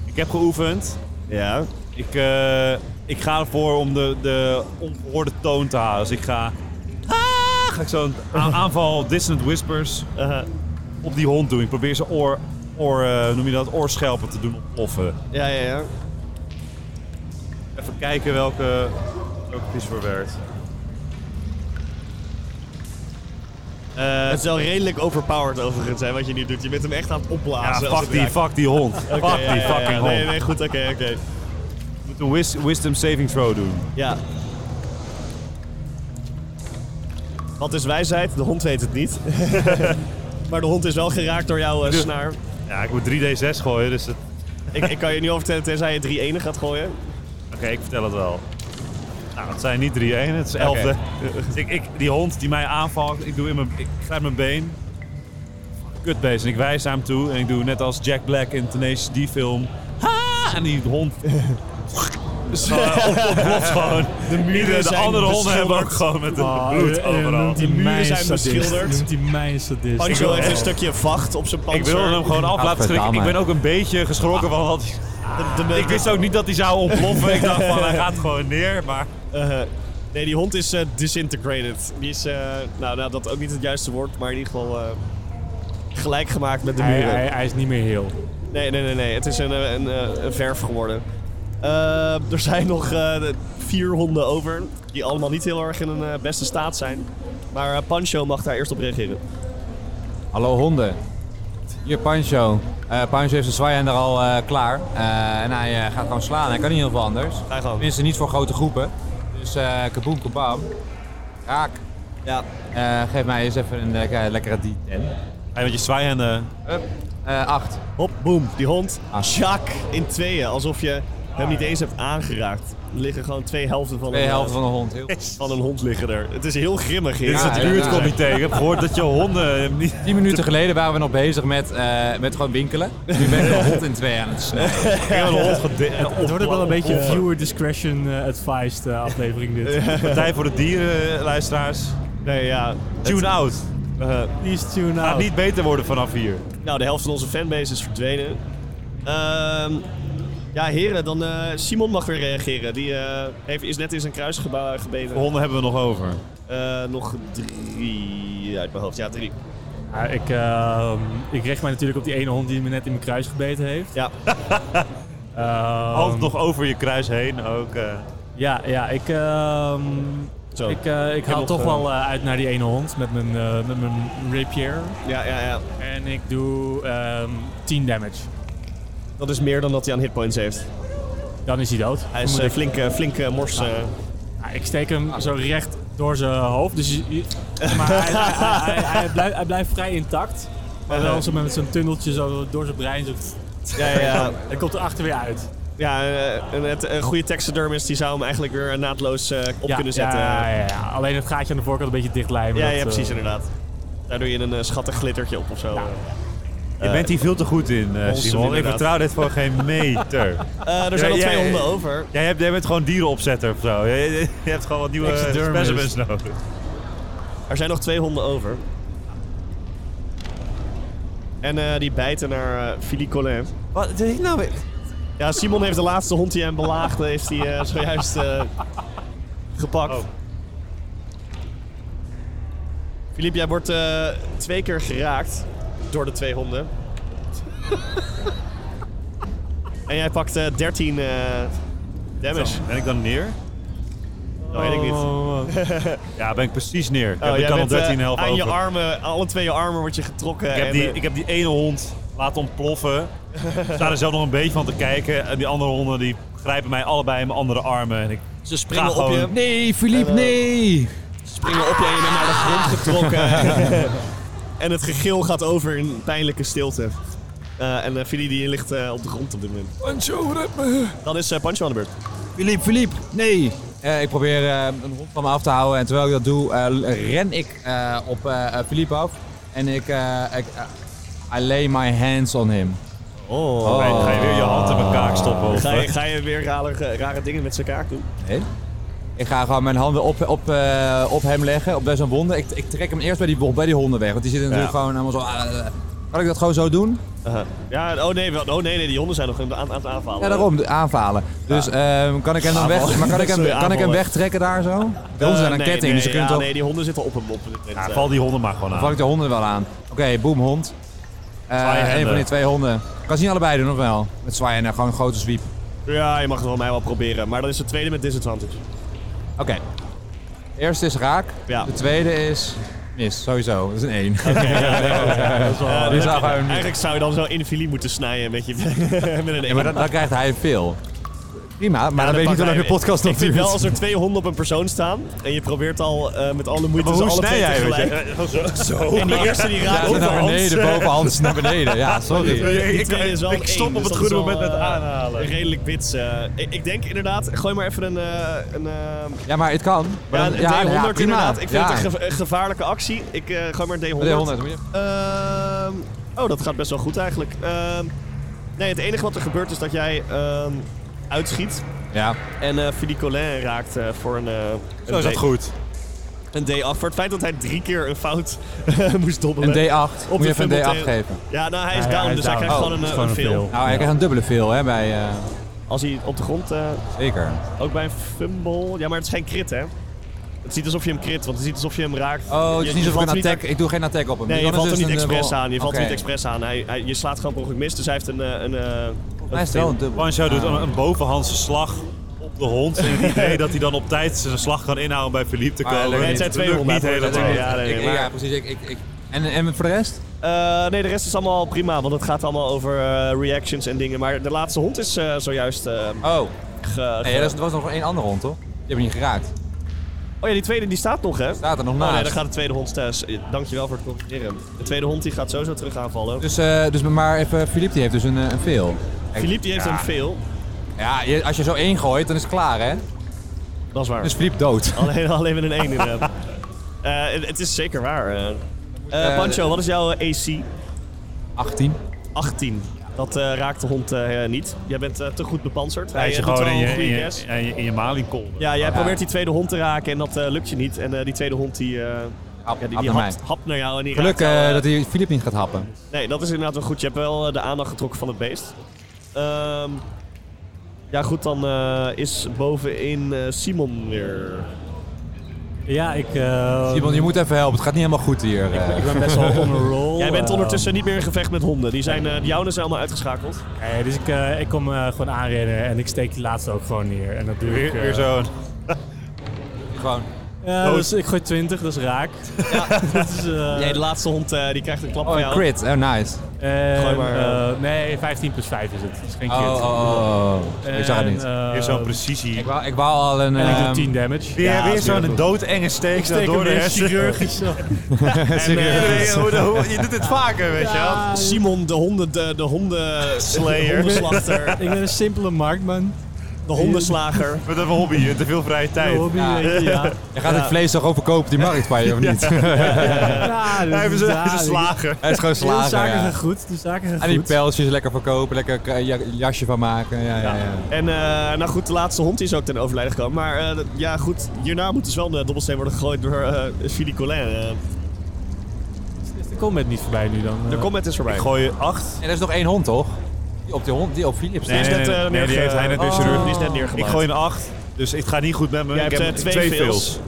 [SPEAKER 1] Ik heb geoefend.
[SPEAKER 2] ja.
[SPEAKER 1] Ik, eh, ik ga ervoor om de, de ongehoorde toon te halen. Dus ik ga. Ah, ga ik zo'n a- aanval dissonant whispers
[SPEAKER 2] Uh-huh.
[SPEAKER 1] op die hond doen. Ik probeer zijn oor, oor eh, noem je dat, oorschelpen te doen ontploffen.
[SPEAKER 2] ja, ja, ja.
[SPEAKER 1] Even kijken welke, welke het is voor werkt.
[SPEAKER 2] Eh, het is wel redelijk overpowered overigens, hè, wat je nu doet. Je bent hem echt aan het
[SPEAKER 1] Ja,
[SPEAKER 2] opblazen. als
[SPEAKER 1] fuck
[SPEAKER 2] het
[SPEAKER 1] die,
[SPEAKER 2] raakt.
[SPEAKER 1] fuck die hond.
[SPEAKER 2] Oké,
[SPEAKER 1] fuck
[SPEAKER 2] ja,
[SPEAKER 1] die
[SPEAKER 2] ja, ja,
[SPEAKER 1] fucking hond.
[SPEAKER 2] Nee, nee, goed, oké, oké.
[SPEAKER 1] Ik moet een wis- wisdom saving throw doen.
[SPEAKER 2] Ja. Wat is wijsheid? De hond weet het niet. maar de hond is wel geraakt door jouw eh,
[SPEAKER 1] Dus-
[SPEAKER 2] snaar.
[SPEAKER 1] Ja, ik moet 3d6 gooien, dus het...
[SPEAKER 2] ik, ik kan je nu al vertellen, tenzij je drie ene gaat gooien. Oh,
[SPEAKER 1] Oké, ik vertel het wel. Nou, het zijn niet 3-1, het is 11.
[SPEAKER 2] Oké.
[SPEAKER 1] Dus ik, ik, die hond die mij aanvalt, ik, doe in mijn, ik grijp mijn been. Kutbeest. En ik wijs naar hem toe en ik doe net als Jack Black in Tenacious D-film. Ha! En die hond... Dus
[SPEAKER 2] oh,
[SPEAKER 1] gewoon ontplopt gewoon. De, de,
[SPEAKER 2] zijn
[SPEAKER 1] andere honden hebben ook
[SPEAKER 2] beschilderd.
[SPEAKER 1] gewoon met
[SPEAKER 4] Ah,
[SPEAKER 1] een
[SPEAKER 2] Eh,
[SPEAKER 1] bloed overal.
[SPEAKER 4] Die
[SPEAKER 2] muren
[SPEAKER 4] muren
[SPEAKER 2] zijn
[SPEAKER 4] zijn beschilderd.
[SPEAKER 2] beschilderd.
[SPEAKER 4] Noemt die mij een sadist.
[SPEAKER 2] Oh, die
[SPEAKER 1] Ik wil
[SPEAKER 2] zo heeft een
[SPEAKER 1] echt-
[SPEAKER 2] stukje vacht op zijn panzer.
[SPEAKER 1] Ik wilde hem gewoon af laten schrikken. Ik
[SPEAKER 3] Gadverdamme.
[SPEAKER 1] ben ook een beetje geschrokken van wat...
[SPEAKER 2] De- de-
[SPEAKER 1] Ik wist ook niet dat hij zou ontploffen. Ik dacht van, hij gaat gewoon neer, maar...
[SPEAKER 2] Eh, nee, die hond is eh, disintegrated. Die is, eh, nou, nou, dat ook niet het juiste woord, maar in ieder geval eh, gelijk gemaakt met de
[SPEAKER 4] hij,
[SPEAKER 2] muren.
[SPEAKER 4] hij, hij is niet meer heel.
[SPEAKER 2] Nee, nee, nee, nee. Het is een, eh, een, eh, een verf geworden. Eh, er zijn nog eh, vier honden over, die allemaal niet heel erg in hun eh, beste staat zijn. Maar eh, Pancho mag daar eerst op reageren.
[SPEAKER 3] Hallo honden. Hier Pancho. Eh, Pancho heeft zijn zwaaiender al eh, klaar. Eh, en hij eh, gaat gewoon slaan. Hij kan niet heel veel anders.
[SPEAKER 2] Ga gewoon.
[SPEAKER 3] Tenminste niet voor grote groepen. Dus eh kaboom kabam. Raak.
[SPEAKER 2] Ja,
[SPEAKER 3] Eh, geef mij eens even een lekkere, lekkere die.
[SPEAKER 5] Hey, want je zwaaihanden.
[SPEAKER 3] Hup. Eh, acht.
[SPEAKER 2] hop, boom, die hond.
[SPEAKER 3] Ah.
[SPEAKER 2] Sjak in tweeën, alsof je hem niet eens hebt aangeraakt. Er liggen gewoon twee helften van,
[SPEAKER 3] Twee
[SPEAKER 2] een, eh,
[SPEAKER 3] helften van de hond. Heel
[SPEAKER 2] van een hond liggen er. Het is heel grimmig
[SPEAKER 5] Dit
[SPEAKER 2] hier.
[SPEAKER 5] is
[SPEAKER 3] Ja,
[SPEAKER 5] het
[SPEAKER 3] inderdaad.
[SPEAKER 5] buurtcomité. Ik heb gehoord dat je honden hem niet...
[SPEAKER 3] Tien minuten geleden waren we nog bezig met, eh, met gewoon winkelen. Nu ben ik een hond in twee aan het snijden.
[SPEAKER 4] Het wordt ook wel een beetje viewer discretion eh, advised eh, aflevering dit.
[SPEAKER 5] Partij voor de dieren, eh, luisteraars.
[SPEAKER 2] Nee, ja.
[SPEAKER 5] Tune out.
[SPEAKER 2] Eh,
[SPEAKER 4] Please tune
[SPEAKER 5] Gaat
[SPEAKER 4] out.
[SPEAKER 5] niet beter worden vanaf hier.
[SPEAKER 2] Nou, de helft van onze fanbase is verdwenen. Ehm, ja, heren, dan eh, Simon mag weer reageren. Die eh, heeft, is net in zijn kruis geba- gebeten.
[SPEAKER 1] Oh.
[SPEAKER 5] Honden hebben we nog over.
[SPEAKER 2] Eh, nog drie uit mijn hoofd. Ja, drie.
[SPEAKER 4] Ja, ik, ehm, ik richt mij natuurlijk op die ene hond die me net in mijn kruis gebeten heeft.
[SPEAKER 2] Ja.
[SPEAKER 4] Ehm,
[SPEAKER 5] Altijd nog over je kruis heen ook. eh.
[SPEAKER 4] Ja, ja ik, ehm,
[SPEAKER 2] Zo.
[SPEAKER 4] ik, eh, ik haal
[SPEAKER 2] nog,
[SPEAKER 4] toch
[SPEAKER 2] eh,
[SPEAKER 4] wel eh, uit naar die ene hond met mijn, eh, met mijn rapier.
[SPEAKER 2] Ja, ja, ja.
[SPEAKER 4] En ik doe ehm 10 damage.
[SPEAKER 2] Dat is meer dan dat hij aan hitpoints heeft.
[SPEAKER 4] Dan is hij dood.
[SPEAKER 2] Hij is
[SPEAKER 4] Vermoed
[SPEAKER 2] eh,
[SPEAKER 4] ik.
[SPEAKER 2] flink, eh, flink eh, mors. eh.
[SPEAKER 4] Ja, ik steek hem zo recht door zijn hoofd. Dus je- je- maar hij, hij, hij, hij blijft, hij blijft vrij intact. Maar dan zo met zo'n tunneltje zo door zijn brein. Zo,
[SPEAKER 2] ja, ja, ja.
[SPEAKER 4] hij komt erachter weer uit.
[SPEAKER 2] ja eh, en het, een goede taxidermist die zou hem eigenlijk weer naadloos eh, op
[SPEAKER 4] Ja,
[SPEAKER 2] kunnen zetten.
[SPEAKER 4] Ja, ja, ja. Alleen het gaatje aan de voorkant een beetje dichtlijmen.
[SPEAKER 2] ja,
[SPEAKER 4] dat,
[SPEAKER 2] ja,
[SPEAKER 4] eh,
[SPEAKER 2] precies, inderdaad. Daar doe je een eh, schattig glittertje op of zo.
[SPEAKER 5] je bent hier veel te goed in, eh,
[SPEAKER 2] Ons
[SPEAKER 5] Simon. Ik
[SPEAKER 2] inderdaad.
[SPEAKER 5] vertrouw dit voor geen meter.
[SPEAKER 2] Eh, er zijn
[SPEAKER 5] Ja,
[SPEAKER 2] al twee
[SPEAKER 5] ja, ja.
[SPEAKER 2] honden over.
[SPEAKER 5] Jij, hebt, jij bent gewoon dierenopzetter of zo. Je, je- je hebt gewoon wat nieuwe
[SPEAKER 4] Taxidermist.
[SPEAKER 5] specimens nodig.
[SPEAKER 2] Er zijn nog twee honden over. En eh, die bijten naar eh Philippe Collin.
[SPEAKER 5] Wat is dit nou weer?
[SPEAKER 2] Ja, Simon heeft de laatste hond die hem belaagde, heeft hij eh, zojuist eh, gepakt.
[SPEAKER 5] Oh.
[SPEAKER 2] Philippe, jij wordt eh, twee keer geraakt door de twee honden. en jij pakt eh, 13 eh, damage.
[SPEAKER 5] Ben ik dan neer?
[SPEAKER 2] Dat weet ik niet.
[SPEAKER 5] Oh. Ja, ben ik precies neer. Ik heb
[SPEAKER 2] jij
[SPEAKER 5] ik kan al
[SPEAKER 2] bent, eh,
[SPEAKER 5] 13 helft
[SPEAKER 2] aan je
[SPEAKER 5] over.
[SPEAKER 2] armen, alle twee je armen wordt je getrokken.
[SPEAKER 5] Ik heb,
[SPEAKER 2] en,
[SPEAKER 5] die,
[SPEAKER 2] eh,
[SPEAKER 5] ik heb die ene hond laten ontploffen. Ik sta er zelf nog een beetje van te kijken. En die andere honden die grijpen mij allebei in mijn andere armen. En ik
[SPEAKER 2] ze springen
[SPEAKER 5] ga
[SPEAKER 2] op je.
[SPEAKER 5] gewoon-
[SPEAKER 3] Nee,
[SPEAKER 5] Eh.
[SPEAKER 3] Philippe, nee!
[SPEAKER 2] springen op je en je bent naar de grond getrokken. Ah. en het gegil gaat over in pijnlijke stilte. Eh, en eh Fili die ligt eh, op de grond op dit moment.
[SPEAKER 3] Pancho, red me!
[SPEAKER 2] Dan is eh, Pancho aan de beurt.
[SPEAKER 3] Philippe, Philippe, nee! Eh, ik probeer eh, een hond van me af te houden en terwijl ik dat doe, eh, ren ik eh, op eh, eh, Philippe af. En ik, eh, ik eh, I lay my hands on him.
[SPEAKER 2] Oh.
[SPEAKER 5] Ga je- Ga je weer je hand in mijn kaak stoppen? Of,
[SPEAKER 2] Ga, je, ga je weer rare, rare dingen met zijn kaak doen?
[SPEAKER 3] Nee. Ik ga gewoon mijn handen op, op, eh, op hem leggen, op zijn wonden. Ik, ik trek hem eerst bij die, wo- bij die honden weg, want die zitten natuurlijk
[SPEAKER 2] Ja.
[SPEAKER 3] gewoon allemaal zo... ah, eh. kan ik dat gewoon zo doen?
[SPEAKER 2] Aha. Ja, oh nee, wel- oh nee, nee, die honden zijn nog aan, aan het aanvallen.
[SPEAKER 3] Ja, daarom, de aanvallen. Dus ehm, kan ik hem dan weg,
[SPEAKER 2] Aanvallen.
[SPEAKER 3] maar kan ik hem,
[SPEAKER 2] Sorry,
[SPEAKER 3] kan ik hem
[SPEAKER 2] aanvallen.
[SPEAKER 3] wegtrekken daar zo?
[SPEAKER 2] Eh,
[SPEAKER 3] Bij ons zijn een
[SPEAKER 2] nee,
[SPEAKER 3] ketting,
[SPEAKER 2] nee,
[SPEAKER 3] dus je
[SPEAKER 2] ja,
[SPEAKER 3] kunt toch...
[SPEAKER 2] Nee, die honden zitten op hem op dit moment.
[SPEAKER 5] Ja,
[SPEAKER 2] eh.
[SPEAKER 5] val die honden maar gewoon
[SPEAKER 3] Val
[SPEAKER 5] aan.
[SPEAKER 3] ik de honden wel aan. Oké, boem, hond.
[SPEAKER 5] Zwaaien
[SPEAKER 3] Eh een
[SPEAKER 5] handen.
[SPEAKER 3] van die twee honden. Kan ze niet allebei doen, of wel? Met zwaaien en gewoon een grote sweep.
[SPEAKER 2] Ja, je mag het wel mij wel proberen. Maar dan is de tweede met disadvantage.
[SPEAKER 3] Oké. De eerste is raak.
[SPEAKER 2] Ja.
[SPEAKER 3] De tweede is mis, sowieso. Dat is een één.
[SPEAKER 2] Eh, dan
[SPEAKER 3] dit is
[SPEAKER 2] heb je-
[SPEAKER 3] gewoon-
[SPEAKER 2] eigenlijk zou je dan zo in Fili moeten snijden met, je, met een
[SPEAKER 3] Ja, maar dan, dan krijgt hij veel. Prima, maar dan weet ik niet hoe
[SPEAKER 2] dat
[SPEAKER 3] lang de podcast nog
[SPEAKER 2] Ik vind
[SPEAKER 3] duurt.
[SPEAKER 2] wel als er twee honden op een persoon staan en je probeert al eh, met alle moeite
[SPEAKER 5] Maar
[SPEAKER 2] ze
[SPEAKER 5] hoe
[SPEAKER 2] alle
[SPEAKER 5] snij
[SPEAKER 2] twee
[SPEAKER 5] jij?
[SPEAKER 2] tegelijk.
[SPEAKER 5] weet je? Zo.
[SPEAKER 2] En de eerste die
[SPEAKER 3] Ja,
[SPEAKER 2] raakt
[SPEAKER 3] zo
[SPEAKER 2] ook
[SPEAKER 3] naar
[SPEAKER 2] de
[SPEAKER 3] beneden,
[SPEAKER 2] hand.
[SPEAKER 3] boven Hans naar beneden. Ja, sorry.
[SPEAKER 2] Die
[SPEAKER 5] Ik-
[SPEAKER 2] tweede is wel
[SPEAKER 5] ik
[SPEAKER 2] een
[SPEAKER 5] stop
[SPEAKER 2] één,
[SPEAKER 5] op het
[SPEAKER 2] dus dat
[SPEAKER 5] goede
[SPEAKER 2] is wel,
[SPEAKER 5] moment met
[SPEAKER 2] eh,
[SPEAKER 5] aanhalen.
[SPEAKER 2] Redelijk wits. eh. ik, ik denk inderdaad, gooi maar even een... eh, een eh,
[SPEAKER 3] Ja, maar het kan. Maar
[SPEAKER 2] ja,
[SPEAKER 3] dan-
[SPEAKER 2] een
[SPEAKER 3] ja,
[SPEAKER 2] D100
[SPEAKER 3] ja, prima.
[SPEAKER 2] inderdaad. Ik vind
[SPEAKER 3] Ja.
[SPEAKER 2] het een ge- een gevaarlijke actie. Ik eh, gooi maar een D100.
[SPEAKER 3] D100, moet je-
[SPEAKER 2] Ehm, oh, dat gaat best wel goed eigenlijk. Ehm, nee, het enige wat er gebeurt is dat jij ehm, uitschiet.
[SPEAKER 3] Ja,
[SPEAKER 2] En eh Philippe Collin raakt eh, voor een... eh,
[SPEAKER 5] Zo is
[SPEAKER 2] een
[SPEAKER 5] dat goed.
[SPEAKER 2] Een D8. Voor het feit dat hij drie keer een fout eh, moest dobbelen.
[SPEAKER 3] een D8. Moet je even een
[SPEAKER 2] fumble
[SPEAKER 3] D8
[SPEAKER 2] tegen-
[SPEAKER 3] geven.
[SPEAKER 2] Ja, nou, hij is
[SPEAKER 4] Ja, ja,
[SPEAKER 2] down,
[SPEAKER 4] hij is
[SPEAKER 2] dus
[SPEAKER 4] down.
[SPEAKER 2] hij krijgt
[SPEAKER 4] Oh,
[SPEAKER 2] gewoon een,
[SPEAKER 4] het is
[SPEAKER 2] eh, een fail.
[SPEAKER 3] Nou, hij krijgt een dubbele veel, hè, bij... eh,
[SPEAKER 2] Als hij op de grond, eh,
[SPEAKER 3] zeker.
[SPEAKER 2] ook bij een fumble. Ja, maar het is geen crit, hè? Het is niet alsof je hem crit, want het is niet alsof je hem raakt.
[SPEAKER 3] Oh, het
[SPEAKER 2] Je-
[SPEAKER 3] is
[SPEAKER 2] je
[SPEAKER 3] niet zo
[SPEAKER 2] valt
[SPEAKER 3] een
[SPEAKER 2] niet
[SPEAKER 3] attack. Ik doe geen attack op hem.
[SPEAKER 2] Nee,
[SPEAKER 3] Dus
[SPEAKER 2] je
[SPEAKER 3] dan
[SPEAKER 2] valt
[SPEAKER 3] is
[SPEAKER 2] er niet
[SPEAKER 3] het een, eh,
[SPEAKER 2] expres
[SPEAKER 3] roll.
[SPEAKER 2] aan. Je valt er
[SPEAKER 3] Oké.
[SPEAKER 2] niet expres aan. Hij, hij- je slaat gewoon per ongeluk mis, dus hij heeft een... eh, een eh,
[SPEAKER 3] Hij is wel een dubbel.
[SPEAKER 1] Pancho doet
[SPEAKER 3] Ah.
[SPEAKER 1] een, een bovenhandse slag op de hond. In het idee dat hij dan op tijd zijn slag kan inhouden om bij Philippe te
[SPEAKER 3] Maar dat
[SPEAKER 1] komen.
[SPEAKER 3] lukt
[SPEAKER 1] Dat
[SPEAKER 3] niet.
[SPEAKER 1] lukt
[SPEAKER 2] Het zijn twee
[SPEAKER 1] niet
[SPEAKER 2] honden,
[SPEAKER 1] helemaal.
[SPEAKER 2] ja, nee,
[SPEAKER 3] Ik-
[SPEAKER 2] maar-
[SPEAKER 3] Ja, precies. Ik, ik, ik. En, en voor de rest?
[SPEAKER 2] Eh, nee, de rest is allemaal prima, want het gaat allemaal over eh, reactions en dingen. Maar de laatste hond is eh, zojuist eh,
[SPEAKER 3] Oh,
[SPEAKER 2] ge-
[SPEAKER 3] nee,
[SPEAKER 2] ge-
[SPEAKER 3] er was- er was nog één andere hond, toch? Die hebben we niet geraakt.
[SPEAKER 2] Oh ja, die tweede die staat nog, hè?
[SPEAKER 3] Staat er nog naast.
[SPEAKER 2] Oh nee, dan gaat de tweede hond thuis. Eh, Dankjewel voor het concentreren. De tweede hond die gaat sowieso terug aanvallen.
[SPEAKER 3] Dus, eh, dus maar even, Philippe die heeft dus een, eh, een veel.
[SPEAKER 2] Philippe die heeft
[SPEAKER 3] ja.
[SPEAKER 2] een veel.
[SPEAKER 3] Ja, je- als je zo één gooit, dan is het klaar, hè?
[SPEAKER 2] Dat is waar.
[SPEAKER 3] Dus Philippe dood.
[SPEAKER 2] Alleen, alleen met een 1 inderdaad. Eh, het- het is zeker waar. eh. Eh,
[SPEAKER 3] Eh,
[SPEAKER 2] Pancho, wat is jouw AC?
[SPEAKER 3] 18.
[SPEAKER 2] 18. Dat eh, raakt de hond eh, niet. Jij bent eh, te goed bepanserd.
[SPEAKER 1] Hij is
[SPEAKER 2] eh,
[SPEAKER 1] je
[SPEAKER 2] doet
[SPEAKER 1] gewoon
[SPEAKER 2] wel
[SPEAKER 1] in
[SPEAKER 2] een
[SPEAKER 1] je,
[SPEAKER 2] goede
[SPEAKER 1] in je,
[SPEAKER 2] guess.
[SPEAKER 1] in je, in je maliekolder.
[SPEAKER 2] Ja, jij
[SPEAKER 3] Ja.
[SPEAKER 2] probeert die tweede hond te raken en dat eh, lukt je niet. En eh, die tweede hond die, eh,
[SPEAKER 3] Hap,
[SPEAKER 2] ja, die,
[SPEAKER 3] hap
[SPEAKER 2] die
[SPEAKER 3] naar mij.
[SPEAKER 2] hapt, hapt naar jou. En die
[SPEAKER 3] Geluk
[SPEAKER 2] raakt
[SPEAKER 3] eh,
[SPEAKER 2] jou, eh, Oh,
[SPEAKER 3] dat hij Philippe niet gaat happen.
[SPEAKER 2] Nee, dat is inderdaad wel goed. Je hebt wel eh, de aandacht getrokken van het beest. Ehm, ja, goed, dan eh, is bovenin eh, Simon weer.
[SPEAKER 4] Ja, ik, eh,
[SPEAKER 3] Simon, je moet even helpen. Het gaat niet helemaal goed hier. eh.
[SPEAKER 4] ik ben best wel on a roll.
[SPEAKER 2] Jij bent
[SPEAKER 4] eh,
[SPEAKER 2] ondertussen niet meer in gevecht met honden. Die zijn, eh, de jouwenen zijn allemaal uitgeschakeld.
[SPEAKER 4] nee, dus ik, eh, ik kom eh, gewoon aanrennen en ik steek die laatste ook gewoon neer. En dat doe ik.
[SPEAKER 1] Weer,
[SPEAKER 4] eh,
[SPEAKER 1] weer zo'n...
[SPEAKER 3] Gewoon.
[SPEAKER 4] Ja, dus ik gooi 20, dat is raak. dat is, eh,
[SPEAKER 2] Nee, de laatste hond eh, die krijgt een klap
[SPEAKER 3] Oh,
[SPEAKER 2] van
[SPEAKER 3] een
[SPEAKER 2] jou.
[SPEAKER 3] crit. Oh, nice.
[SPEAKER 4] en,
[SPEAKER 2] Gooi maar, eh.
[SPEAKER 4] eh, nee, 15 plus 5 is het. Dat is geen
[SPEAKER 3] Oh,
[SPEAKER 4] crit.
[SPEAKER 3] oh, oh, oh. Ik zag het
[SPEAKER 4] En,
[SPEAKER 3] niet.
[SPEAKER 4] eh,
[SPEAKER 1] Weer zo'n precisie.
[SPEAKER 3] Ik wou, ik wou al een...
[SPEAKER 4] en ik doe
[SPEAKER 3] ehm,
[SPEAKER 4] 10 damage.
[SPEAKER 1] Weer,
[SPEAKER 4] Ja,
[SPEAKER 1] weer
[SPEAKER 4] is heel
[SPEAKER 1] zo'n
[SPEAKER 4] goed.
[SPEAKER 1] doodenge steek,
[SPEAKER 4] Ik
[SPEAKER 1] zo
[SPEAKER 4] steek
[SPEAKER 1] door
[SPEAKER 4] hem
[SPEAKER 1] de
[SPEAKER 4] weer
[SPEAKER 1] hersenen.
[SPEAKER 4] chirurgisch zo.
[SPEAKER 1] Serieus. Hoe- hoe- Je doet dit vaker, weet je wel.
[SPEAKER 2] Simon, de honden, de, de honden, de hondenslachter,
[SPEAKER 4] Ik ben een simpele marktman.
[SPEAKER 2] de hondenslager.
[SPEAKER 1] Met een hobby en te veel vrije tijd.
[SPEAKER 4] Hobby,
[SPEAKER 3] Ja.
[SPEAKER 4] weet je, ja.
[SPEAKER 3] Je gaat het vlees toch overkopen op die markt bij je, of niet?
[SPEAKER 4] Ja, dus
[SPEAKER 1] Hij heeft een- hij is een
[SPEAKER 4] daar-
[SPEAKER 1] slager.
[SPEAKER 3] Hij is gewoon
[SPEAKER 4] De
[SPEAKER 3] slager,
[SPEAKER 4] zaken
[SPEAKER 3] ja.
[SPEAKER 4] gaan goed, de zaken gaan
[SPEAKER 3] En die
[SPEAKER 4] goed.
[SPEAKER 3] pijltjes lekker verkopen, lekker k- ja- jasje van maken. Ja, ja, ja.
[SPEAKER 2] En eh, nou goed, de laatste hond is ook ten overlijden gekomen. Maar eh, dat- ja goed, hierna moet dus wel een dobbelsteen worden gegooid door eh Philly Collin. eh.
[SPEAKER 4] Is de combat niet voorbij nu dan?
[SPEAKER 2] de
[SPEAKER 4] eh?
[SPEAKER 2] combat is voorbij.
[SPEAKER 1] Ik gooi acht.
[SPEAKER 3] En er is nog één hond, toch? Die op, die hond, die op Philips
[SPEAKER 1] Nee,
[SPEAKER 3] staat.
[SPEAKER 2] Die is
[SPEAKER 1] nee,
[SPEAKER 2] net,
[SPEAKER 1] nee, nee,
[SPEAKER 2] eh,
[SPEAKER 1] die
[SPEAKER 2] neerge-
[SPEAKER 1] heeft hij net
[SPEAKER 2] Oh.
[SPEAKER 1] neergeschurft.
[SPEAKER 2] Die is net neergemaakt.
[SPEAKER 1] Ik gooi een acht, dus het gaat niet goed met me.
[SPEAKER 2] Jij
[SPEAKER 1] ik
[SPEAKER 2] hebt,
[SPEAKER 1] heb
[SPEAKER 2] eh,
[SPEAKER 1] twee,
[SPEAKER 2] twee
[SPEAKER 1] fails.
[SPEAKER 2] fails.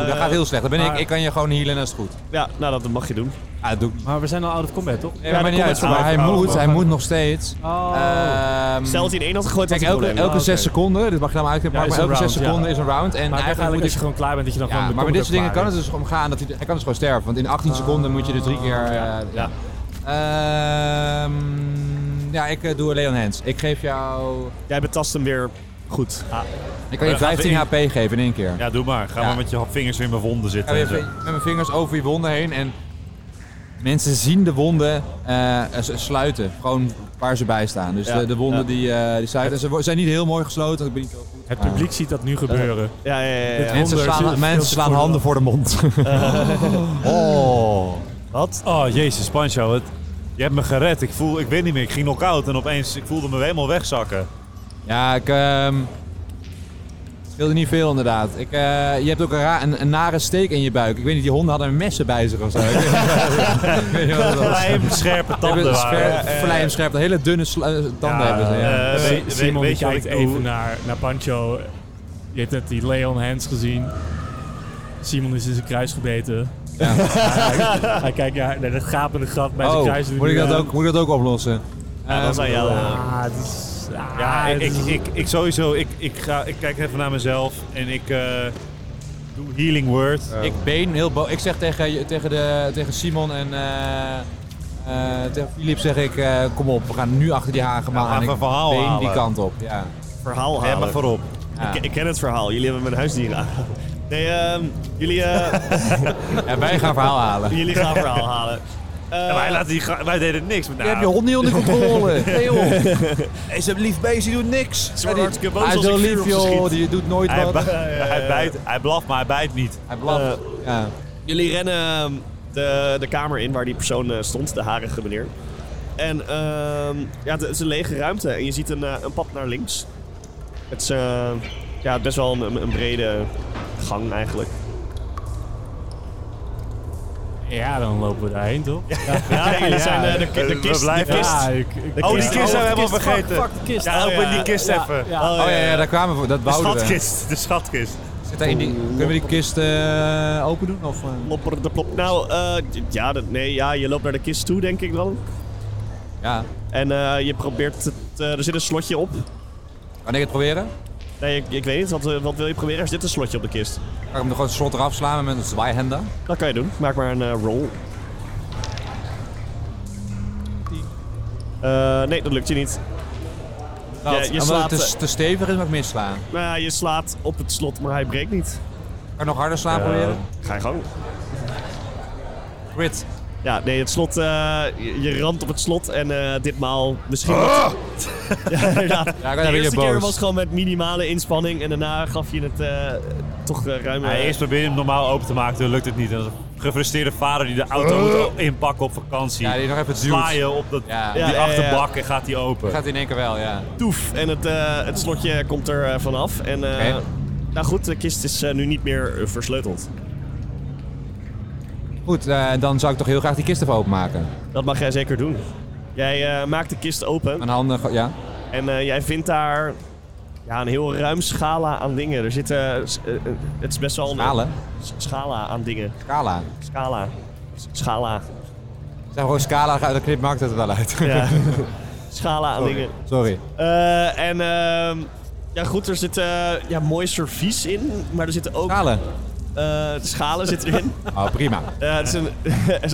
[SPEAKER 3] Oh, dat
[SPEAKER 2] Eh,
[SPEAKER 3] gaat heel slecht. Dan ben ik,
[SPEAKER 4] maar-
[SPEAKER 3] ik kan je gewoon healen en dat is goed.
[SPEAKER 2] Ja, nou dat mag je
[SPEAKER 1] Hmm.
[SPEAKER 2] doen.
[SPEAKER 3] Ah, dat doe ik niet.
[SPEAKER 4] Maar we zijn al out of combat, toch?
[SPEAKER 3] Nee, maar maakt niet uit,
[SPEAKER 1] komt
[SPEAKER 3] maar hij
[SPEAKER 1] uit. Oh,
[SPEAKER 3] moet,
[SPEAKER 1] oh,
[SPEAKER 3] hij
[SPEAKER 1] oh.
[SPEAKER 3] moet nog steeds.
[SPEAKER 4] Oh.
[SPEAKER 3] Ehm,
[SPEAKER 2] Stel dat hij in één had gegooid,
[SPEAKER 3] kijk,
[SPEAKER 2] had hij
[SPEAKER 3] elke,
[SPEAKER 2] een probleem.
[SPEAKER 3] elke
[SPEAKER 4] oké.
[SPEAKER 3] zes seconden, dit mag je nou maar uitknippen,
[SPEAKER 4] Ja,
[SPEAKER 3] maar
[SPEAKER 4] is
[SPEAKER 3] elke
[SPEAKER 4] een
[SPEAKER 3] zes
[SPEAKER 4] round, ja.
[SPEAKER 3] seconden is een round. En
[SPEAKER 4] Maar
[SPEAKER 3] eigenlijk
[SPEAKER 4] eigenlijk
[SPEAKER 3] moet
[SPEAKER 4] als
[SPEAKER 3] ik...
[SPEAKER 4] je gewoon klaar bent, dat je dan
[SPEAKER 3] Ja,
[SPEAKER 4] gewoon de
[SPEAKER 3] maar met dit
[SPEAKER 4] combat
[SPEAKER 3] soort dingen kan het dus
[SPEAKER 4] klaar
[SPEAKER 3] om gaan. Dat hij, hij kan dus gewoon sterven, want in 18 seconden moet je dus drie keer... eh, ja. Ehm, ja, ik eh, doe Leon Hens. Ik geef jou...
[SPEAKER 2] Jij betast hem weer goed.
[SPEAKER 1] Ah.
[SPEAKER 3] Ik kan je
[SPEAKER 1] dan gaan we
[SPEAKER 3] 15
[SPEAKER 1] in-
[SPEAKER 3] HP geven in één keer.
[SPEAKER 1] Ja, doe maar. Ga
[SPEAKER 3] Ja.
[SPEAKER 1] maar met je vingers weer in mijn wonden
[SPEAKER 3] Ik ga
[SPEAKER 1] zitten.
[SPEAKER 3] weer
[SPEAKER 1] en zo.
[SPEAKER 3] even met mijn vingers over je wonden heen en mensen zien de wonden eh, s- sluiten. Gewoon waar ze bij staan. Dus
[SPEAKER 2] Ja,
[SPEAKER 3] de, de wonden
[SPEAKER 2] ja.
[SPEAKER 3] die, eh die sluiten. En Ze wo- zijn niet heel mooi gesloten. want Ik ben niet heel goed.
[SPEAKER 4] Het publiek ziet dat nu gebeuren.
[SPEAKER 2] Ja, ja, ja. ja.
[SPEAKER 3] Mensen
[SPEAKER 4] wonder-
[SPEAKER 3] slaan,
[SPEAKER 4] veel
[SPEAKER 3] mensen
[SPEAKER 4] te
[SPEAKER 3] slaan
[SPEAKER 4] voor de-
[SPEAKER 3] handen voor de mond.
[SPEAKER 1] Oh. Wat? Oh, jezus, Pancho. Het, je hebt me gered. Ik, voel, ik weet niet meer. Ik ging knock-out en opeens ik voelde me helemaal wegzakken.
[SPEAKER 3] ja, ik. ehm speelde niet veel inderdaad. Ik, eh, je hebt ook een, ra- een, een nare steek in je buik. Ik weet niet, die honden hadden messen bij zich of zo. Ik weet niet wat het was.
[SPEAKER 1] Vlijm, scherpe
[SPEAKER 3] Ze hebben
[SPEAKER 1] tanden
[SPEAKER 3] scher-
[SPEAKER 1] waren.
[SPEAKER 3] vlijmscherp, hele dunne sla- eh, tanden hebben ze. Ja.
[SPEAKER 1] eh,
[SPEAKER 4] Si-
[SPEAKER 1] weet- weet-
[SPEAKER 4] Simon
[SPEAKER 1] weet
[SPEAKER 4] die
[SPEAKER 1] je wat
[SPEAKER 4] kijkt
[SPEAKER 1] ik doe?
[SPEAKER 4] even naar, naar Pancho. Je hebt net die Leon Hands gezien. Simon is in zijn kruis gebeten.
[SPEAKER 3] Ja.
[SPEAKER 4] hij, hij kijkt naar, naar dat gapende gat bij zijn kruis.
[SPEAKER 3] Oh, moet ik, dat
[SPEAKER 4] Ja.
[SPEAKER 3] ook, moet ik dat ook oplossen?
[SPEAKER 2] Ja, dat is aan jou. eh.
[SPEAKER 4] Ah, het is... ah,
[SPEAKER 1] Ja, ik,
[SPEAKER 4] het
[SPEAKER 1] ik,
[SPEAKER 4] is-
[SPEAKER 1] ik, ik sowieso. Ik, ik, ga, ik kijk even naar mezelf en ik eh, doe healing word.
[SPEAKER 3] Ik been heel boos. Ik zeg tegen, je- tegen, de, tegen Simon en eh, eh, tegen Filip zeg ik, eh, kom op, we gaan nu achter die hagen
[SPEAKER 1] we gaan
[SPEAKER 3] maar.
[SPEAKER 1] even een verhaal
[SPEAKER 3] been
[SPEAKER 1] halen.
[SPEAKER 3] die kant op. Ja.
[SPEAKER 2] Verhaal
[SPEAKER 1] Ja,
[SPEAKER 2] halen.
[SPEAKER 1] maar voorop.
[SPEAKER 3] Ja.
[SPEAKER 2] Ik, ik ken het verhaal. Jullie hebben mijn huisdieren aan. Nee, ehm, jullie, eh,
[SPEAKER 3] En wij gaan verhaal halen.
[SPEAKER 2] jullie gaan verhaal halen. Eh,
[SPEAKER 1] Ja, wij, laten die, ga- wij deden niks met
[SPEAKER 3] Je hebt je hond niet onder controle. Nee joh. Hij is een lief beest, die doet niks.
[SPEAKER 2] Ze worden hartstikke boos
[SPEAKER 3] Hij is
[SPEAKER 2] als
[SPEAKER 3] heel
[SPEAKER 2] ik vuur
[SPEAKER 3] lief
[SPEAKER 2] op ze
[SPEAKER 3] joh,
[SPEAKER 2] schiet.
[SPEAKER 3] die doet nooit
[SPEAKER 1] Hij,
[SPEAKER 3] wat.
[SPEAKER 1] bij- hij bijt, hij blaft, maar hij bijt niet.
[SPEAKER 3] Hij blaft.
[SPEAKER 2] Eh,
[SPEAKER 3] ja. Oh,
[SPEAKER 2] oh, Jullie rennen ehm, de, de kamer in waar die persoon eh, stond, de harige meneer. En ehm, ja, het is een lege ruimte en je ziet een, eh, een pad naar links. Het is eh, ja, best wel een, een brede gang eigenlijk.
[SPEAKER 4] Ja, dan lopen we daarheen, toch?
[SPEAKER 2] Ja, jullie
[SPEAKER 4] ja.
[SPEAKER 2] zijn eh, de, de,
[SPEAKER 1] We
[SPEAKER 2] kist.
[SPEAKER 1] blijven-
[SPEAKER 2] de kist.
[SPEAKER 4] Ja, ik, ik-
[SPEAKER 1] Oh, die
[SPEAKER 2] kist.
[SPEAKER 1] kist
[SPEAKER 2] Oh,
[SPEAKER 1] zijn we
[SPEAKER 2] de
[SPEAKER 1] helemaal
[SPEAKER 2] kist. Fuck,
[SPEAKER 1] vergeten.
[SPEAKER 4] fuck, de kist.
[SPEAKER 1] Ja,
[SPEAKER 4] Oh,
[SPEAKER 1] open
[SPEAKER 4] ja.
[SPEAKER 1] die kist
[SPEAKER 4] Ja,
[SPEAKER 1] even.
[SPEAKER 4] ja.
[SPEAKER 2] Oh,
[SPEAKER 3] Oh ja, ja, daar kwamen we, dat
[SPEAKER 1] De
[SPEAKER 3] wouden we.
[SPEAKER 1] schatkist. De schatkist.
[SPEAKER 3] Zit daar in die, kunnen we die kist eh, open doen? Of, eh?
[SPEAKER 2] Plopper de plop. Nou, eh, ja, dat, nee, ja, je loopt naar de kist toe, denk ik dan.
[SPEAKER 3] Ja.
[SPEAKER 2] En eh, je probeert te, zit, eh, er zit een slotje op.
[SPEAKER 3] Kan ik het proberen?
[SPEAKER 2] Nee, ik, ik weet niet. Wat, eh, wat wil je proberen? Er zit een slotje op de kist.
[SPEAKER 3] Kan ik hem er gewoon slot eraf slaan met een zwaaihenda?
[SPEAKER 2] Dat kan je doen. Maak maar een eh, roll. Eh, nee, dat lukt je niet.
[SPEAKER 3] Wat?
[SPEAKER 2] je
[SPEAKER 3] Omdat
[SPEAKER 2] slaat,
[SPEAKER 3] het
[SPEAKER 2] eh,
[SPEAKER 3] te, te stevig is, mag ik misslaan.
[SPEAKER 2] Nou, ja, je slaat op het slot, maar hij breekt niet. Eh,
[SPEAKER 3] Kan ik nog harder slaan proberen?
[SPEAKER 2] Ga je gang.
[SPEAKER 3] Crit.
[SPEAKER 2] Ja, nee, het slot. eh, je, je ramt op het slot en eh, ditmaal misschien. wat- ja, inderdaad.
[SPEAKER 3] Ah! Ja, ik ben een
[SPEAKER 2] De eerste
[SPEAKER 3] beetje
[SPEAKER 2] keer
[SPEAKER 3] boos.
[SPEAKER 2] was gewoon met minimale inspanning en daarna gaf je het eh, toch eh, ruim.
[SPEAKER 1] Ja,
[SPEAKER 2] eh,
[SPEAKER 1] eerst probeer je hem normaal open te maken, toen lukt het niet. En dat is een gefrustreerde vader die de auto moet inpakken op vakantie.
[SPEAKER 3] Ja, die nog even
[SPEAKER 1] Sla
[SPEAKER 3] duwt.
[SPEAKER 1] je op dat,
[SPEAKER 3] Ja,
[SPEAKER 1] die
[SPEAKER 2] Ja, ja, ja.
[SPEAKER 1] achterbak en gaat die open.
[SPEAKER 3] gaat in één keer wel, ja.
[SPEAKER 2] toef en het, eh, het slotje komt er eh, vanaf. En eh,
[SPEAKER 3] Oké.
[SPEAKER 2] nou goed, de kist is eh, nu niet meer eh, versleuteld.
[SPEAKER 3] Goed, eh, dan zou ik toch heel graag die kist even openmaken.
[SPEAKER 2] Dat mag jij zeker doen. Jij eh, maakt de kist open
[SPEAKER 3] Mijn handen, go- ja.
[SPEAKER 2] en eh, jij vindt daar ja, een heel ruim scala aan dingen. Er zitten, s- eh, eh, het is best wel een
[SPEAKER 3] Halen.
[SPEAKER 2] s- scala aan dingen.
[SPEAKER 3] Scala.
[SPEAKER 2] Scala. S- Scala.
[SPEAKER 3] Zeg gewoon scala, dan knip maakt het er wel uit.
[SPEAKER 2] Ja. scala aan dingen.
[SPEAKER 3] Sorry.
[SPEAKER 2] Eh, en ehm, ja, goed, er zit eh, ja, mooi servies in, maar er zitten ook
[SPEAKER 3] Scala.
[SPEAKER 2] eh, schalen zit erin.
[SPEAKER 3] Oh, prima.
[SPEAKER 2] Eh, het is een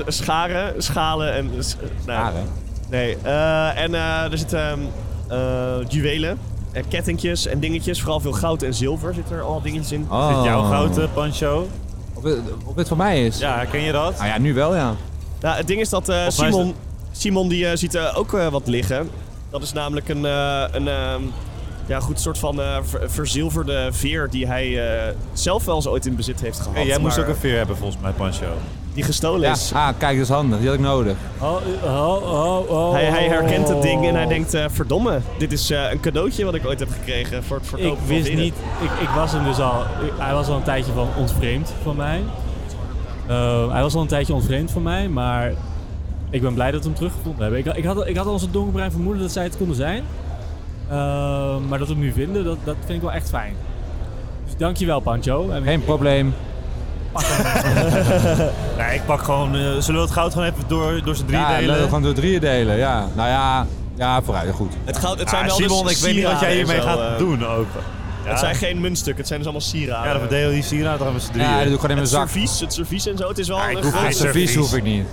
[SPEAKER 2] scharen, schalen en... s- nou,
[SPEAKER 3] Scharen?
[SPEAKER 2] Nee. eh, en eh, er zitten ehm, eh, juwelen, en kettingjes en dingetjes. Vooral veel goud en zilver zit er al dingetjes in.
[SPEAKER 3] Oh.
[SPEAKER 1] Is dit jouw goud, eh, Pancho?
[SPEAKER 3] Of, het- of dit van mij is?
[SPEAKER 1] Ja, ken je dat?
[SPEAKER 3] Nou ja, nu wel, ja.
[SPEAKER 2] Nou, het ding is dat eh,
[SPEAKER 1] mij is
[SPEAKER 2] Simon, Simon die, eh, ziet eh, ook eh, wat liggen. Dat is namelijk een, eh, een ehm, ja, goed soort van eh, ver- verzilverde veer die hij eh, zelf wel eens ooit in bezit heeft gehad.
[SPEAKER 1] Hey, jij moest
[SPEAKER 2] maar
[SPEAKER 1] ook een veer hebben volgens mij, Pancho.
[SPEAKER 2] Die gestolen
[SPEAKER 3] ja.
[SPEAKER 2] is.
[SPEAKER 3] Ah, kijk, dat is handig. Die had ik nodig.
[SPEAKER 4] Oh, oh, oh, oh.
[SPEAKER 2] Hij, hij herkent het ding en hij denkt, eh, verdomme, dit is eh, een cadeautje wat ik ooit heb gekregen voor het verkopen
[SPEAKER 4] oh. Ik
[SPEAKER 2] van
[SPEAKER 4] wist
[SPEAKER 2] veren."
[SPEAKER 4] niet, ik, ik was hem dus al, ik- hij was al een tijdje van ontvreemd van mij. Eh, hij was al een tijdje ontvreemd van mij, maar ik ben blij dat we hem teruggevonden hebben. Ik, ik, had, ik had al zo'n donkerbruin vermoeden dat zij het konden zijn. Eh, maar dat we hem nu vinden, dat, dat vind ik wel echt fijn. Dus dankjewel Pancho. En
[SPEAKER 3] Geen probleem.
[SPEAKER 1] Nee, ik pak gewoon... eh, zullen we het goud gewoon even door, door z'n drie
[SPEAKER 3] ja,
[SPEAKER 1] delen?
[SPEAKER 3] leuk, gewoon door drieën delen, ja. Nou ja, ja, vooruit, goed.
[SPEAKER 2] Het, gaat, het
[SPEAKER 1] Ah,
[SPEAKER 2] zijn wel dus
[SPEAKER 1] Simon, ik weet niet wat jij
[SPEAKER 2] sieraden en
[SPEAKER 1] hiermee
[SPEAKER 2] zo,
[SPEAKER 1] gaat
[SPEAKER 2] eh.
[SPEAKER 1] doen ook. Ja,
[SPEAKER 2] Het zijn geen muntstukken, het zijn dus allemaal sieraden.
[SPEAKER 1] ja dan verdeel die sieraden toch even z'n drieën.
[SPEAKER 3] Ja, dat doe ik gewoon in mijn
[SPEAKER 2] het
[SPEAKER 3] zak.
[SPEAKER 2] servies, het servies en zo, het is wel
[SPEAKER 1] Ah, ik
[SPEAKER 2] een
[SPEAKER 1] hoef
[SPEAKER 2] grote-
[SPEAKER 1] geen
[SPEAKER 3] Mijn servies hoef ik niet.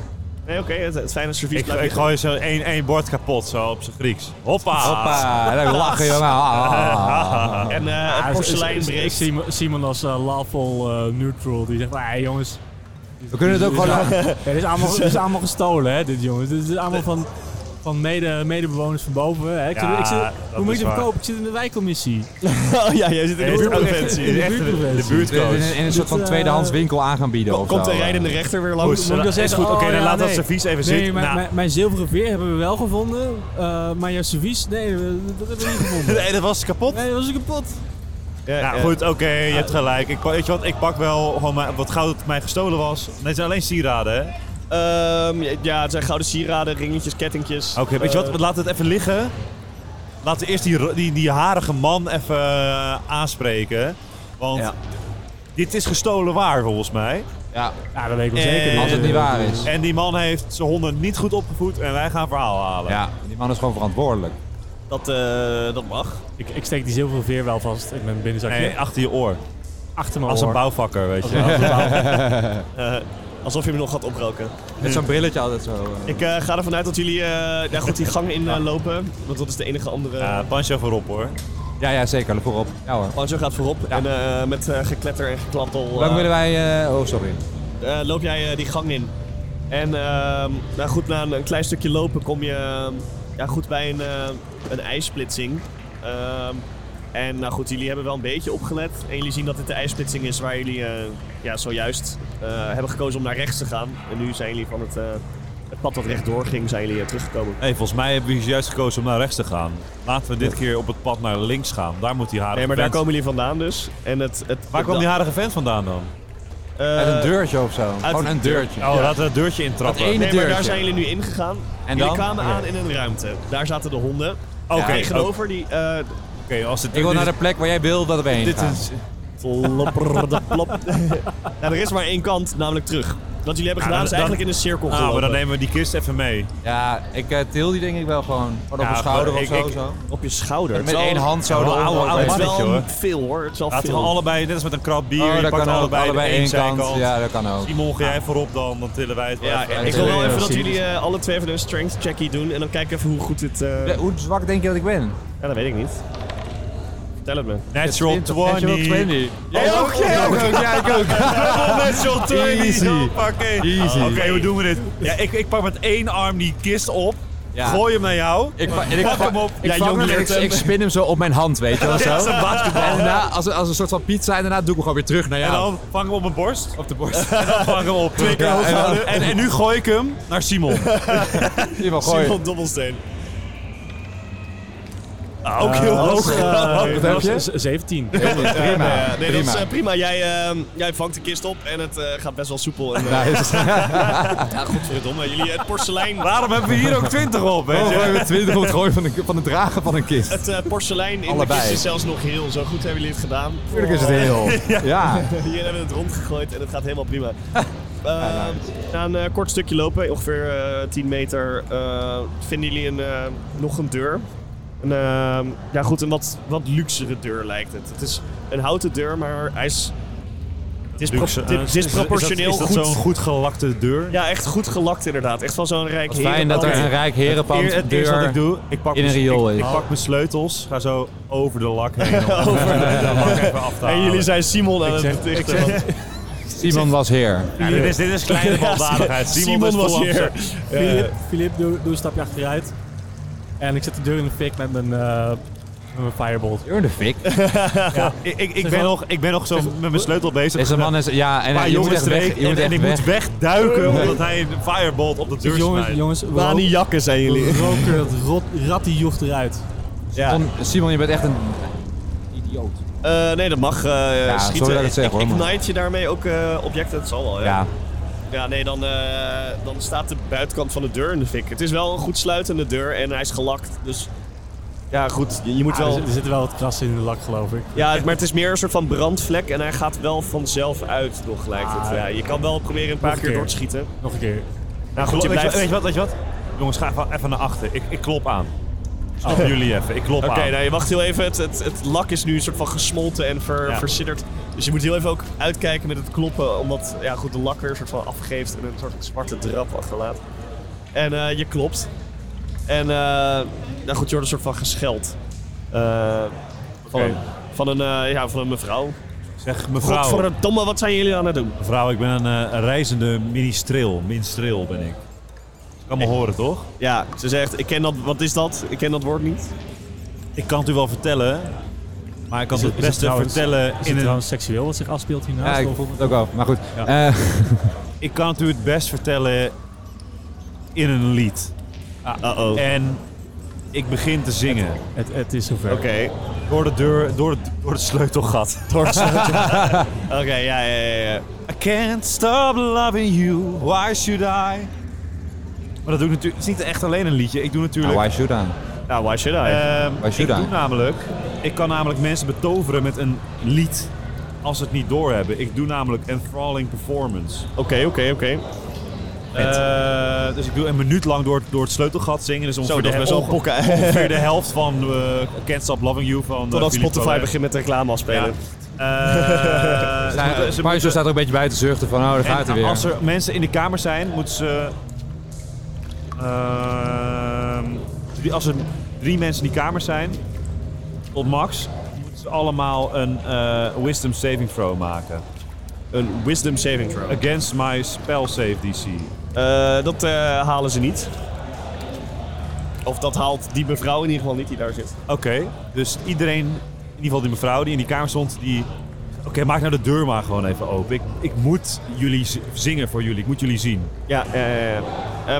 [SPEAKER 2] Nee, oké, het, het fijne servies
[SPEAKER 1] ik,
[SPEAKER 2] blijft
[SPEAKER 1] ik gooi zo één, één bord kapot, zo op zijn Grieks. Hoppa!
[SPEAKER 3] Hoppa, leuk lachen, jongen. Ah.
[SPEAKER 2] liggen. En eh, het porselein breekt.
[SPEAKER 4] Simon, Simon als eh, lawful eh, neutral, die zegt, hey, jongens.
[SPEAKER 3] We kunnen het ook gewoon lachen.
[SPEAKER 4] Ja, dit, is allemaal, dit is allemaal gestolen, hè, dit jongens. Dit is allemaal van, van mede, medebewoners van boven. Hè. Ik zit-
[SPEAKER 1] Ja,
[SPEAKER 4] ik zit-
[SPEAKER 1] dat
[SPEAKER 4] hoe moet
[SPEAKER 1] is
[SPEAKER 4] je het
[SPEAKER 1] waar.
[SPEAKER 4] verkopen? Ik zit in de wijkcommissie.
[SPEAKER 2] Oh ja, jij zit
[SPEAKER 1] Nee,
[SPEAKER 2] in de
[SPEAKER 1] dit is ook
[SPEAKER 2] buurt.
[SPEAKER 1] echt- dit is echt de, de
[SPEAKER 3] In, in-
[SPEAKER 1] buurtcoach.
[SPEAKER 3] in een soort van
[SPEAKER 4] Dit, eh,
[SPEAKER 3] tweedehands winkel aan gaan bieden of
[SPEAKER 2] Komt
[SPEAKER 3] zo.
[SPEAKER 2] de rijdende rechter weer
[SPEAKER 1] Goed,
[SPEAKER 2] langs?
[SPEAKER 1] zo,
[SPEAKER 4] ik dan
[SPEAKER 1] is
[SPEAKER 4] zeggen,
[SPEAKER 1] goed. Oké,
[SPEAKER 4] oh,
[SPEAKER 1] dan
[SPEAKER 4] ja,
[SPEAKER 1] laat dat
[SPEAKER 4] nee.
[SPEAKER 1] servies even
[SPEAKER 4] Nee,
[SPEAKER 1] zitten.
[SPEAKER 4] mijn,
[SPEAKER 1] Nou,
[SPEAKER 4] mijn, mijn zilveren veer hebben we wel gevonden, eh, maar jouw servies, nee, we- dat hebben we niet gevonden.
[SPEAKER 1] Nee, dat was kapot.
[SPEAKER 4] Nee, dat was kapot.
[SPEAKER 1] Nou
[SPEAKER 2] ja.
[SPEAKER 1] goed, oké, je hebt gelijk. Ik, weet je wat, ik pak wel gewoon mijn, wat goud dat mij gestolen was. Nee, het zijn alleen sieraden, hè? Oké,
[SPEAKER 2] Ehm, ja, ja, het zijn gouden sieraden, ringetjes, kettingjes.
[SPEAKER 1] weet je
[SPEAKER 2] Eh,
[SPEAKER 1] wat, laat het even liggen. Laten we eerst die, ro- die, die harige man even eh, aanspreken. Want
[SPEAKER 3] Ja.
[SPEAKER 1] dit is gestolen waar, volgens mij.
[SPEAKER 3] Ja,
[SPEAKER 4] Ja, dat weet ik wel
[SPEAKER 1] Eh,
[SPEAKER 4] zeker.
[SPEAKER 3] als het niet waar is.
[SPEAKER 1] En die man heeft zijn honden niet goed opgevoed en wij gaan verhaal halen.
[SPEAKER 3] Ja, die man is gewoon verantwoordelijk.
[SPEAKER 2] Dat, eh, dat mag.
[SPEAKER 4] Ik, ik steek die zilveren veer wel vast in mijn binnenzakje.
[SPEAKER 1] Nee, achter je oor.
[SPEAKER 4] achter mijn
[SPEAKER 1] Als een
[SPEAKER 4] oor.
[SPEAKER 1] bouwvakker, weet je.
[SPEAKER 2] Eh, alsof je hem nog gaat oproken.
[SPEAKER 3] Met zo'n brilletje altijd zo. eh.
[SPEAKER 2] Ik eh, ga ervan uit dat jullie eh, ja, goed die gang in eh, lopen. Want dat is de enige andere.
[SPEAKER 1] Ja, Pancho voorop hoor.
[SPEAKER 3] Ja, ja, zeker. Voorop. Ja hoor.
[SPEAKER 2] Pancho gaat voorop. En eh, met eh, gekletter en geklappel
[SPEAKER 3] Hoe lang
[SPEAKER 2] eh,
[SPEAKER 3] willen wij... eh, oh, sorry.
[SPEAKER 2] eh, loop jij eh, die gang in. En ehm, nou goed, na een, een klein stukje lopen kom je ehm, ja, goed bij een, eh, een ijssplitsing. Ehm, en nou goed, jullie hebben wel een beetje opgelet. En jullie zien dat dit de ijssplitsing is waar jullie eh, ja, zojuist eh, hebben gekozen om naar rechts te gaan. En nu zijn jullie van het, eh, het pad dat rechtdoor ging, zijn jullie eh, teruggekomen.
[SPEAKER 1] Hey, volgens mij hebben we juist gekozen om naar rechts te gaan. Laten we dit keer op het pad naar links gaan. Daar moet die harige
[SPEAKER 2] Nee, maar daar
[SPEAKER 1] vent-
[SPEAKER 2] komen jullie vandaan dus. En het, het,
[SPEAKER 1] Waar kwam die harige vent vandaan dan?
[SPEAKER 2] Eh,
[SPEAKER 3] Met een deurtje of zo. Gewoon
[SPEAKER 2] een
[SPEAKER 3] een
[SPEAKER 2] deur.
[SPEAKER 3] deurtje.
[SPEAKER 1] Oh, laten we het deurtje intrappen.
[SPEAKER 3] Dat
[SPEAKER 1] Oké,
[SPEAKER 3] ene-
[SPEAKER 2] Nee, maar daar
[SPEAKER 3] deurtje.
[SPEAKER 2] zijn jullie nu ingegaan. En jullie
[SPEAKER 3] dan?
[SPEAKER 2] kwamen aan in een ruimte. Daar zaten de honden.
[SPEAKER 1] Oh, Oké,
[SPEAKER 2] Ja, tegenover die... eh,
[SPEAKER 1] oké, als het
[SPEAKER 3] Ik wil naar de plek waar jij wil dat we heen
[SPEAKER 1] dit
[SPEAKER 3] gaan.
[SPEAKER 1] is,
[SPEAKER 2] Tlopper de plop. nou, er is maar één kant, namelijk terug. Wat jullie hebben
[SPEAKER 1] Ja,
[SPEAKER 2] gedaan
[SPEAKER 1] dan-
[SPEAKER 2] is eigenlijk in een cirkel
[SPEAKER 1] Ah, maar
[SPEAKER 2] gelopen.
[SPEAKER 1] dan nemen we die kist even mee.
[SPEAKER 3] Ja, ik eh, til deel die denk ik wel gewoon. Gewoon op
[SPEAKER 1] Ja,
[SPEAKER 3] mijn schouder of
[SPEAKER 1] ik-
[SPEAKER 3] zo.
[SPEAKER 1] ik-
[SPEAKER 3] zo.
[SPEAKER 2] Op je schouder. Het
[SPEAKER 3] Met
[SPEAKER 2] is wel-
[SPEAKER 3] één hand zo.
[SPEAKER 1] Ja,
[SPEAKER 3] de
[SPEAKER 1] wel
[SPEAKER 3] andere
[SPEAKER 1] oude-
[SPEAKER 3] hand.
[SPEAKER 1] oude
[SPEAKER 2] Het is
[SPEAKER 1] mannetje,
[SPEAKER 2] wel
[SPEAKER 1] hoor.
[SPEAKER 2] veel hoor. Het is wel
[SPEAKER 1] Laten we
[SPEAKER 2] veel.
[SPEAKER 1] allebei, net als met een krat bier,
[SPEAKER 3] Oh,
[SPEAKER 1] je
[SPEAKER 3] dat
[SPEAKER 1] pakt
[SPEAKER 3] Oh, kan ook.
[SPEAKER 1] allebei,
[SPEAKER 3] Allebei
[SPEAKER 1] de
[SPEAKER 3] één
[SPEAKER 1] zijkant.
[SPEAKER 3] kant. Ja, dat kan ook.
[SPEAKER 1] Simon, ga jij voorop dan, dan tillen wij het wel
[SPEAKER 2] Ja,
[SPEAKER 1] even
[SPEAKER 2] ik
[SPEAKER 1] uit.
[SPEAKER 2] wil wel
[SPEAKER 4] Ja,
[SPEAKER 2] even dat
[SPEAKER 4] precies.
[SPEAKER 2] jullie eh, alle twee even een strength checkie doen. En dan kijken even hoe goed dit... eh,
[SPEAKER 3] De- Hoe zwak denk je dat ik ben?
[SPEAKER 2] Ja, dat weet ik niet. Vertel het me.
[SPEAKER 1] Natural 20.
[SPEAKER 3] Jij ook, jij ook. Jij ook.
[SPEAKER 1] Natural 20.
[SPEAKER 4] Easy.
[SPEAKER 1] Hoppakee. Ah,
[SPEAKER 4] Easy.
[SPEAKER 1] Oké, hoe doen we dit? Ja, ik, ik pak met één arm die kist op,
[SPEAKER 3] Ja.
[SPEAKER 1] gooi hem naar jou.
[SPEAKER 3] Ik, pa- en ik,
[SPEAKER 1] Pak
[SPEAKER 3] va-
[SPEAKER 1] hem op.
[SPEAKER 3] Ik,
[SPEAKER 1] Ja,
[SPEAKER 3] vang
[SPEAKER 1] jong
[SPEAKER 3] hem en ik,
[SPEAKER 1] leert hem.
[SPEAKER 3] ik spin hem zo op mijn hand, weet je wel zo.
[SPEAKER 1] Ja, dat is een basketbal.
[SPEAKER 3] En daarna, als, een- als een soort van pizza, en daarna doe ik hem gewoon weer terug naar
[SPEAKER 1] En
[SPEAKER 3] jou.
[SPEAKER 1] dan vang hem op mijn borst.
[SPEAKER 3] op de borst.
[SPEAKER 1] En dan vang hem op. Twee keer
[SPEAKER 3] Ja, en dan-
[SPEAKER 1] hoofdhouden. en, en nu gooi ik hem naar Simon.
[SPEAKER 3] Iemand gooien.
[SPEAKER 2] Simon Dobbelsteen.
[SPEAKER 1] Ah, ook heel hoog. eh,
[SPEAKER 3] Wat heb je?
[SPEAKER 4] Z- 17.
[SPEAKER 3] Prima.
[SPEAKER 2] Ja, nee, dat
[SPEAKER 3] prima.
[SPEAKER 2] is eh, prima. Jij, eh, jij vangt de kist op en het eh, gaat best wel soepel. En, eh,
[SPEAKER 3] Nou, Nice.
[SPEAKER 2] ja, godverdomme. Jullie, het porselein,
[SPEAKER 1] Waarom hebben we hier ook 20 op? Weet
[SPEAKER 3] Oh,
[SPEAKER 1] je?
[SPEAKER 3] gooi met 20 op het gooien van, de, van het dragen van een kist.
[SPEAKER 2] het eh, porselein in
[SPEAKER 3] Allebei.
[SPEAKER 2] de kist is zelfs nog heel. Zo goed hebben jullie het gedaan. Oh.
[SPEAKER 3] Natuurlijk is het heel. Ja.
[SPEAKER 2] Hier hebben we het rondgegooid en het gaat helemaal prima. Eh, na een eh, kort stukje lopen, ongeveer eh 10 meter, eh, vinden jullie een, eh, nog een deur. Een, eh, ja goed, een wat, wat luxere deur lijkt het. Het is een houten deur, maar hij is... Het is, pro-
[SPEAKER 1] Luxe, eh,
[SPEAKER 2] dit-
[SPEAKER 1] is- is-
[SPEAKER 2] disproportioneel
[SPEAKER 1] is dat, is
[SPEAKER 2] goed.
[SPEAKER 1] dat zo'n goed gelakte deur?
[SPEAKER 2] Ja, echt goed gelakt inderdaad. Echt van zo'n rijk Oh,
[SPEAKER 3] Fijn dat er een rijk
[SPEAKER 1] Eer-
[SPEAKER 3] herenpand
[SPEAKER 1] het eerste wat ik
[SPEAKER 3] deur...
[SPEAKER 1] doe, ik pak,
[SPEAKER 3] in een
[SPEAKER 1] mijn-
[SPEAKER 3] riool
[SPEAKER 1] ik,
[SPEAKER 3] is.
[SPEAKER 1] ik pak mijn sleutels, ga zo over de lak heen. om de lak even af te
[SPEAKER 2] En
[SPEAKER 1] halen.
[SPEAKER 2] jullie zijn Simon aan het dichten.
[SPEAKER 3] Simon was heer.
[SPEAKER 1] Ja, dit, is, dit is kleine baldadigheid. Simon,
[SPEAKER 2] Simon
[SPEAKER 1] is
[SPEAKER 2] was
[SPEAKER 1] volop-
[SPEAKER 2] hier.
[SPEAKER 4] Filip, Filip doe, doe een stapje achteruit. En ik zet de deur in de fik met mijn, eh, met mijn firebolt.
[SPEAKER 3] You're in the fik.
[SPEAKER 1] Ik, ik, ik, ben nog, ik ben nog zo met mijn sleutel bezig.
[SPEAKER 3] Deze man is... Ja, en
[SPEAKER 1] Een paar
[SPEAKER 3] je moet
[SPEAKER 1] jongens
[SPEAKER 3] echt weg.
[SPEAKER 1] streek
[SPEAKER 3] Je moet
[SPEAKER 1] en, en
[SPEAKER 3] echt
[SPEAKER 1] ik moet
[SPEAKER 3] weg.
[SPEAKER 1] wegduiken omdat hij een firebolt op de deur
[SPEAKER 4] Jongens,
[SPEAKER 1] smijt.
[SPEAKER 4] jongens, we
[SPEAKER 2] Wani
[SPEAKER 4] roken-
[SPEAKER 2] jakken zijn
[SPEAKER 4] we
[SPEAKER 2] jullie.
[SPEAKER 4] roken dat rot, rat die joeg eruit.
[SPEAKER 1] Ah,
[SPEAKER 2] Ja.
[SPEAKER 3] Ton- Simon, je bent echt een... Idioot.
[SPEAKER 2] Eh, nee, dat mag eh, schieten.
[SPEAKER 3] sorry dat ik het zeg,
[SPEAKER 2] ik,
[SPEAKER 3] hoor, maar-
[SPEAKER 2] ignite je daarmee ook eh, objecten, dat zal wel. hè?
[SPEAKER 3] Ja.
[SPEAKER 2] Ja, nee, dan, eh, dan staat de buitenkant van de deur in de fik. Het is wel een goed sluitende deur en hij is gelakt, dus... Ja, goed, je, je moet
[SPEAKER 4] Ah, er,
[SPEAKER 2] wel...
[SPEAKER 1] dus
[SPEAKER 4] zi- er zitten wel wat krassen in de lak, geloof ik.
[SPEAKER 2] Ja, maar het is meer een soort van brandvlek en hij gaat wel vanzelf uit, nog lijkt het. Ja, je kan wel proberen een paar
[SPEAKER 4] Ah. Nog
[SPEAKER 2] keer
[SPEAKER 4] een keer.
[SPEAKER 2] door te schieten.
[SPEAKER 4] Nog een keer.
[SPEAKER 2] Nou goed, je
[SPEAKER 1] Weet je wat-
[SPEAKER 2] blijft...
[SPEAKER 1] Weet je wat, weet je wat? Jongens, ga even- even naar achter. Ik, ik klop aan. Snappen jullie even. Ik klop
[SPEAKER 2] Oké,
[SPEAKER 1] aan.
[SPEAKER 2] nou je wacht heel even. Het, het, het lak is nu een soort van gesmolten en ver,
[SPEAKER 1] Ja.
[SPEAKER 2] versidderd. Dus je moet heel even ook uitkijken met het kloppen. Omdat ja, goed, de lak weer een soort van afgeeft en een soort zwarte drap achterlaat. En eh, je klopt. En eh, nou goed, je wordt een soort van gescheld. Eh, van,
[SPEAKER 1] Oké.
[SPEAKER 2] een, van, een, eh, ja, van een mevrouw.
[SPEAKER 1] Zeg mevrouw.
[SPEAKER 2] Godverdomme, wat zijn jullie aan het doen?
[SPEAKER 1] Mevrouw, ik ben een eh, een reizende ministreel. Minstreel ben ik. Kan me horen, toch?
[SPEAKER 2] Ja, ze zegt, ik ken dat, wat is dat? Ik ken dat woord niet.
[SPEAKER 1] Ik kan het u wel vertellen, maar ik kan
[SPEAKER 4] Is
[SPEAKER 1] het,
[SPEAKER 4] het- is
[SPEAKER 1] beste
[SPEAKER 4] het trouwens-
[SPEAKER 1] vertellen
[SPEAKER 4] Is
[SPEAKER 1] in
[SPEAKER 4] het
[SPEAKER 1] een,
[SPEAKER 4] trouwens seksueel wat zich afspeelt
[SPEAKER 3] Ja,
[SPEAKER 4] hiernaast?
[SPEAKER 3] ik
[SPEAKER 4] Of-
[SPEAKER 3] vond het ook wel. Maar goed.
[SPEAKER 1] Ja.
[SPEAKER 3] Eh,
[SPEAKER 1] ik kan het u het best vertellen in een lied.
[SPEAKER 2] Uh-oh. Oké.
[SPEAKER 1] En ik begin te zingen
[SPEAKER 4] het, het is zover.
[SPEAKER 1] door de deur, door het, door het sleutelgat.
[SPEAKER 2] Oké, ja, ja, ja, ja.
[SPEAKER 1] I can't stop loving you, why should I? Maar dat doe ik natuurlijk, het is niet echt alleen een liedje. Ik doe natuurlijk,
[SPEAKER 3] why should I?
[SPEAKER 2] Nou, why should I?
[SPEAKER 1] ehm,
[SPEAKER 3] why
[SPEAKER 1] ik
[SPEAKER 3] should I?
[SPEAKER 1] doe namelijk, ik kan namelijk mensen betoveren met een lied als ze het niet doorhebben. Ik doe namelijk enthralling performance.
[SPEAKER 2] Oké, oké, oké.
[SPEAKER 1] Eh, dus ik doe een minuut lang door, het- door het sleutelgat zingen. Dus ongeveer,
[SPEAKER 2] Zo, dat
[SPEAKER 1] de,
[SPEAKER 2] is best
[SPEAKER 1] hel-
[SPEAKER 2] wel pokken.
[SPEAKER 1] ongeveer de helft van eh Can't Stop Loving You van eh,
[SPEAKER 2] Totdat
[SPEAKER 1] Philippe
[SPEAKER 2] Spotify
[SPEAKER 1] Collin.
[SPEAKER 2] begint met reclame afspelen.
[SPEAKER 1] Ja. Eh, ze
[SPEAKER 3] Nou,
[SPEAKER 1] moeten- ze
[SPEAKER 3] Pancho
[SPEAKER 1] moeten-
[SPEAKER 3] staat er een beetje buiten zuchten van, oh, daar gaat hij
[SPEAKER 1] en
[SPEAKER 3] weer.
[SPEAKER 1] als er mensen in de kamer zijn, moeten ze... ehm, drie- als er drie mensen in die kamer zijn, tot max, moeten ze allemaal een eh, wisdom saving throw maken.
[SPEAKER 2] Een wisdom saving throw.
[SPEAKER 1] Against my spell save DC.
[SPEAKER 2] Eh, dat eh, halen ze niet. Of dat haalt die mevrouw in ieder geval niet die daar zit.
[SPEAKER 1] Oké, dus iedereen, in ieder geval die mevrouw die in die kamer stond, die... Oké, maak nou de deur maar gewoon even open. Ik, ik moet jullie z- zingen voor jullie. Ik moet jullie zien.
[SPEAKER 2] Ja, eh, eh,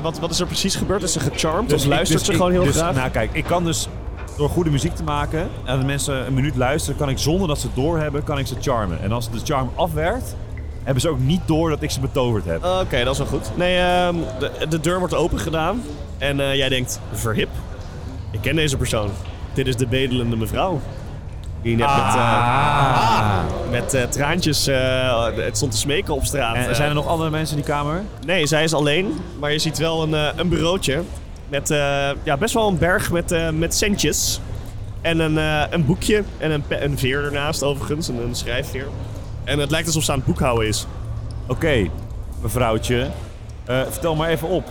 [SPEAKER 2] wat, wat is er precies gebeurd? Is ze gecharmed of
[SPEAKER 1] ik-
[SPEAKER 2] luistert
[SPEAKER 1] dus
[SPEAKER 2] ze
[SPEAKER 1] ik-
[SPEAKER 2] gewoon heel
[SPEAKER 1] dus,
[SPEAKER 2] graag?
[SPEAKER 1] Nou kijk, ik kan dus door goede muziek te maken en de mensen een minuut luisteren, kan ik zonder dat ze het doorhebben, kan ik ze charmen. En als de charm afwerkt, hebben ze ook niet door dat ik ze betoverd heb.
[SPEAKER 2] Eh, Oké, dat is wel goed. Nee, ehm, de, de deur wordt open gedaan. En eh, jij denkt, verhip. Ik ken deze persoon. Dit is de bedelende mevrouw. Die net met, eh,
[SPEAKER 3] Ah.
[SPEAKER 2] met eh, traantjes eh, het stond te smeken op straat.
[SPEAKER 1] En
[SPEAKER 2] eh.
[SPEAKER 1] zijn er nog andere mensen in die kamer?
[SPEAKER 2] Nee, zij is alleen. Maar je ziet wel een, eh, een bureautje. Met eh, ja, best wel een berg met, eh, met centjes. En een, eh, een boekje. En een, pe- een veer ernaast overigens. Een, een schrijfveer. En het lijkt alsof ze aan het boekhouden is.
[SPEAKER 1] Oké, mevrouwtje. eh, vertel maar even op.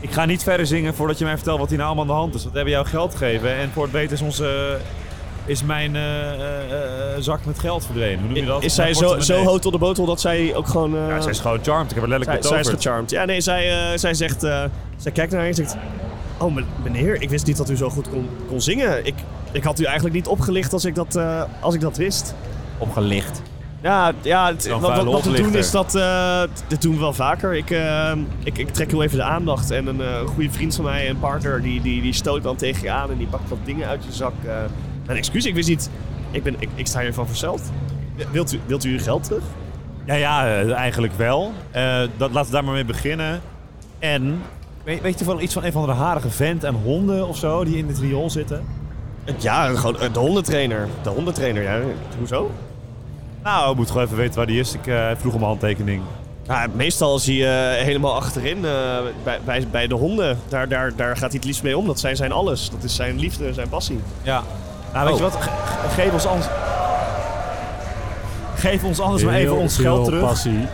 [SPEAKER 1] Ik ga niet verder zingen voordat je mij vertelt wat hier nou allemaal aan de hand is. Want we hebben jou geld gegeven en voor het weten is onze... Is mijn eh, eh, eh, zak met geld verdwenen? Hoe noem je dat?
[SPEAKER 2] Is zij
[SPEAKER 1] Mijn
[SPEAKER 2] zo, zo
[SPEAKER 1] portemonnee.
[SPEAKER 2] hoog tot de botel dat zij ook gewoon... eh,
[SPEAKER 1] Ja, zij is gewoon charmed. Ik heb haar
[SPEAKER 2] zij,
[SPEAKER 1] letterlijk
[SPEAKER 2] zij is
[SPEAKER 1] betoverd.
[SPEAKER 2] gecharmed. Ja, nee, zij, eh, zij zegt... eh, zij kijkt naar haar en zegt... Oh, men- meneer, ik wist niet dat u zo goed kon, kon zingen. Ik, ik had u eigenlijk niet opgelicht als ik dat, eh, als ik dat wist.
[SPEAKER 3] Opgelicht.
[SPEAKER 2] Ja, ja het-
[SPEAKER 1] Zo'n
[SPEAKER 2] wat, wat,
[SPEAKER 1] vuile
[SPEAKER 2] wat we doen
[SPEAKER 1] oplichter.
[SPEAKER 2] is dat... eh, dit doen we wel vaker. Ik, eh, ik, ik trek heel even de aandacht. En een eh, goede vriend van mij, een partner, die, die, die stoot dan tegen je aan... en die pakt wat dingen uit je zak. eh mijn excuus, ik wist niet... Ik, ben, ik, ik sta hiervan verzeld. Wilt u, wilt u uw geld terug?
[SPEAKER 1] Ja, ja, eh, eigenlijk wel. Eh, dat, laten we daar maar mee beginnen. En, weet, weet je wel iets van een van de harige vent en honden of zo die in het riool zitten?
[SPEAKER 2] Ja, gewoon eh, de hondentrainer. De hondentrainer, ja. Hoezo?
[SPEAKER 1] Nou, ik moet gewoon even weten waar die is. Ik eh, vroeg om een handtekening.
[SPEAKER 2] Ja, meestal is hij eh, helemaal achterin eh, bij, bij, bij de honden. Daar, daar, daar gaat hij het liefst mee om. Dat zijn zijn alles. Dat is zijn liefde, zijn passie.
[SPEAKER 1] Ja. Nou, weet
[SPEAKER 2] Oh.
[SPEAKER 1] je wat? Ge- ge- geef ons anders... Geef ons anders maar even
[SPEAKER 4] Heel
[SPEAKER 1] ons
[SPEAKER 4] veel
[SPEAKER 1] geld terug.
[SPEAKER 4] passie.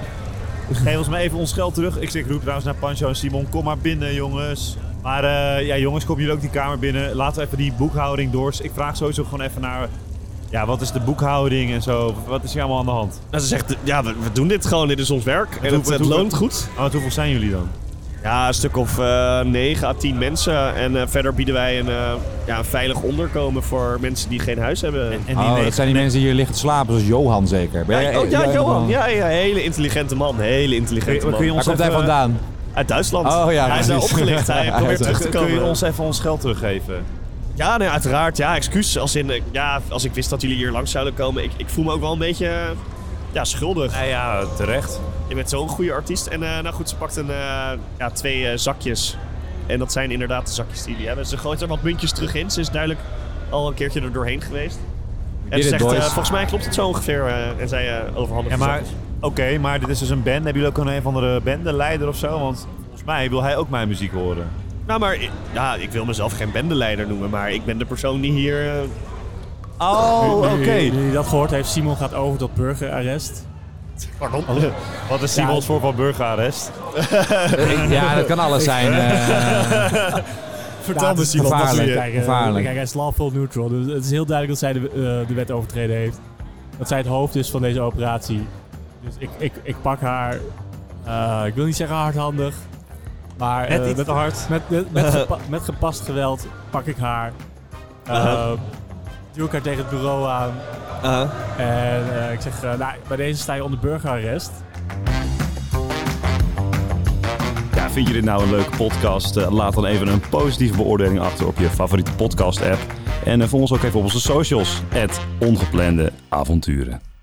[SPEAKER 1] Geef ons maar even ons geld terug. Ik zeg, roep trouwens naar Pancho en Simon. Kom maar binnen, jongens. Maar eh, ja, jongens, kom jullie ook die kamer binnen. Laten we even die boekhouding door. Ik vraag sowieso gewoon even naar... Ja, wat is de boekhouding en zo? Wat is hier allemaal aan de hand?
[SPEAKER 2] Nou, ze zegt, ja, we, we doen dit gewoon. Dit is ons werk. En
[SPEAKER 1] doen-
[SPEAKER 2] het,
[SPEAKER 1] wat
[SPEAKER 2] het
[SPEAKER 1] doen we?
[SPEAKER 2] loont goed.
[SPEAKER 1] Oh, want hoeveel zijn jullie dan?
[SPEAKER 2] Ja, een stuk of eh 9 à 10 mensen. En eh, verder bieden wij een, eh, ja, een veilig onderkomen voor mensen die geen huis hebben.
[SPEAKER 1] En
[SPEAKER 3] Oh, dat zijn die mensen die hier liggen te slapen, zoals Johan zeker. Ben
[SPEAKER 2] Ja,
[SPEAKER 3] jij-
[SPEAKER 2] oh ja,
[SPEAKER 3] jij-
[SPEAKER 2] Johan. Ja, ja, hele intelligente man. Hele intelligente
[SPEAKER 1] Kun je
[SPEAKER 2] man.
[SPEAKER 1] ons
[SPEAKER 3] Waar komt hij
[SPEAKER 1] even-
[SPEAKER 3] vandaan?
[SPEAKER 2] Uit Duitsland.
[SPEAKER 3] Oh ja,
[SPEAKER 2] hij is daar
[SPEAKER 3] precies.
[SPEAKER 2] opgelicht. Hij
[SPEAKER 3] Ja,
[SPEAKER 2] probeert
[SPEAKER 3] zo.
[SPEAKER 2] terug te komen.
[SPEAKER 1] Kun je ons even ons geld teruggeven?
[SPEAKER 2] Ja, nee, uiteraard. Ja, excuus. Als, in, eh, ja, als ik wist dat jullie hier langs zouden komen. Ik, ik voel me ook wel een beetje eh, ja, schuldig.
[SPEAKER 1] Nou ja, terecht.
[SPEAKER 2] Je bent zo'n goede artiest. En eh, nou goed, ze pakt een, eh, ja, twee eh, zakjes. En dat zijn inderdaad de zakjes die jullie hebben. Ze gooit er wat muntjes terug in. Ze is duidelijk al een keertje er doorheen geweest. En
[SPEAKER 3] it,
[SPEAKER 2] ze zegt, eh,
[SPEAKER 3] boys.
[SPEAKER 2] volgens mij klopt het zo ongeveer. eh, en zij eh overhandigt
[SPEAKER 1] Ja, maar
[SPEAKER 2] de zakjes.
[SPEAKER 1] oké, maar dit is dus een band. Hebben jullie ook een, een of andere bendeleider of zo? Want volgens mij wil hij ook mijn muziek horen.
[SPEAKER 2] Nou, maar ik- ja, ik wil mezelf geen bendeleider noemen. Maar ik ben de persoon die hier... eh,
[SPEAKER 1] Oh,
[SPEAKER 4] Nu- Nu je dat gehoord heeft, Simon gaat over tot burgerarrest.
[SPEAKER 2] pardon.
[SPEAKER 1] Wat is Simons voor van burgerarrest? eh,
[SPEAKER 3] Ja, dat kan alles zijn. eh,
[SPEAKER 2] Vertel
[SPEAKER 4] Ja,
[SPEAKER 2] me,
[SPEAKER 4] het is
[SPEAKER 2] Simon, wat doe
[SPEAKER 3] gevaarlijk.
[SPEAKER 2] je?
[SPEAKER 4] Kijk, eh,
[SPEAKER 3] Gevaarlijk.
[SPEAKER 4] kijk, hij is lawful neutral. Dus het is heel duidelijk dat zij de, eh, de wet overtreden heeft. Dat zij het hoofd is van deze operatie. Dus ik, ik, ik pak haar. eh, ik wil niet zeggen hardhandig. Maar eh, met,
[SPEAKER 1] hard.
[SPEAKER 4] met, met, met gepa- met gepast geweld pak ik haar. Eh duw ik haar tegen het bureau aan. En eh, ik zeg, eh, nou, bij deze sta je onder burgerarrest.
[SPEAKER 1] Ja, vind je dit nou een leuke podcast? Eh, Laat dan even een positieve beoordeling achter op je favoriete podcast app. En eh, volg ons ook even op onze socials. Het ongeplande avonturen.